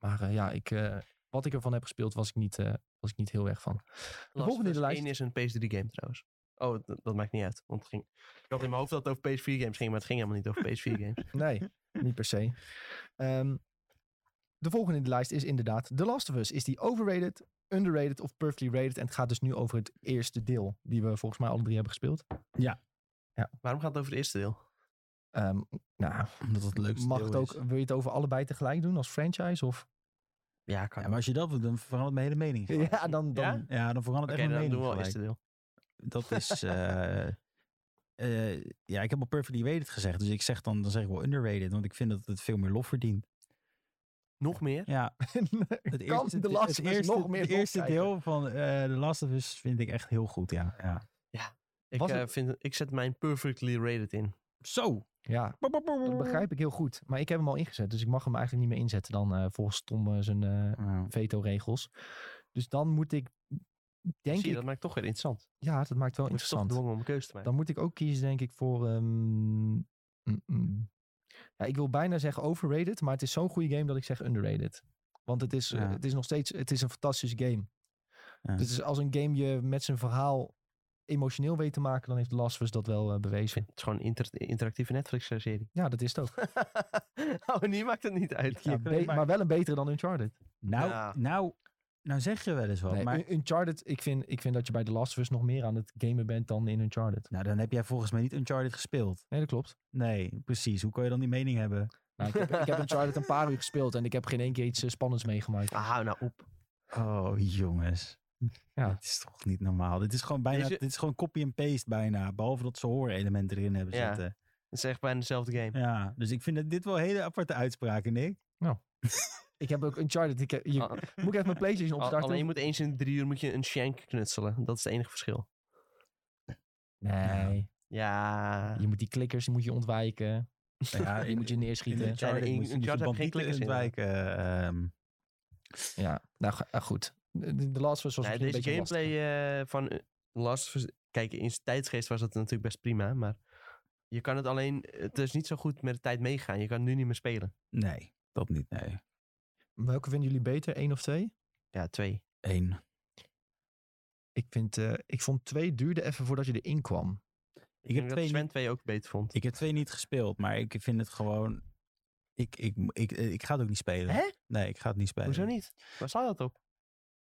Speaker 1: Maar eh, ja, ik, eh, wat ik ervan heb gespeeld, was ik niet, eh, was ik niet heel erg van.
Speaker 2: Last
Speaker 1: volgende in de
Speaker 2: Us
Speaker 1: lijst.
Speaker 2: 1 is een PS3 game trouwens. Oh, d- dat, maakt niet uit. Want het ging, ik had in mijn hoofd dat het over PS4 games ging, maar het ging helemaal niet over PS4 games.
Speaker 1: Nee, niet per se. Ehm, de volgende in de lijst is inderdaad The Last of Us. Is die overrated, underrated of perfectly rated? En het gaat dus nu over het eerste deel, die we volgens mij alle drie hebben gespeeld.
Speaker 2: Waarom gaat het over het eerste deel?
Speaker 1: Ehm, nou,
Speaker 3: Omdat het leukste
Speaker 1: mag
Speaker 3: deel
Speaker 1: het
Speaker 3: is.
Speaker 1: ook, wil je het over allebei tegelijk doen als franchise? Of?
Speaker 2: Ja, kan.
Speaker 3: Ja, maar als je dat doet, dan verandert mijn hele mening. gelijk.
Speaker 1: Ja, dan, dan,
Speaker 2: Ja?
Speaker 3: Ja, dan verandert
Speaker 2: Oké,
Speaker 3: echt
Speaker 2: dan doen
Speaker 3: mijn mening
Speaker 2: we wel het
Speaker 3: gelijk.
Speaker 2: eerste deel.
Speaker 3: Dat is... eh, eh, ja, ik heb al perfectly rated gezegd. Dus ik zeg dan, dan zeg ik wel underrated. Want ik vind dat het veel meer lof verdient.
Speaker 2: Nog meer?
Speaker 3: Ja, het
Speaker 1: het kan
Speaker 3: eerste,
Speaker 1: The Last
Speaker 3: het
Speaker 1: of Us
Speaker 3: eerste-
Speaker 1: nog meer
Speaker 3: Het eerste
Speaker 1: opkijken.
Speaker 3: deel van eh The Last of Us vind ik echt heel goed, ja. ja.
Speaker 2: Ik,
Speaker 1: Was
Speaker 2: eh,
Speaker 1: het-
Speaker 2: vind, ik zet mijn perfectly rated in.
Speaker 3: Zo!
Speaker 1: Ja, Dat
Speaker 2: Mm.
Speaker 1: begrijp ik heel goed. Maar ik heb hem al ingezet. Dus ik mag hem eigenlijk niet meer inzetten dan eh, volgens Tom eh, zijn eh,
Speaker 3: Ja.
Speaker 1: veto-regels. Dus dan moet ik, denk
Speaker 2: Zie je,
Speaker 1: ik...
Speaker 2: dat maakt toch weer interessant.
Speaker 1: Ja, dat maakt wel
Speaker 2: Ik was toch
Speaker 1: interessant.
Speaker 2: gedwongen om een keuze te maken.
Speaker 1: Dan moet ik ook kiezen, denk ik, voor... ehm, mm, mm. Ja, ik wil bijna zeggen overrated, maar het is zo'n goede game dat ik zeg underrated. Want het is, eh,
Speaker 3: Ja.
Speaker 1: het is nog steeds het is een fantastische game.
Speaker 3: Ja.
Speaker 1: Dus het is als een game je met zijn verhaal emotioneel weet te maken, dan heeft The Last of Us dat wel eh,
Speaker 2: Ik vind
Speaker 1: bewezen.
Speaker 2: het is gewoon een inter- interactieve Netflix-serie.
Speaker 1: Ja, dat is het ook.
Speaker 2: oh, nu maakt het niet uit.
Speaker 1: Ja,
Speaker 3: Ja,
Speaker 1: be-
Speaker 3: maar-
Speaker 1: maar wel een betere dan Uncharted.
Speaker 3: Nou,
Speaker 2: Ja.
Speaker 3: nou, nou zeg je wel eens wat.
Speaker 1: Nee,
Speaker 3: maar
Speaker 1: Un- Uncharted, ik vind, ik vind dat je bij The Last of Us nog meer aan het gamen bent dan in Uncharted.
Speaker 3: nou, dan heb jij volgens mij niet Uncharted gespeeld.
Speaker 1: Nee, dat klopt.
Speaker 3: Nee, precies. Hoe kan je dan die mening hebben?
Speaker 1: Nou, ik, heb, ik heb Uncharted een paar uur gespeeld en ik heb geen één keer iets eh, spannends meegemaakt.
Speaker 2: Ah, hou nou op.
Speaker 3: Oh, jongens.
Speaker 1: Ja.
Speaker 3: Dit is toch niet normaal. Dit is gewoon bijna,
Speaker 2: Deze-
Speaker 3: dit is gewoon copy and paste bijna. Behalve dat ze hoorelementen erin hebben
Speaker 2: Ja.
Speaker 3: zitten.
Speaker 2: Het is echt bijna dezelfde game.
Speaker 3: Ja, dus ik vind dat dit wel hele aparte uitspraken, Nick.
Speaker 1: Ik heb ook Uncharted. Ik heb, hier-
Speaker 2: Al-
Speaker 1: moet ik even mijn PlayStation
Speaker 2: Ah. al-
Speaker 1: opstarten?
Speaker 2: alleen je moet eens in de drie uur moet je een shank knutselen. Dat is het enige verschil.
Speaker 3: Nou,
Speaker 1: Nee,
Speaker 2: Ja.
Speaker 1: je moet die klikkers die moet je ontwijken.
Speaker 3: Ja,
Speaker 1: je moet je
Speaker 3: in
Speaker 1: neerschieten.
Speaker 3: Uncharted
Speaker 2: in-
Speaker 3: moet je- moet je
Speaker 2: Uncharted heb je geen klikkers
Speaker 3: bandieten
Speaker 2: in,
Speaker 3: ontwijken. ehm.
Speaker 1: Ja, nou ga- ah, goed. De, de Last of Us was
Speaker 2: Nee,
Speaker 1: misschien
Speaker 2: deze
Speaker 1: een beetje
Speaker 2: gameplay eh, van eh, Last of Us- Kijk, in zijn tijdsgeest was dat natuurlijk best prima. Maar Je kan het alleen, het is niet zo goed met de tijd meegaan. Je kan nu niet meer spelen.
Speaker 3: Nee, dat niet. Nee.
Speaker 1: Welke vinden jullie beter, één of twee?
Speaker 2: Ja, twee.
Speaker 3: Eén.
Speaker 1: Ik, vind, eh, ik vond twee duurde even voordat je erin kwam.
Speaker 2: Ik,
Speaker 3: Ik heb,
Speaker 2: denk
Speaker 3: twee
Speaker 2: dat Sven
Speaker 3: niet,
Speaker 2: twee ook beter vond.
Speaker 3: ik heb twee niet gespeeld, maar ik vind het gewoon... Ik, ik, ik, eh, ik, ga het ook niet spelen.
Speaker 2: Hè?
Speaker 3: Nee, ik ga het niet spelen.
Speaker 2: Hoezo niet? Eh, Waar staat dat op?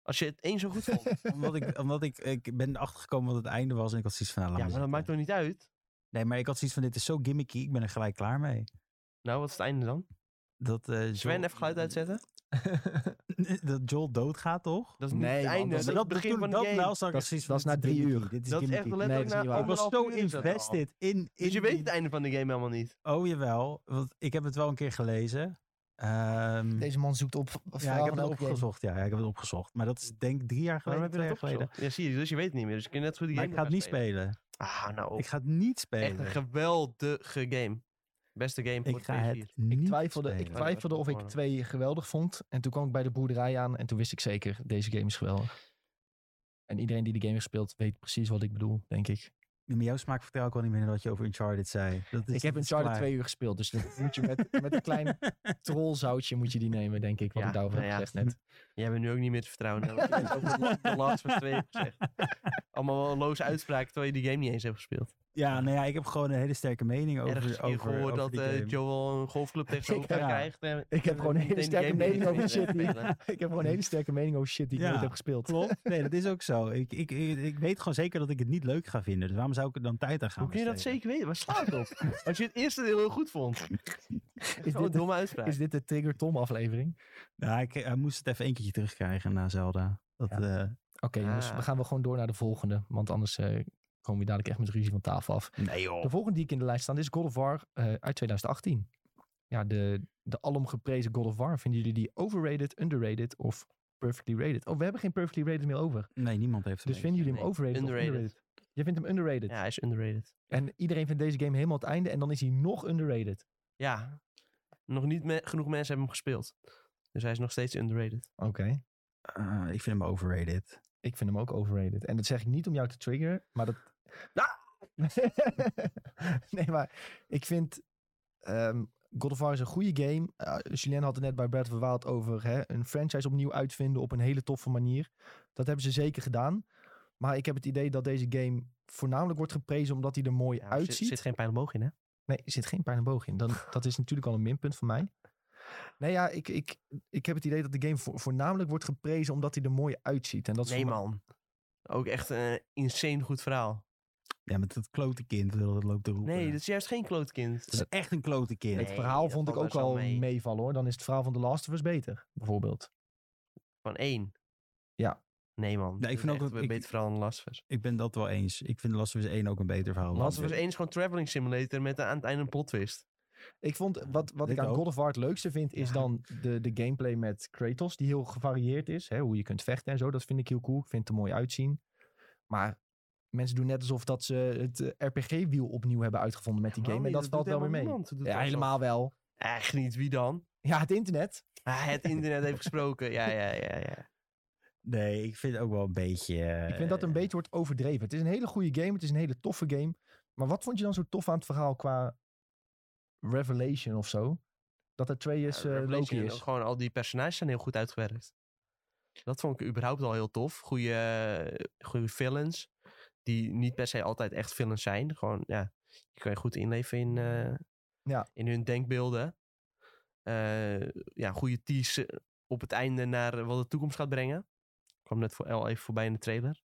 Speaker 2: Als je het één zo goed vond.
Speaker 3: Omdat ik, omdat ik, ik ben erachter gekomen wat het einde was en ik had zoiets van... nou, laat
Speaker 2: ja, maar dat
Speaker 3: zitten.
Speaker 2: maakt toch niet uit?
Speaker 3: Nee, maar ik had zoiets van, dit is zo gimmicky, ik ben er gelijk klaar mee.
Speaker 2: Nou, wat is het einde dan?
Speaker 3: Dat, eh,
Speaker 2: Sven,
Speaker 3: Joel-
Speaker 2: even geluid uitzetten.
Speaker 3: dat Joel doodgaat, toch?
Speaker 2: Dat is niet
Speaker 1: Nee,
Speaker 2: het
Speaker 1: man,
Speaker 2: einde.
Speaker 1: dat
Speaker 2: Dat
Speaker 1: is-
Speaker 2: is het begin
Speaker 3: toen-
Speaker 2: van de
Speaker 3: dat,
Speaker 2: game.
Speaker 3: nou zag ik
Speaker 1: Dat is-
Speaker 3: zoiets
Speaker 1: dat is
Speaker 3: van,
Speaker 1: na
Speaker 3: dit
Speaker 1: drie
Speaker 3: gimmicky,
Speaker 1: uur.
Speaker 3: Dit is
Speaker 2: Dat is echt
Speaker 3: gimmicky.
Speaker 2: letterlijk
Speaker 1: Nee, dat is
Speaker 2: na
Speaker 1: niet waar.
Speaker 3: Ik was
Speaker 2: anderhalf
Speaker 3: zo
Speaker 2: uur is dat al.
Speaker 3: invested in, in
Speaker 2: Dus je weet
Speaker 3: die-
Speaker 2: het einde van de game helemaal niet.
Speaker 3: Oh jawel, want ik heb het wel een keer gelezen. Ehm,
Speaker 1: Deze man zoekt op.
Speaker 3: ja,
Speaker 1: verhalen
Speaker 3: ik heb het
Speaker 1: elke game.
Speaker 3: opgezocht. Ja, ja, ik heb het opgezocht. Maar dat is denk ik drie jaar
Speaker 2: Waarom
Speaker 3: geleden,
Speaker 2: heb je
Speaker 3: twee
Speaker 2: dat
Speaker 3: jaar geleden.
Speaker 2: opgezocht? Ja, zie je. Dus je weet het niet meer. Dus je kunt net zo goed die
Speaker 3: Maar ik
Speaker 2: game
Speaker 3: ga het niet
Speaker 2: nog
Speaker 3: spelen.
Speaker 2: Ah, nou.
Speaker 3: Ik ga het niet
Speaker 2: echt een
Speaker 3: spelen.
Speaker 2: geweldige game. Beste game voor
Speaker 3: Ik ga het niet
Speaker 1: Ik twijfelde, ik
Speaker 3: spelen.
Speaker 2: twi-
Speaker 1: twijfelde of ik twee geweldig vond. En toen kwam ik bij de boerderij aan en toen wist ik zeker, deze game is geweldig. En iedereen die de game heeft gespeeld weet precies wat ik bedoel, denk ik.
Speaker 3: Met jouw smaak vertel ik al niet meer wat je over Uncharted zei. Dat is,
Speaker 1: ik heb
Speaker 3: dat is
Speaker 1: Uncharted
Speaker 3: klaar.
Speaker 1: twee uur gespeeld, dus dat moet je met, met een klein trollzoutje moet je die nemen, denk ik. Wat
Speaker 2: Ja,
Speaker 1: ik daarover heb
Speaker 2: nou ja.
Speaker 1: gezegd net.
Speaker 2: Jij bent nu ook niet meer te vertrouwen. hè, want je hebt over de la- de laatste van twee hebt gezegd. Allemaal wel een loze uitspraak terwijl je die game niet eens hebt gespeeld.
Speaker 3: Ja, nou ja, ik heb gewoon een hele sterke mening over,
Speaker 2: Ergens
Speaker 3: over,
Speaker 2: hier gehoord
Speaker 3: over
Speaker 2: dat
Speaker 3: die
Speaker 2: eh,
Speaker 3: game.
Speaker 2: Joel een golfclub tegenover
Speaker 3: heb-
Speaker 2: elkaar krijgt. en-
Speaker 1: Ik heb gewoon een hele
Speaker 2: meteen die
Speaker 1: sterke
Speaker 2: game die
Speaker 1: mening over
Speaker 2: niet
Speaker 1: shit.
Speaker 2: eens
Speaker 1: Die, ik
Speaker 2: spelen.
Speaker 1: heb gewoon een hele sterke mening over shit die ik
Speaker 3: Ja.
Speaker 1: nooit heb gespeeld.
Speaker 3: Klopt. Nee, dat is ook zo. Ik, ik, ik, ik weet gewoon zeker dat ik het niet leuk ga vinden. Dus waarom zou ik er dan tijd aan gaan
Speaker 2: Hoe kun je dat
Speaker 3: besteden?
Speaker 2: zeker weten? Waar staat het op? Als je het eerste deel heel goed vond.
Speaker 1: Is
Speaker 2: Wat een
Speaker 1: dit,
Speaker 2: domme uitspraak.
Speaker 1: is dit de Trigger Tom aflevering?
Speaker 3: Nou, ik, hij moest het even een keertje terugkrijgen na Zelda. Dat, eh,
Speaker 1: Oké jongens, we
Speaker 2: Ah.
Speaker 1: gaan wel gewoon door naar de volgende. Want anders eh, komen we dadelijk echt met ruzie van tafel af.
Speaker 3: eh, nee joh.
Speaker 1: De volgende die ik in de lijst staan is God of War eh, uit 2018. Ja, de, de alomgeprezen God of War. Vinden jullie die overrated, underrated of perfectly rated? Oh, we hebben geen perfectly rated meer over.
Speaker 3: Nee, niemand heeft hem.
Speaker 1: Dus vinden jullie hem
Speaker 2: nee,
Speaker 1: overrated
Speaker 2: underrated.
Speaker 1: of underrated? Jij vindt hem underrated.
Speaker 2: Ja, hij is underrated.
Speaker 1: En iedereen vindt deze game helemaal het einde en dan is hij nog underrated.
Speaker 2: Ja. Nog niet me- genoeg mensen hebben hem gespeeld. Dus hij is nog steeds underrated.
Speaker 1: Oké.
Speaker 3: Eh, ik vind hem overrated.
Speaker 1: Ik vind hem ook overrated. En dat zeg ik niet om jou te triggeren, maar dat...
Speaker 2: Ah!
Speaker 1: nee, maar ik vind... ehm, God of War is een goede game. Eh, Julien had het net bij Breath of the Wild over hè, een franchise opnieuw uitvinden op een hele toffe manier. Dat hebben ze zeker gedaan. Maar ik heb het idee dat deze game voornamelijk wordt geprezen omdat hij er mooi
Speaker 2: Ja, Er
Speaker 1: uitziet.
Speaker 2: zit, zit geen pijl omhoog in, hè?
Speaker 1: Nee, er zit geen pijn en boog in. Dan, dat is natuurlijk al een minpunt van mij. Nee, ja, ik, ik, ik heb het idee dat de game vo- voornamelijk wordt geprezen omdat hij er mooi uitziet. En dat is
Speaker 2: Nee,
Speaker 1: voor-
Speaker 2: man. Ook echt een eh, insane goed verhaal.
Speaker 3: Ja, met dat klote kind dat dat loopt te roepen.
Speaker 2: Nee, dat is juist geen klootkind.
Speaker 3: dat is echt een klote kind.
Speaker 1: Het
Speaker 2: Nee,
Speaker 1: verhaal
Speaker 2: dat
Speaker 1: vond ik
Speaker 2: valt
Speaker 1: ook
Speaker 2: best wel
Speaker 1: al
Speaker 2: mee.
Speaker 1: meevallen hoor. Dan is het verhaal van The Last of Us beter, bijvoorbeeld.
Speaker 2: Van één.
Speaker 1: Ja.
Speaker 2: Nee, man.
Speaker 3: ik
Speaker 2: Dat is
Speaker 3: vind ook
Speaker 2: echt
Speaker 3: dat
Speaker 2: een
Speaker 3: ik-
Speaker 2: beter verhaal dan Last of Us.
Speaker 3: Ik ben dat wel eens. Ik vind Last of Us 1 ook een beter verhaal. dan
Speaker 2: Last of Us
Speaker 3: dit.
Speaker 2: 1 is gewoon Traveling Simulator met een- aan het einde een plot twist.
Speaker 1: Ik vond, wat, wat ik
Speaker 3: Ik
Speaker 1: aan
Speaker 3: ook.
Speaker 1: God of War het leukste vind, is
Speaker 3: Ja.
Speaker 1: dan de, de gameplay met Kratos, die heel gevarieerd is. Hè, hoe je kunt vechten en zo, dat vind ik heel cool. Ik vind het er mooi uitzien. Maar mensen doen net alsof dat ze het eh, RPG-wiel opnieuw hebben uitgevonden met die game. En dat, valt wel weer mee. Ja, helemaal wel.
Speaker 2: Echt niet, wie dan?
Speaker 1: Ja, het internet.
Speaker 2: Ah, het internet heeft gesproken. Ja, ja, ja, ja.
Speaker 3: Nee, ik vind het ook wel een beetje... eh,
Speaker 1: Ik vind dat een beetje wordt overdreven. Het is een hele goede game. Het is een hele toffe game. Maar wat vond je dan zo tof aan het verhaal qua Revelation of zo? Dat Atreus
Speaker 2: Ja,
Speaker 1: eh
Speaker 2: Revelation
Speaker 1: Loki
Speaker 2: en
Speaker 1: is.
Speaker 2: ook Gewoon al die personages zijn heel goed uitgewerkt. Dat vond ik überhaupt al heel tof. Goede, eh, goede villains. Die niet per se altijd echt villains zijn. Gewoon, ja. Je kan je goed inleven in, eh,
Speaker 1: Ja.
Speaker 2: in hun denkbeelden. Eh, ja, goede tease eh, op het einde naar eh, wat de toekomst gaat brengen. Kwam net voor, al even voorbij in de trailer.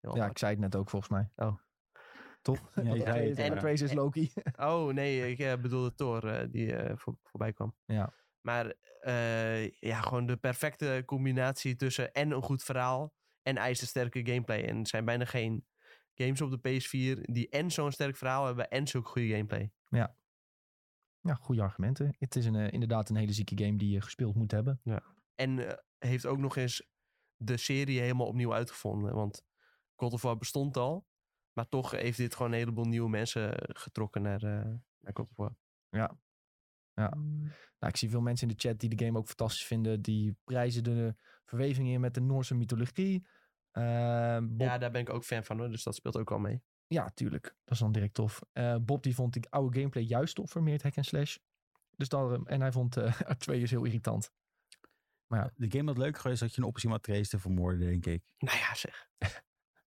Speaker 2: Heel
Speaker 1: Ja,
Speaker 2: apart.
Speaker 1: ik zei het net ook volgens mij.
Speaker 2: Oh.
Speaker 1: Toch?
Speaker 3: Ja, je
Speaker 1: Dat
Speaker 3: zei
Speaker 1: Atreus-
Speaker 3: het, ja.
Speaker 1: Atreus is dus Loki.
Speaker 2: Oh, nee, ik eh, bedoelde Thor eh, die eh, voor- voorbij kwam.
Speaker 1: Ja.
Speaker 2: Maar eh, ja, gewoon de perfecte combinatie tussen en een goed verhaal en ijzersterke gameplay. En er zijn bijna geen games op de PS4 die en zo'n sterk verhaal hebben en zulke goede gameplay.
Speaker 1: Ja, goede argumenten. Het is een, eh, inderdaad een hele zieke game die je gespeeld moet hebben.
Speaker 2: En eh, heeft ook nog eens de serie helemaal opnieuw uitgevonden. Want God of War bestond al, maar toch heeft dit gewoon een heleboel nieuwe mensen getrokken naar, eh, naar God of War.
Speaker 1: Nou, ik zie veel mensen in de chat die de game ook fantastisch vinden. Die prijzen de verweving in met de Noorse mythologie. Eh, Bob
Speaker 2: Ja, daar ben ik ook fan van hoor, dus dat speelt ook al mee.
Speaker 1: Ja, tuurlijk. Dat is dan direct tof. Eh, Bob die vond die oude gameplay juist tof voor meer het hack en slash. Dus daarom, en hij vond eh R2 is heel irritant.
Speaker 3: De game wat leuker is dat je een optie om Atreus te vermoorden, denk ik.
Speaker 2: Nou ja, zeg.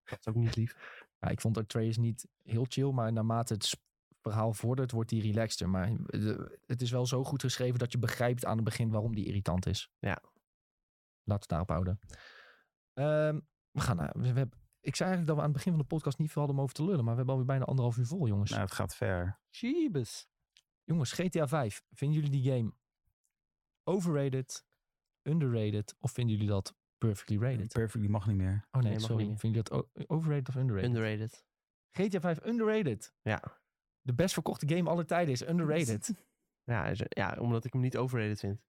Speaker 2: Dat is ook niet lief.
Speaker 1: Ja, ik vond R2 is niet heel chill, maar naarmate het sp- verhaal vordert, wordt die relaxter. Maar eh, de- het is wel zo goed geschreven dat je begrijpt aan het begin waarom die irritant is.
Speaker 2: Ja.
Speaker 1: Laten we daarop houden. Ehm, we gaan naar... we- we hebben- ik zei eigenlijk dat we aan het begin van de podcast niet veel hadden om over te lullen, maar we hebben alweer bijna anderhalf uur vol, jongens.
Speaker 3: Nou, het gaat ver.
Speaker 2: Jeebus.
Speaker 1: Jongens, GTA 5, vinden jullie die game overrated, underrated of vinden jullie dat perfectly rated?
Speaker 3: Perfectly mag niet meer.
Speaker 1: Oh nee,
Speaker 2: Nee, mag
Speaker 1: sorry.
Speaker 2: niet meer.
Speaker 1: Vinden jullie dat o- overrated of underrated?
Speaker 2: Underrated.
Speaker 1: GTA 5 underrated.
Speaker 2: Ja.
Speaker 1: De best verkochte game aller tijden is underrated.
Speaker 2: Ja, is- ja, omdat ik hem niet overrated vind.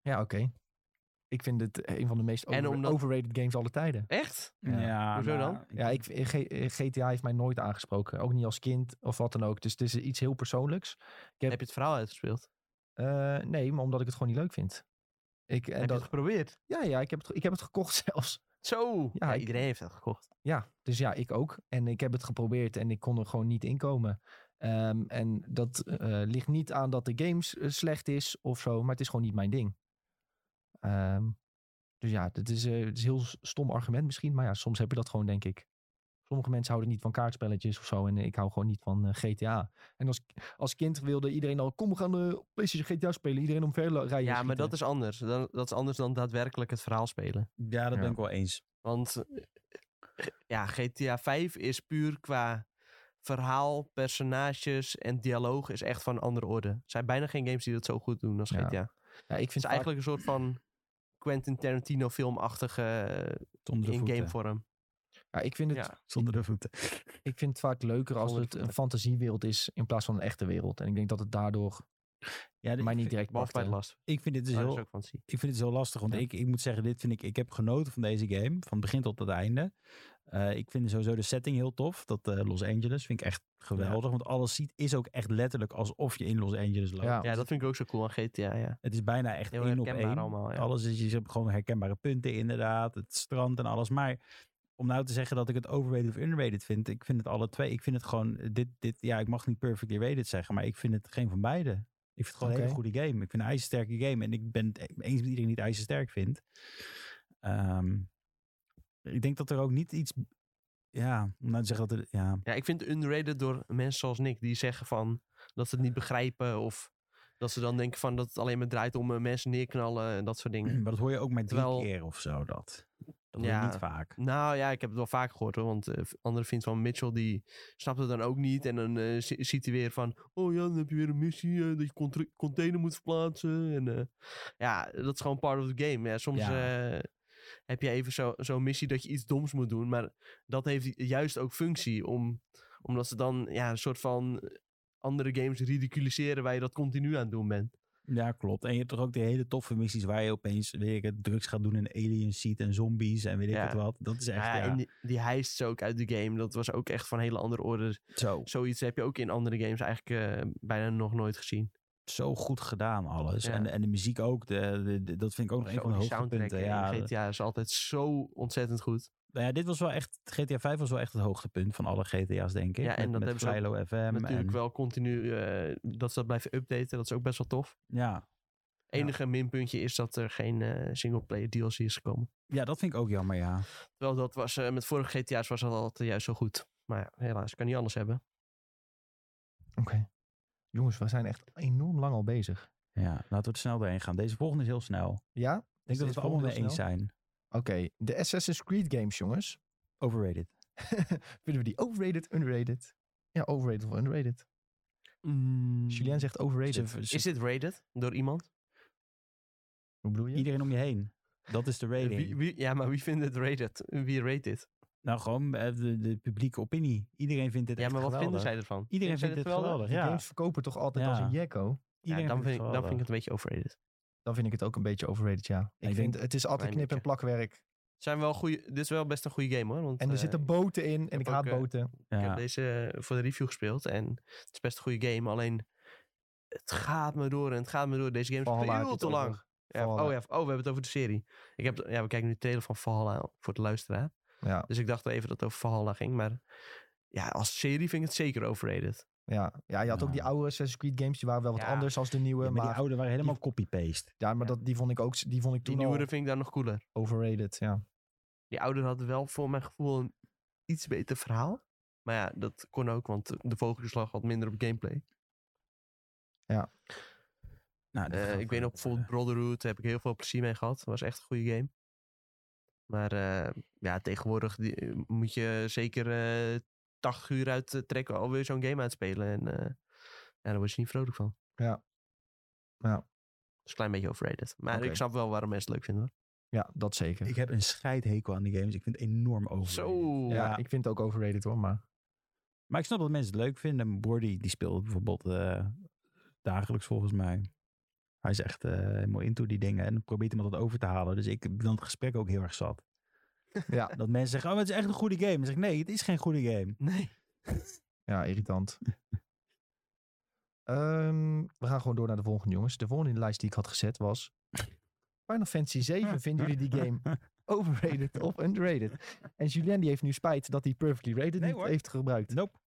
Speaker 1: ja, oké. Ik vind het een van de meest
Speaker 2: En
Speaker 1: over-
Speaker 2: omdat-
Speaker 1: overrated games aller tijden.
Speaker 2: Echt?
Speaker 1: Ja.
Speaker 2: Hoezo
Speaker 3: nou,
Speaker 2: dan?
Speaker 1: Ja, ik, G- GTA heeft mij nooit aangesproken. Ook niet als kind of wat dan ook. Dus het is iets heel persoonlijks. Heb-
Speaker 2: Heb je het verhaal uitgespeeld?
Speaker 1: Eh, nee, maar omdat ik het gewoon niet leuk vind. Ik, en
Speaker 2: Heb je
Speaker 1: dat,
Speaker 2: het geprobeerd?
Speaker 1: Ja, ja ik, heb het, ge- ik heb het gekocht zelfs.
Speaker 2: Zo. Ja,
Speaker 1: ik-
Speaker 2: iedereen heeft dat gekocht.
Speaker 1: Ja, dus ja, ik ook. En ik heb het geprobeerd en ik kon er gewoon niet inkomen. Ehm, en dat eh, ligt niet aan dat de games eh, slecht is of zo, maar het is gewoon niet mijn ding. Ehm, dus ja, het is, eh, het is een heel s- stom argument misschien, maar ja, soms heb je dat gewoon, denk ik. Sommige mensen houden niet van kaartspelletjes of zo en ik hou gewoon niet van eh, GTA. En als, als kind wilde iedereen al, kom we gaan eh, PlayStation GTA spelen, iedereen omver la- rijden.
Speaker 2: Ja, maar
Speaker 1: schieten.
Speaker 2: dat is anders. Dan, dat is anders dan daadwerkelijk het verhaal spelen.
Speaker 3: Ja, dat
Speaker 1: Ja.
Speaker 3: ben ik wel eens.
Speaker 2: Want eh, g- ja, GTA 5 is puur qua verhaal, personages en dialoog is echt van een andere orde. Er zijn bijna geen games die dat zo goed doen als
Speaker 1: Ja.
Speaker 2: GTA. Het
Speaker 1: Ja, ik
Speaker 2: is
Speaker 1: vind vaak-
Speaker 2: eigenlijk een soort van Quentin Tarantino filmachtige eh,
Speaker 3: Zonder de
Speaker 2: in
Speaker 3: voeten.
Speaker 2: gamevorm.
Speaker 1: ja, ik vind het
Speaker 2: Ja.
Speaker 3: Zonder de voeten.
Speaker 1: Ik vind het vaak leuker als
Speaker 2: Zonder
Speaker 1: het een
Speaker 2: vertrek.
Speaker 1: fantasiewereld is in plaats van een echte wereld. En ik denk dat het daardoor
Speaker 3: Ja,
Speaker 1: mij
Speaker 3: dit- ik
Speaker 1: niet
Speaker 3: vind-
Speaker 1: direct
Speaker 2: Behalve
Speaker 1: pakt.
Speaker 2: bij het last.
Speaker 3: Ik vind dit dus
Speaker 2: Daar
Speaker 3: heel
Speaker 2: Oh, is ook van te zien.
Speaker 3: Ik vind het zo lastig, want
Speaker 1: Ja.
Speaker 3: ik, ik moet zeggen, dit vind ik, ik heb genoten van deze game, van begin tot het einde. Eh, ik vind sowieso de setting heel tof, dat eh, Los Angeles vind ik echt geweldig, want alles ziet, is ook echt letterlijk alsof je in Los Angeles loopt.
Speaker 1: Ja.
Speaker 2: Ja, dat vind ik ook zo cool aan GTA. Ja.
Speaker 3: Het is bijna echt
Speaker 2: Heel
Speaker 3: één op
Speaker 2: herkenbaar
Speaker 3: één.
Speaker 2: allemaal. Ja.
Speaker 3: Alles is, je hebt gewoon herkenbare punten inderdaad, het strand en alles, maar om nou te zeggen dat ik het overrated of underrated vind, ik vind het alle twee, ik vind het gewoon, eh, dit, dit ja, ik mag niet perfectly rated zeggen, maar ik vind het geen van beide. Ik vind het gewoon een
Speaker 1: Oké.
Speaker 3: hele goede game. Ik vind een ijzersterke game. En ik ben het e-, eens met iedereen die het ijzersterk vindt. Ehm, ik denk dat er ook niet iets... Ja, om nou te zeggen dat er... Ja,
Speaker 2: ja, ik vind het underrated door mensen zoals Nick die zeggen van dat ze het niet begrijpen of dat ze dan denken van dat het alleen maar draait om eh, mensen neerknallen en dat soort dingen.
Speaker 3: maar dat hoor je ook maar drie
Speaker 2: Terwijl-
Speaker 3: keer of zo, dat. Dat hoor
Speaker 2: Ja.
Speaker 3: je niet vaak.
Speaker 2: Nou ja, ik heb het wel vaak gehoord hoor. Want eh, andere vriend van Mitchell die snapt het dan ook niet. En dan eh, zi- ziet hij weer van. Oh ja, dan heb je weer een missie eh, dat je contra- container moet verplaatsen. En eh, ja, dat is gewoon part of the game. Ja, soms eh, heb je even zo- zo'n missie dat je iets doms moet doen. Maar dat heeft juist ook functie. Om, omdat ze dan ja, een soort van andere games ridiculiseren waar je dat continu aan het doen bent.
Speaker 3: Ja, klopt. En je hebt toch ook die hele toffe missies waar je opeens, weet ik het, drugs gaat doen en aliens ziet en zombies en weet ik
Speaker 2: Ja.
Speaker 3: het wat. Dat is echt,
Speaker 2: ja,
Speaker 3: ja,
Speaker 2: En die, die heists ook uit de game. Dat was ook echt van hele andere orde.
Speaker 3: zo,
Speaker 2: Zoiets heb je ook in andere games eigenlijk eh, bijna nog nooit gezien.
Speaker 3: zo goed gedaan alles.
Speaker 2: Ja.
Speaker 3: En, en de muziek ook, de, de- de- dat vind ik ook nog een
Speaker 2: Zo,
Speaker 3: van de
Speaker 2: die eh,
Speaker 3: hoogtepunten.
Speaker 2: in
Speaker 3: Ja,
Speaker 2: GTA is altijd zo ontzettend goed.
Speaker 3: Nou ja, dit was wel echt. GTA 5 was wel echt het hoogtepunt van alle GTA's, denk ik.
Speaker 2: Ja, en
Speaker 3: met,
Speaker 2: dat
Speaker 3: met
Speaker 2: hebben ze ook
Speaker 3: Silo FM.
Speaker 2: Natuurlijk
Speaker 3: en,
Speaker 2: wel continu eh, dat ze dat blijven updaten. Dat is ook best wel tof.
Speaker 3: Ja.
Speaker 2: Enige minpuntje is dat er geen single singleplayer DLC is gekomen.
Speaker 3: ja, dat vind ik ook jammer, ja.
Speaker 2: Terwijl dat was eh, met vorige GTA's was dat altijd juist zo goed. Maar ja, helaas, kan niet anders hebben.
Speaker 1: Oké. Jongens, we zijn echt enorm lang al bezig.
Speaker 3: ja. Laten we er snel doorheen gaan. Deze volgende is heel snel. Ik
Speaker 1: Ja? Is dit
Speaker 3: denk dat we het allemaal
Speaker 1: volgende
Speaker 3: mee
Speaker 1: heel
Speaker 3: eens
Speaker 1: snel?
Speaker 3: zijn.
Speaker 1: Oké, de Assassin's Creed games, jongens.
Speaker 3: Overrated.
Speaker 1: Vinden we die overrated, underrated? Ja, overrated of underrated.
Speaker 3: Mm.
Speaker 2: Hmm.
Speaker 1: Julien zegt overrated.
Speaker 3: Ze- ze-
Speaker 2: Is dit rated door iemand?
Speaker 1: Hoe bedoel je?
Speaker 3: Iedereen om je heen. Dat is de
Speaker 2: Eh,
Speaker 3: rating.
Speaker 2: wie, wie- ja, maar wie vindt het rated? Wie rated? dit?
Speaker 3: Nou, gewoon eh, de, de publieke opinie. Iedereen vindt dit
Speaker 2: Ja,
Speaker 3: echt
Speaker 2: maar wat
Speaker 3: geweldig.
Speaker 2: vinden zij ervan? Vinden
Speaker 3: Iedereen
Speaker 2: zij
Speaker 3: vindt
Speaker 2: geweldig?
Speaker 3: dit geweldig,
Speaker 1: Die
Speaker 3: ja.
Speaker 1: games verkopen toch altijd
Speaker 3: Ja.
Speaker 1: als een jekko?
Speaker 2: Ja,
Speaker 3: Iedereen
Speaker 2: dan,
Speaker 3: vindt
Speaker 2: vind ik, dan vind ik
Speaker 3: geweldig.
Speaker 2: het een beetje overrated.
Speaker 1: Dan vind ik het ook een beetje overrated, ja. Ik
Speaker 3: Ik
Speaker 1: vind,
Speaker 3: denk-
Speaker 1: het is altijd
Speaker 2: Klein
Speaker 1: knip- en
Speaker 2: beetje.
Speaker 1: plakwerk.
Speaker 2: Zijn wel goeie, dit is wel best een goede game hoor. Want,
Speaker 1: En er
Speaker 2: eh,
Speaker 1: zitten boten in en
Speaker 2: heb
Speaker 1: ik
Speaker 2: ook,
Speaker 1: haat
Speaker 2: eh,
Speaker 1: boten.
Speaker 3: Ja.
Speaker 2: Ik heb deze eh, voor de review gespeeld en het is best een goede game. Alleen het gaat me door en het gaat me door. Deze game is
Speaker 1: Valhalla heb je
Speaker 2: veel
Speaker 1: het
Speaker 2: te
Speaker 1: over.
Speaker 2: lang. Ja,
Speaker 1: Valhalla.
Speaker 2: oh, ja, oh, we hebben het over de serie. Ik heb, ja, we kijken nu de trailer van Valhalla voor de luisteraar.
Speaker 1: Ja.
Speaker 2: Dus ik dacht even dat het over Valhalla ging. Maar Ja, als serie vind ik het zeker overrated.
Speaker 1: Ja, ja je had ook
Speaker 3: Ja.
Speaker 1: die oude Assassin's Creed games, die waren wel wat
Speaker 2: Ja.
Speaker 1: anders als de nieuwe.
Speaker 3: Ja, maar
Speaker 1: maar
Speaker 3: die oude waren helemaal copy-paste.
Speaker 1: ja, maar
Speaker 2: ja.
Speaker 1: Dat, die vond ik ook die vond ik
Speaker 2: Die
Speaker 1: toen
Speaker 2: nieuwere
Speaker 1: al
Speaker 2: vind ik daar nog cooler.
Speaker 1: overrated. Ja.
Speaker 2: Die ouder hadden wel voor mijn gevoel een iets beter verhaal. Maar ja, dat kon ook, want de vogelslag had minder op gameplay.
Speaker 3: Nou, dat
Speaker 2: Eh,
Speaker 3: gaat-
Speaker 2: ik weet nog, bijvoorbeeld Brotherhood daar heb ik heel veel plezier mee gehad. was echt een goede game. Maar eh, ja, tegenwoordig die- eh, moet je zeker eh 80 uur uit eh, trekken alweer zo'n game uitspelen. En eh, ja, daar word je niet vrolijk van.
Speaker 1: Ja. Ja.
Speaker 2: Dat is een klein beetje overrated. Maar
Speaker 1: Oké.
Speaker 2: ik snap wel waarom mensen het leuk vinden hoor.
Speaker 1: ja, dat zeker.
Speaker 3: eh, Ik heb een scheidhekel aan die games. Ik vind het enorm over.
Speaker 2: Zo!
Speaker 1: ja,
Speaker 3: ja.
Speaker 1: ik vind het ook overrated hoor, maar
Speaker 3: Maar ik snap dat mensen het leuk vinden. Mijn broer die, die speelt het bijvoorbeeld eh, dagelijks volgens mij. Hij is echt eh, helemaal into die dingen. En probeert iemand dat over te halen. Dus ik ben het gesprek ook heel erg zat.
Speaker 1: ja,
Speaker 3: Dat mensen zeggen, oh, maar het is echt een goede game. Dan zeg ik, nee, het is geen goede game.
Speaker 2: Nee.
Speaker 1: ja irritant. Ehm, we gaan gewoon door naar de volgende jongens. De volgende in de lijst die ik had gezet was Final Fantasy 7. Vinden jullie die game overrated of underrated? En Julien die heeft nu spijt dat hij perfectly rated
Speaker 3: Nee,
Speaker 1: niet
Speaker 3: hoor.
Speaker 1: heeft gebruikt.
Speaker 3: Nope.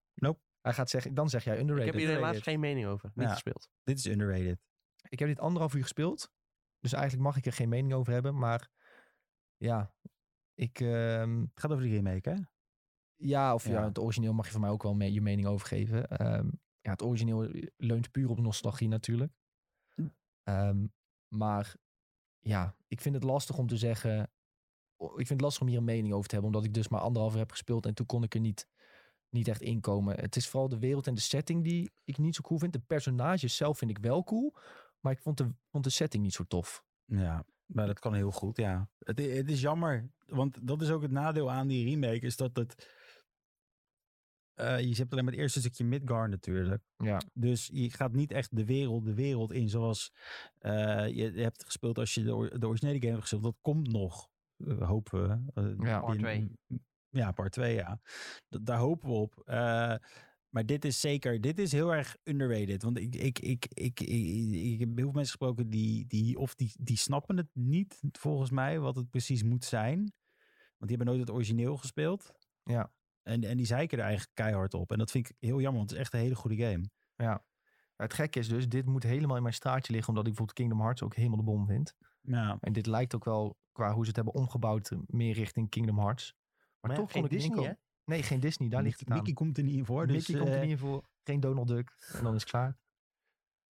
Speaker 1: Hij gaat zeggen, dan zeg jij underrated.
Speaker 2: Ik heb hier helaas
Speaker 1: Underrated.
Speaker 2: geen mening over. Niet
Speaker 3: Ja.
Speaker 2: gespeeld.
Speaker 3: Dit is underrated.
Speaker 1: Ik heb dit anderhalf uur gespeeld. Dus eigenlijk mag ik er geen mening over hebben. Maar ja, ik. ehm,
Speaker 3: Het gaat over de remake, hè?
Speaker 1: ja, of ja.
Speaker 3: Ja.
Speaker 1: het origineel mag je van mij ook wel mee, je mening over geven. Ehm, ja, het origineel leunt puur op nostalgie natuurlijk. Ehm, maar ja, ik vind het lastig om te zeggen. o- Ik vind het lastig om hier een mening over te hebben, omdat ik dus maar anderhalf uur heb gespeeld en toen kon ik er niet, niet echt inkomen. Het is vooral de wereld en de setting die ik niet zo cool vind. De personages zelf vind ik wel cool, maar ik vond de, vond de setting niet zo tof.
Speaker 3: Ja, maar dat kan heel goed, ja. Het, i- het is jammer, want dat is ook het nadeel aan die remake, is dat het... eh, je hebt alleen maar het eerste stukje Midgar natuurlijk.
Speaker 1: Ja.
Speaker 3: Dus je gaat niet echt de wereld de wereld in zoals eh, je hebt gespeeld als je de, or- de originele game hebt gespeeld. Dat komt nog, eh, hopen we. eh,
Speaker 1: Ja.
Speaker 2: Part
Speaker 3: binnen- Ja, part 2, ja. Dat- daar hopen we op. Eh, maar dit is zeker, dit is heel erg underrated. Want ik, ik, ik, ik, ik, ik heb heel veel mensen gesproken die, die of die, die snappen het niet, volgens mij, wat het precies moet zijn. Want die hebben nooit het origineel gespeeld.
Speaker 1: Ja.
Speaker 3: En, en die zeiken er eigenlijk keihard op. En dat vind ik heel jammer, want het is echt een hele goede game.
Speaker 1: Het gekke is dus, dit moet helemaal in mijn straatje liggen, omdat ik bijvoorbeeld Kingdom Hearts ook helemaal de bom vind.
Speaker 3: Ja,
Speaker 1: En dit lijkt ook wel, qua hoe ze het hebben omgebouwd, eh, meer richting Kingdom Hearts. Maar,
Speaker 2: ja,
Speaker 1: toch
Speaker 2: geen
Speaker 1: vond ik
Speaker 2: Disney,
Speaker 1: Dinko- Nee, geen Disney, daar ligt het aan.
Speaker 3: Mickey komt er niet in voor. Dus,
Speaker 1: Mickey komt
Speaker 3: eh,
Speaker 1: er niet in voor, geen Donald Duck, en dan is het klaar.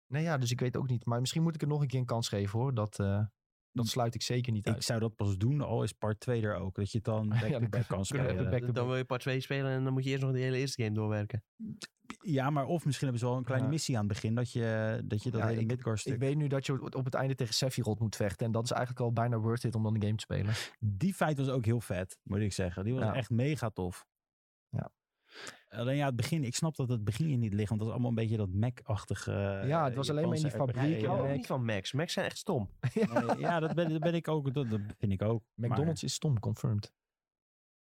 Speaker 1: Nee, ja, dus ik weet ook niet. Maar misschien moet ik er nog een keer een kans geven, hoor. Dat, eh, dat sluit ik zeker niet
Speaker 3: Ik
Speaker 1: uit.
Speaker 3: zou dat pas doen, al is part 2 er ook. Dat je het dan back-to-back
Speaker 1: dan
Speaker 3: kan
Speaker 1: kunnen we
Speaker 3: spelen.
Speaker 1: back-to-back.
Speaker 2: Dan wil je part 2 spelen en dan moet je eerst nog de hele eerste game doorwerken.
Speaker 3: Ja, maar of misschien hebben ze wel een kleine
Speaker 1: Ja.
Speaker 3: missie aan het begin. Dat je dat, je dat
Speaker 1: Ja,
Speaker 3: hele
Speaker 1: ik-
Speaker 3: Midgar stuk...
Speaker 1: Ik weet nu dat je op het einde tegen Sephiroth moet vechten. En dat is eigenlijk al bijna worth it om dan de game te spelen.
Speaker 3: Die fight was ook heel vet, moet ik zeggen. Die was
Speaker 1: Ja.
Speaker 3: echt mega tof.
Speaker 1: Ja.
Speaker 3: Alleen ja, het begin. Ik snap dat het begin je niet ligt. Want dat is allemaal een beetje dat Mac-achtige... eh,
Speaker 1: Ja, het was alleen maar in die fabriek
Speaker 2: Ik hou
Speaker 1: en,
Speaker 2: ook
Speaker 1: Mac.
Speaker 2: Oh, niet van Max. Max zijn echt stom.
Speaker 3: ja, dat ben, dat ben ik ook. Dat, dat vind ik ook. Maar-
Speaker 1: McDonald's is stom, confirmed.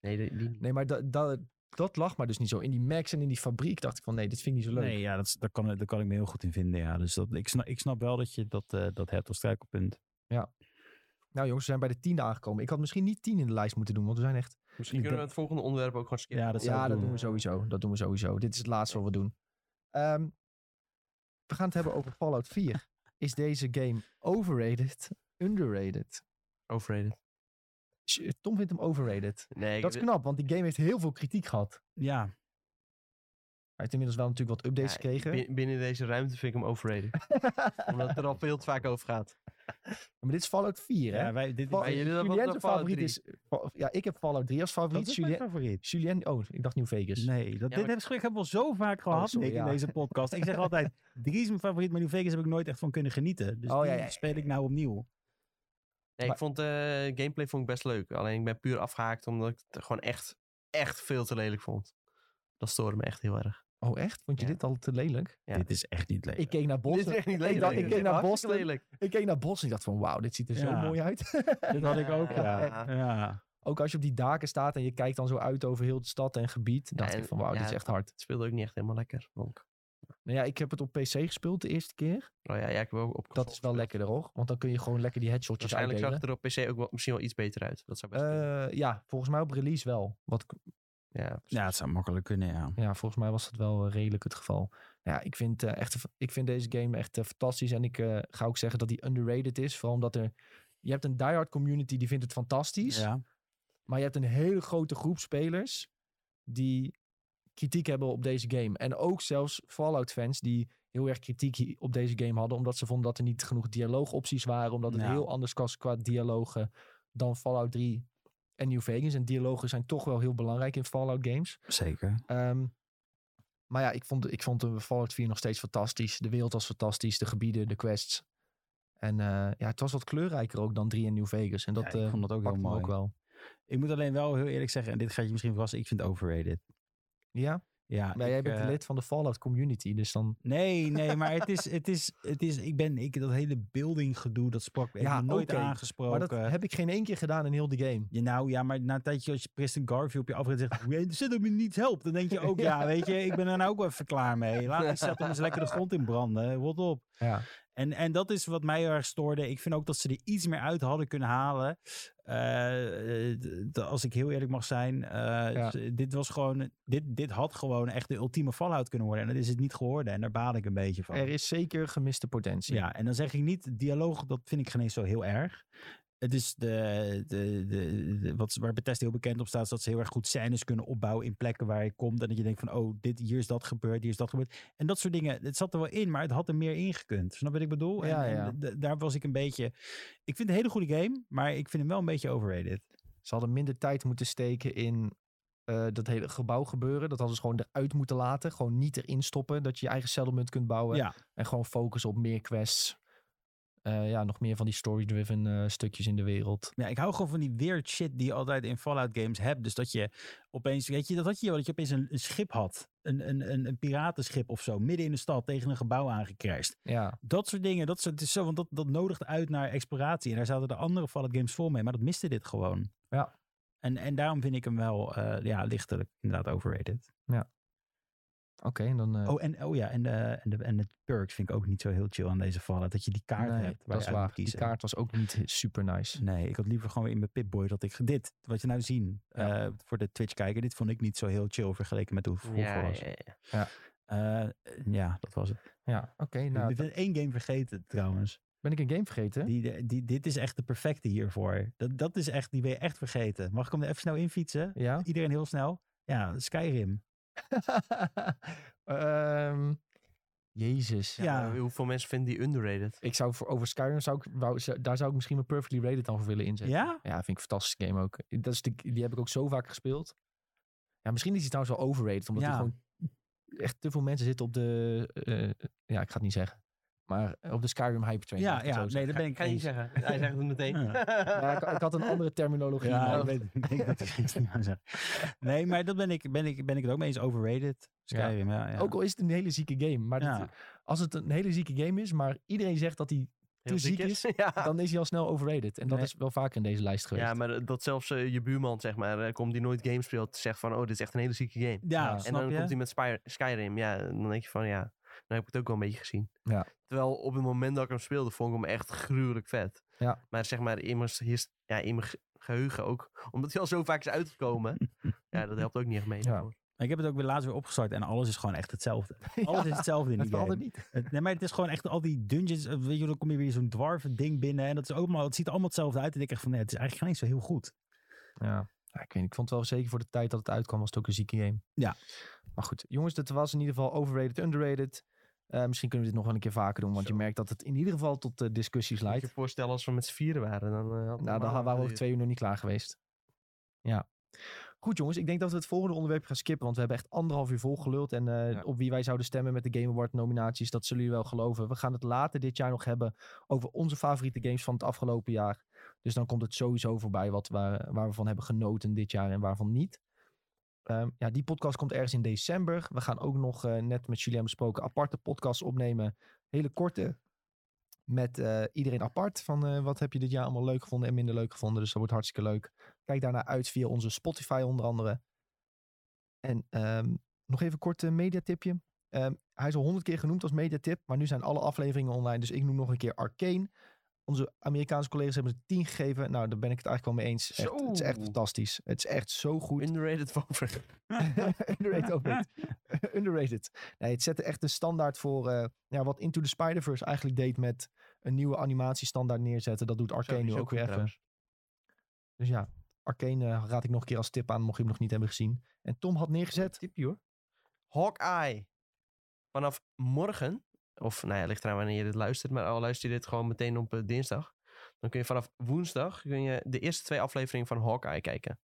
Speaker 2: Nee, die, die niet.
Speaker 1: Nee, maar da, da- dat lag maar dus niet zo. In die Max en in die fabriek dacht ik van nee, dit vind ik niet zo leuk.
Speaker 3: Nee, ja, dat, is- daar, kan, daar kan ik me heel goed in vinden. Ja. Dus dat, ik, snap, ik snap wel dat je dat, eh, dat hebt als struikelpunt.
Speaker 1: Nou jongens, we zijn bij de tiende aangekomen. Ik had misschien niet tien in de lijst moeten doen, want we zijn echt...
Speaker 2: Misschien kunnen we het volgende onderwerp ook gewoon skippen.
Speaker 3: Ja, dat zou
Speaker 1: ja,
Speaker 3: ik
Speaker 1: dat
Speaker 3: doen.
Speaker 1: doen we sowieso. Dat doen we sowieso. Dit is het laatste wat we doen. Ehm, we gaan het hebben over Fallout 4. Is deze game overrated, underrated?
Speaker 2: Overrated.
Speaker 1: Sh- Tom vindt hem overrated.
Speaker 2: Nee, ik-
Speaker 1: Dat is knap, want die game heeft heel veel kritiek gehad.
Speaker 3: Ja,
Speaker 1: Hij heeft inmiddels wel natuurlijk wat updates
Speaker 2: ja,
Speaker 1: gekregen.
Speaker 2: bin- Binnen deze ruimte vind ik hem overrated. Omdat het er al veel te vaak over gaat.
Speaker 1: Maar dit is Fallout 4, hè?
Speaker 3: ja wij, dit,
Speaker 1: Val-
Speaker 2: Maar jullie hebben
Speaker 1: Julien's
Speaker 2: nog Fallout
Speaker 1: favoriet
Speaker 2: 3.
Speaker 1: is... Fa- Ja, ik heb Fallout 3 als favoriet.
Speaker 3: dat is mijn
Speaker 1: Julien,
Speaker 3: favoriet.
Speaker 1: Julien... Oh, ik dacht New Vegas.
Speaker 3: Nee, dat,
Speaker 2: Ja,
Speaker 3: dit
Speaker 2: maar-
Speaker 3: gesprek hebben we al zo vaak gehad
Speaker 1: Oh, sorry,
Speaker 3: Nick, in
Speaker 1: ja.
Speaker 3: deze podcast. Ik zeg altijd, Dries is mijn favoriet, maar New Vegas heb ik nooit echt van kunnen genieten. Dus
Speaker 1: Oh,
Speaker 3: die
Speaker 1: ja, ja, ja,
Speaker 3: speel ik nou opnieuw.
Speaker 2: Nee,
Speaker 1: Maar-
Speaker 2: ik vond eh gameplay vond ik best leuk. Alleen ik ben puur afgehaakt omdat ik het gewoon echt, echt veel te lelijk vond. Dat stoorde me echt heel erg.
Speaker 1: Oh, echt? Vond je
Speaker 2: Ja.
Speaker 1: dit al te lelijk?
Speaker 2: Ja.
Speaker 3: Dit is echt niet leuk.
Speaker 1: Ik keek naar Boston.
Speaker 2: Dit is echt niet
Speaker 1: Ik,
Speaker 2: lelijk.
Speaker 1: dacht- ik keek naar
Speaker 2: Hartstikke
Speaker 1: Boston.
Speaker 2: lelijk.
Speaker 1: Ik keek naar Boston en ik dacht van wauw, dit ziet er zo
Speaker 3: Ja.
Speaker 1: mooi uit.
Speaker 3: Dit had ik ook, ja.
Speaker 2: Ja.
Speaker 3: ja.
Speaker 1: Ook als je op die daken staat en je kijkt dan zo uit over heel de stad en gebied. dacht
Speaker 2: en-
Speaker 1: ik van wauw, dit
Speaker 2: ja.
Speaker 1: is echt hard.
Speaker 2: Het speelde ook niet echt helemaal lekker. vond ik.
Speaker 1: Nou ja, ik heb het op PC gespeeld de eerste keer.
Speaker 2: Oh ja, ja, ik heb ook
Speaker 1: Dat
Speaker 2: op console
Speaker 1: is wel
Speaker 2: gespeeld.
Speaker 1: lekkerder hoor. Want dan kun je Eh, gewoon lekker die headshotjes
Speaker 2: Waarschijnlijk zag
Speaker 1: uitdelen.
Speaker 2: het er op PC ook wel, misschien wel iets beter uit. Dat zou best kunnen.
Speaker 1: Eh, ja, volgens mij op release wel. Wat, ik-
Speaker 2: Ja,
Speaker 3: Ja, het zou makkelijk kunnen, ja.
Speaker 1: Ja, volgens mij was dat wel eh, redelijk het geval. Ja, ik vind, eh, echt, ik vind deze game echt eh, fantastisch. En ik eh, ga ook zeggen dat die underrated is. Vooral omdat er... Je hebt een diehard community die vindt het fantastisch.
Speaker 3: ja.
Speaker 1: Maar je hebt een hele grote groep spelers die kritiek hebben op deze game. En ook zelfs Fallout-fans die heel erg kritiek hi- op deze game hadden. Omdat ze vonden dat er niet genoeg dialoogopties waren. Omdat het
Speaker 3: Ja.
Speaker 1: heel anders was qua dialogen dan Fallout 3 en New Vegas. En dialogen zijn toch wel heel belangrijk in Fallout games.
Speaker 3: Zeker.
Speaker 1: Ehm, maar ja, ik vond, ik vond de Fallout 4 nog steeds fantastisch. De wereld was fantastisch, de gebieden, de quests. En eh, ja, het was wat kleurrijker ook dan 3 en New Vegas. En dat
Speaker 3: ja, ik
Speaker 1: eh,
Speaker 3: vond dat ook heel
Speaker 1: pakte me
Speaker 3: mooi.
Speaker 1: ook wel.
Speaker 3: Ik moet alleen wel heel eerlijk zeggen, en dit gaat je misschien verrassen, ik vind het overrated.
Speaker 1: Ja?
Speaker 3: Ja,
Speaker 1: Maar jij
Speaker 3: ik,
Speaker 1: bent
Speaker 3: eh,
Speaker 1: lid van de Fallout community, dus dan...
Speaker 3: Nee, nee, maar het is, het is, het is, ik ben, ik, dat hele building gedoe, dat sprak me
Speaker 1: Ja,
Speaker 3: ja, nooit
Speaker 1: oké.
Speaker 3: aangesproken.
Speaker 1: Maar dat heb ik geen één keer gedaan in heel de game.
Speaker 3: Ja, nou ja, maar na een tijdje als je Preston Garvey op je afrit zegt, "Weet- zit op je niet helpt, dan denk je ook, ja, weet je, ik ben er nou ook wel even klaar mee. Laat die settlements eens lekker de grond in branden, rot op.
Speaker 1: Ja.
Speaker 3: En, en dat is wat mij heel erg stoorde. Ik vind ook dat ze er iets meer uit hadden kunnen halen. Eh, eh, d- als ik heel eerlijk mag zijn, eh,
Speaker 1: Ja.
Speaker 3: z- dit was gewoon, dit, dit had gewoon echt de ultieme Fallout kunnen worden. En dat is het niet geworden en daar baal ik een beetje van.
Speaker 1: Er is zeker gemiste potentie.
Speaker 3: Ja, en dan zeg ik niet, dialoog, dat vind ik geen eens zo heel erg. Het is de, de, de, de- wat, waar Bethesda heel bekend op staat, is dat ze heel erg goed scènes kunnen opbouwen in plekken waar je komt. En dat je denkt van, oh, dit, hier is dat gebeurd, hier is dat gebeurd. En dat soort dingen, het zat er wel in, maar het had er meer ingekund. Snap je wat ik bedoel? En-
Speaker 1: Ja,
Speaker 3: en,
Speaker 1: ja.
Speaker 3: d- daar was ik een beetje... Ik vind het een hele goede game, maar ik vind hem wel een beetje overrated.
Speaker 1: Ze hadden minder tijd moeten steken in eh, dat hele gebouw gebeuren. Dat hadden ze gewoon eruit moeten laten. Gewoon niet erin stoppen. Dat je je eigen settlement kunt bouwen.
Speaker 3: Ja.
Speaker 1: En gewoon focussen op meer quests. Eh, ja, nog meer van die story-driven eh, stukjes in de wereld.
Speaker 3: Ja, ik hou gewoon van die weird shit die je altijd in Fallout games hebt. Dus dat je opeens, weet je, dat had je wel, dat je opeens een, een schip had. Een, een, een, een piratenschip of zo, midden in de stad tegen een gebouw aangecrashed.
Speaker 1: Ja,
Speaker 3: Dat soort dingen, dat soort, het is zo, want dat, dat nodigt uit naar exploratie. En daar zaten de andere Fallout games vol mee, maar dat miste dit gewoon.
Speaker 1: Ja.
Speaker 3: En, en daarom vind ik hem wel, eh, ja, lichtelijk inderdaad overrated.
Speaker 1: oké. en dan... eh,
Speaker 3: Oh, en, oh ja, en, de, en, de, en de perks vind ik ook niet zo heel chill aan deze Fallout. Dat je oh die kaart
Speaker 1: nee,
Speaker 3: hebt waar
Speaker 1: dat
Speaker 3: je
Speaker 1: is
Speaker 3: uit moet
Speaker 1: waar. Die
Speaker 3: kiezen.
Speaker 1: kaart was ook niet super nice.
Speaker 3: Nee, ik had liever gewoon weer in mijn Pip-Boy dat ik dit, wat je nou zien
Speaker 1: Ja.
Speaker 3: eh, voor de Twitch-kijker, dit vond ik niet zo heel chill vergeleken met hoe het vroeger
Speaker 2: ja,
Speaker 3: was.
Speaker 2: ja,
Speaker 3: Ja.
Speaker 2: ja.
Speaker 3: ja, dat was het.
Speaker 1: Ja, oké. nou,
Speaker 3: ik ben één game vergeten trouwens.
Speaker 1: ben ik een game vergeten?
Speaker 3: Die, die, die- dit is echt de perfecte hiervoor. Dat, dat is echt, die ben je echt vergeten. Mag ik hem er even snel in fietsen?
Speaker 1: Ja?
Speaker 3: Iedereen heel snel? Ja, Skyrim.
Speaker 1: Ehm, jezus.
Speaker 3: Ja.
Speaker 2: maar Hoeveel mensen vinden die underrated?
Speaker 1: Ik zou voor, over Skyrim, zou ik, wou- zou- daar zou ik misschien mijn Perfectly Rated dan voor willen inzetten.
Speaker 3: Ja?
Speaker 1: vind ik een fantastische game ook. Dat is de, die heb ik ook zo vaak gespeeld. Ja, misschien is die trouwens wel overrated, omdat die
Speaker 3: Ja.
Speaker 1: gewoon echt te veel mensen zitten op de, eh, ja, ik ga het niet zeggen, maar eh, op de Skyrim hype train. laat
Speaker 3: Ja,
Speaker 1: ik het
Speaker 3: ja,
Speaker 1: zo zeggen.
Speaker 3: nee, dat ben ik
Speaker 2: Kan je
Speaker 3: eens.
Speaker 2: niet zeggen. Hij zegt het meteen.
Speaker 1: Ja, ik, ik had een andere terminologie.
Speaker 3: Ja,
Speaker 1: maar-
Speaker 3: ik weet ik denk dat ik er iets niet aan zeg. Nee, maar dat ben ik, ben ik, ben ik het ook mee eens. Overrated. Skyrim, ja. ja,
Speaker 1: Ook al is het een hele zieke game, maar dat-
Speaker 3: Ja.
Speaker 1: als het een hele zieke game is, maar iedereen zegt dat die,
Speaker 2: Heel
Speaker 1: ziek is.
Speaker 2: Ja.
Speaker 1: dan is hij al snel overrated. En dat
Speaker 3: Nee.
Speaker 1: is wel vaker in deze lijst geweest.
Speaker 2: ja, maar dat zelfs eh, je buurman, zeg maar, eh, komt die nooit games speelt, zegt van, oh, dit is echt een hele zieke game.
Speaker 3: Ja,
Speaker 1: En
Speaker 2: En
Speaker 3: snap
Speaker 2: dan
Speaker 3: je?
Speaker 2: komt hij met Spyr- Skyrim. Ja, dan denk je van ja, dan heb ik het ook wel een beetje gezien.
Speaker 1: Ja.
Speaker 2: Terwijl op het moment dat ik hem speelde, vond ik hem echt gruwelijk vet.
Speaker 1: Ja.
Speaker 2: Maar zeg maar, in mijn, s- his- ja, in mijn ge- geheugen ook. Omdat hij al zo vaak is uitgekomen. ja, dat helpt ook niet echt mee.
Speaker 1: Ja.
Speaker 2: daarvoor.
Speaker 3: Maar Ik heb het ook weer laatst weer opgestart en alles is gewoon echt hetzelfde. Alles is hetzelfde in die
Speaker 1: het verandert
Speaker 3: game.
Speaker 1: niet.
Speaker 3: Het- nee, maar het is gewoon echt al die dungeons. eh, Weet je, dan kom je weer zo'n dwarven ding binnen en dat is ook maar, het ziet er allemaal hetzelfde uit. En ik denk echt van, nee, het is eigenlijk geen eens zo heel goed.
Speaker 1: Ja. Ja, ik, weet, niet. ik vond het wel zeker voor de tijd dat het uitkwam, was het ook een zieke game.
Speaker 3: Ja.
Speaker 1: Maar goed, jongens, dat was in ieder geval overrated, underrated. Eh, misschien kunnen we dit nog wel een keer vaker doen, want
Speaker 2: Zo.
Speaker 1: je merkt dat het in ieder geval tot eh, discussies
Speaker 2: Moet je
Speaker 1: leidt.
Speaker 2: je voorstellen als we met z'n vieren waren. Dan, eh, had het
Speaker 1: Nou, dan
Speaker 2: allemaal
Speaker 1: gaan- waren we over
Speaker 2: geduurd.
Speaker 1: twee uur nog niet klaar geweest. Ja. Goed jongens, ik denk dat we het volgende onderwerp gaan skippen, want we hebben echt anderhalf uur volgeluld. En eh,
Speaker 2: Ja.
Speaker 1: op wie wij zouden stemmen met de Game Award nominaties, dat zullen jullie wel geloven. We gaan het later dit jaar nog hebben over onze favoriete games van het afgelopen jaar. Dus dan komt het sowieso voorbij wat waar, waar we van hebben genoten dit jaar en waarvan niet. Ehm, ja, die podcast komt ergens in december. We gaan ook nog, eh, net met Julien besproken, aparte podcasts opnemen. Hele korte. Met eh, iedereen apart. Van eh, wat heb je dit jaar allemaal leuk gevonden en minder leuk gevonden. Dus dat wordt hartstikke leuk. Kijk daarna uit via onze Spotify onder andere. En ehm, nog even een kort eh, mediatipje. Ehm, hij is al honderd keer genoemd als mediatip. Maar nu zijn alle afleveringen online. Dus ik noem nog een keer Arcane. Onze Amerikaanse collega's hebben ze 10 gegeven. Nou, daar ben ik het eigenlijk wel mee eens. Echt, het is echt
Speaker 2: Zo.
Speaker 1: fantastisch. Het is echt zo goed.
Speaker 2: Underrated Valver.
Speaker 1: Underrated ook niet. Underrated. Nee, het zette echt een standaard voor eh, ja, wat Into the Spider-Verse eigenlijk deed met een nieuwe animatiestandaard neerzetten. Dat doet Arcane nu ook weer even. Dus ja, Arcane eh, raad ik nog een keer als tip aan, mocht je hem nog niet hebben gezien. En Tom had neergezet.
Speaker 2: Tipje hoor. Hawkeye. Vanaf morgen, of nou ja, ligt eraan wanneer je dit luistert, maar al luister je dit gewoon meteen op eh, dinsdag. Dan kun je vanaf woensdag kun je de eerste twee afleveringen van Hawkeye kijken.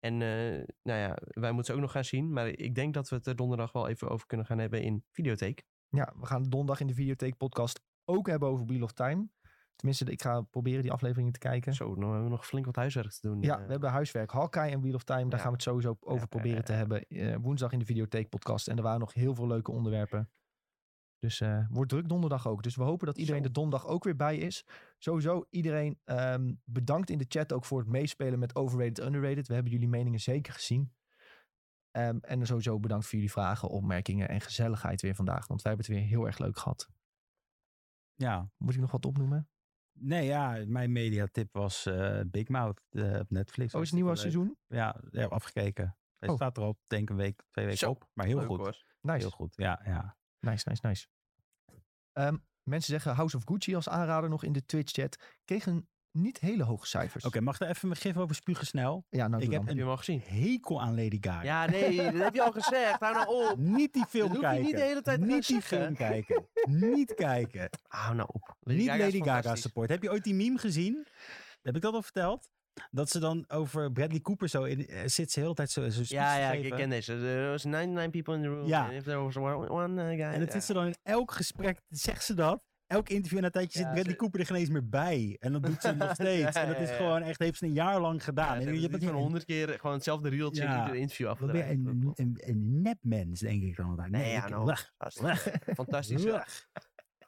Speaker 2: En eh, nou ja, wij moeten ze ook nog gaan zien. Maar ik denk dat we het er donderdag wel even over kunnen gaan hebben in videotheek.
Speaker 1: Ja, we gaan donderdag in de Videotheek podcast ook hebben over Wheel of Time. Tenminste, ik ga proberen die afleveringen te kijken.
Speaker 2: Zo, nou hebben we nog flink wat huiswerk te doen.
Speaker 1: Ja,
Speaker 2: eh.
Speaker 1: we hebben huiswerk. Hawkeye en Wheel of Time, daar
Speaker 2: Ja.
Speaker 1: gaan we het sowieso over
Speaker 2: ja,
Speaker 1: proberen
Speaker 2: ja,
Speaker 1: te
Speaker 2: ja.
Speaker 1: hebben. eh, woensdag in de Videotheek podcast. En er waren nog heel veel leuke onderwerpen. Dus eh, wordt druk donderdag ook. Dus we hopen dat iedereen
Speaker 2: Zo.
Speaker 1: er donderdag ook weer bij is. Sowieso iedereen ehm, bedankt in de chat ook voor het meespelen met overrated, underrated. We hebben jullie meningen zeker gezien. Ehm, en sowieso bedankt voor jullie vragen, opmerkingen en gezelligheid weer vandaag. Want wij hebben het weer heel erg leuk gehad.
Speaker 3: Ja.
Speaker 1: Moet ik nog wat opnoemen? Oh,
Speaker 3: Nee, ja, mijn mediatip was eh, Big Mouth eh, op Netflix.
Speaker 1: Oh, is het nieuwe seizoen?
Speaker 3: Ja, ja, afgekeken. Hij
Speaker 1: Oh.
Speaker 3: staat er al, denk ik, een week, twee weken
Speaker 2: Zo,
Speaker 3: op. Maar heel
Speaker 2: Leuk,
Speaker 3: goed.
Speaker 2: hoor.
Speaker 1: Nice.
Speaker 3: Heel goed, ja. ja.
Speaker 1: Nice, nice, nice. Ehm, mensen zeggen House of Gucci als aanrader nog in de Twitch-chat. Kregen niet hele hoge cijfers.
Speaker 3: Oké, mag er even mijn gif over spugen snel?
Speaker 1: Ja, nou,
Speaker 3: ik
Speaker 1: doe
Speaker 3: heb
Speaker 1: dan.
Speaker 2: Heb je
Speaker 3: een
Speaker 2: hem al gezien?
Speaker 3: hekel aan Lady Gaga.
Speaker 2: Ja, nee, dat heb je al gezegd. Hou nou op.
Speaker 3: Niet die film
Speaker 2: Dat hoef je
Speaker 3: kijken.
Speaker 2: niet de hele tijd te
Speaker 3: Niet
Speaker 2: gaan
Speaker 3: die
Speaker 2: zeggen.
Speaker 3: film kijken. niet kijken.
Speaker 2: Hou nou op.
Speaker 3: niet
Speaker 2: is
Speaker 3: Lady Gaga
Speaker 2: fantastisch.
Speaker 3: support. Heb je ooit die meme gezien? Heb ik dat al verteld? Dat ze dan over Bradley Cooper zo in, eh, zit ze de hele tijd zo, zo
Speaker 2: Ja, ja, ik-
Speaker 3: ik
Speaker 2: ik ken deze. Er was 99 people in the room.
Speaker 3: Ja.
Speaker 2: and if there was one, one eh, guy...
Speaker 3: En dat
Speaker 2: ja.
Speaker 3: zit ze dan in elk gesprek, zegt ze dat. Elk interview en een tijdje
Speaker 2: Ja,
Speaker 3: zit Bradley
Speaker 2: ze-
Speaker 3: Cooper er geen eens meer bij. En dat doet ze nog steeds. en dat is
Speaker 2: ja, ja.
Speaker 3: gewoon echt, heeft ze een jaar lang
Speaker 2: Ja,
Speaker 3: gedaan.
Speaker 2: ze
Speaker 3: en
Speaker 2: hebben
Speaker 3: je
Speaker 2: het
Speaker 3: bent
Speaker 2: niet van honderd keer gewoon hetzelfde reeltje in
Speaker 3: Ja.
Speaker 2: ieder interview
Speaker 3: Wat ben je
Speaker 2: afgedraaid.
Speaker 3: een, een, een nepmens, denk ik dan. Nee,
Speaker 2: ja,
Speaker 3: ik-
Speaker 2: nou,
Speaker 3: Wach,
Speaker 2: Fantastisch. Fantastische,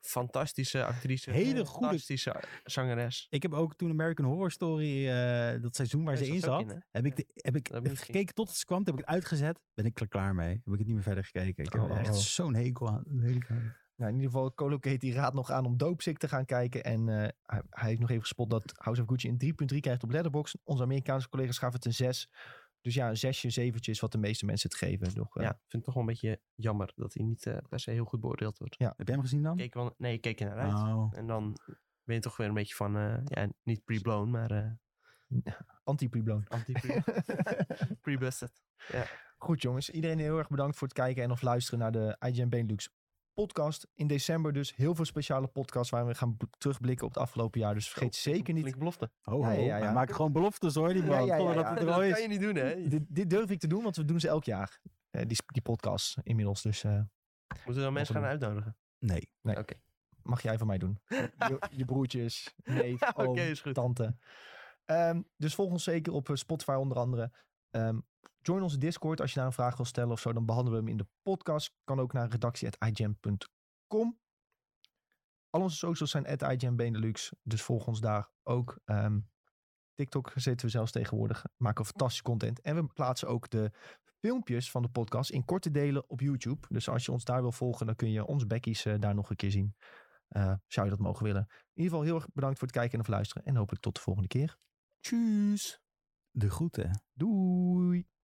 Speaker 2: fantastische actrice.
Speaker 3: Hele goede-
Speaker 2: Fantastische zangeres.
Speaker 3: Ik heb ook toen American Horror Story, eh, dat seizoen waar
Speaker 2: Daar
Speaker 3: ze
Speaker 2: zat
Speaker 3: in
Speaker 2: ze ook
Speaker 3: zat,
Speaker 2: in, hè?
Speaker 3: heb ik, de, heb ik
Speaker 2: Dat heb ik niet
Speaker 3: gekeken tot het kwam, toen heb ik het uitgezet. Ben ik er klaar mee. Heb ik het niet meer verder gekeken. Ik heb
Speaker 1: Oh,
Speaker 3: er
Speaker 1: oh,
Speaker 3: echt
Speaker 1: oh.
Speaker 3: zo'n hekel aan. Lady Gaga.
Speaker 1: Nou, in ieder geval, Colocate die raadt nog aan om Doopsick te gaan kijken. En eh, hij, hij heeft nog even gespot dat House of Gucci een 3.3 krijgt op Letterboxd. Onze Amerikaanse collega's gaven het een 6. Dus ja, een zesje, zeventje is wat de meeste mensen het geven. Nog, eh,
Speaker 2: Ja, ik vind het toch wel een beetje jammer dat hij niet eh, per se heel goed beoordeeld wordt.
Speaker 3: Heb jij hem gezien dan?
Speaker 2: Keek wel, nee, ik keek er naar uit.
Speaker 3: Oh.
Speaker 2: En dan ben je toch weer een beetje van, eh, ja, niet pre-blown, maar eh
Speaker 1: Anti-preblown.
Speaker 2: anti-pre-busted.
Speaker 1: Goed jongens, iedereen heel erg bedankt voor het kijken en of luisteren naar de IGN Benelux podcast. In december dus heel veel speciale podcasts waar we gaan b- terugblikken op het afgelopen jaar. Dus vergeet zeker niet...
Speaker 2: Flink belofte.
Speaker 3: Ho,
Speaker 1: Ja,
Speaker 3: ho,
Speaker 1: ja, ja,
Speaker 3: Hij
Speaker 1: ja.
Speaker 3: maakt gewoon beloftes hoor, die
Speaker 1: Ja,
Speaker 3: man.
Speaker 1: ja, ja,
Speaker 3: Zonder
Speaker 1: ja.
Speaker 3: dat het er al
Speaker 2: dat
Speaker 3: is.
Speaker 2: kan je niet doen, hè?
Speaker 1: Dit, dit durf ik te doen, want we doen ze elk jaar. eh, die, die podcast inmiddels. Dus eh,
Speaker 2: Moeten we dan mensen gaan uitnodigen?
Speaker 3: Nee.
Speaker 1: mag jij van mij doen. Je, je broertjes, neef,
Speaker 2: Oké,
Speaker 1: oom,
Speaker 2: is goed.
Speaker 1: tante. Ehm, dus volg ons zeker op eh, Spotify onder andere. Ehm, join onze Discord als je daar een vraag wil stellen of zo. Dan behandelen we hem in de podcast. Kan ook naar redactie.igem.com. Al onze socials zijn at Benelux. Dus volg ons daar ook. Ehm, TikTok zitten we zelfs tegenwoordig. Maken we fantastische content. En we plaatsen ook de filmpjes van de podcast in korte delen op YouTube. Dus als je ons daar wil volgen, dan kun je ons bekkies eh, daar nog een keer zien. Eh, zou je dat mogen willen. In ieder geval heel erg bedankt voor het kijken en of luisteren. En hopelijk tot de volgende keer.
Speaker 2: Tjus.
Speaker 3: De groeten.
Speaker 1: Doei!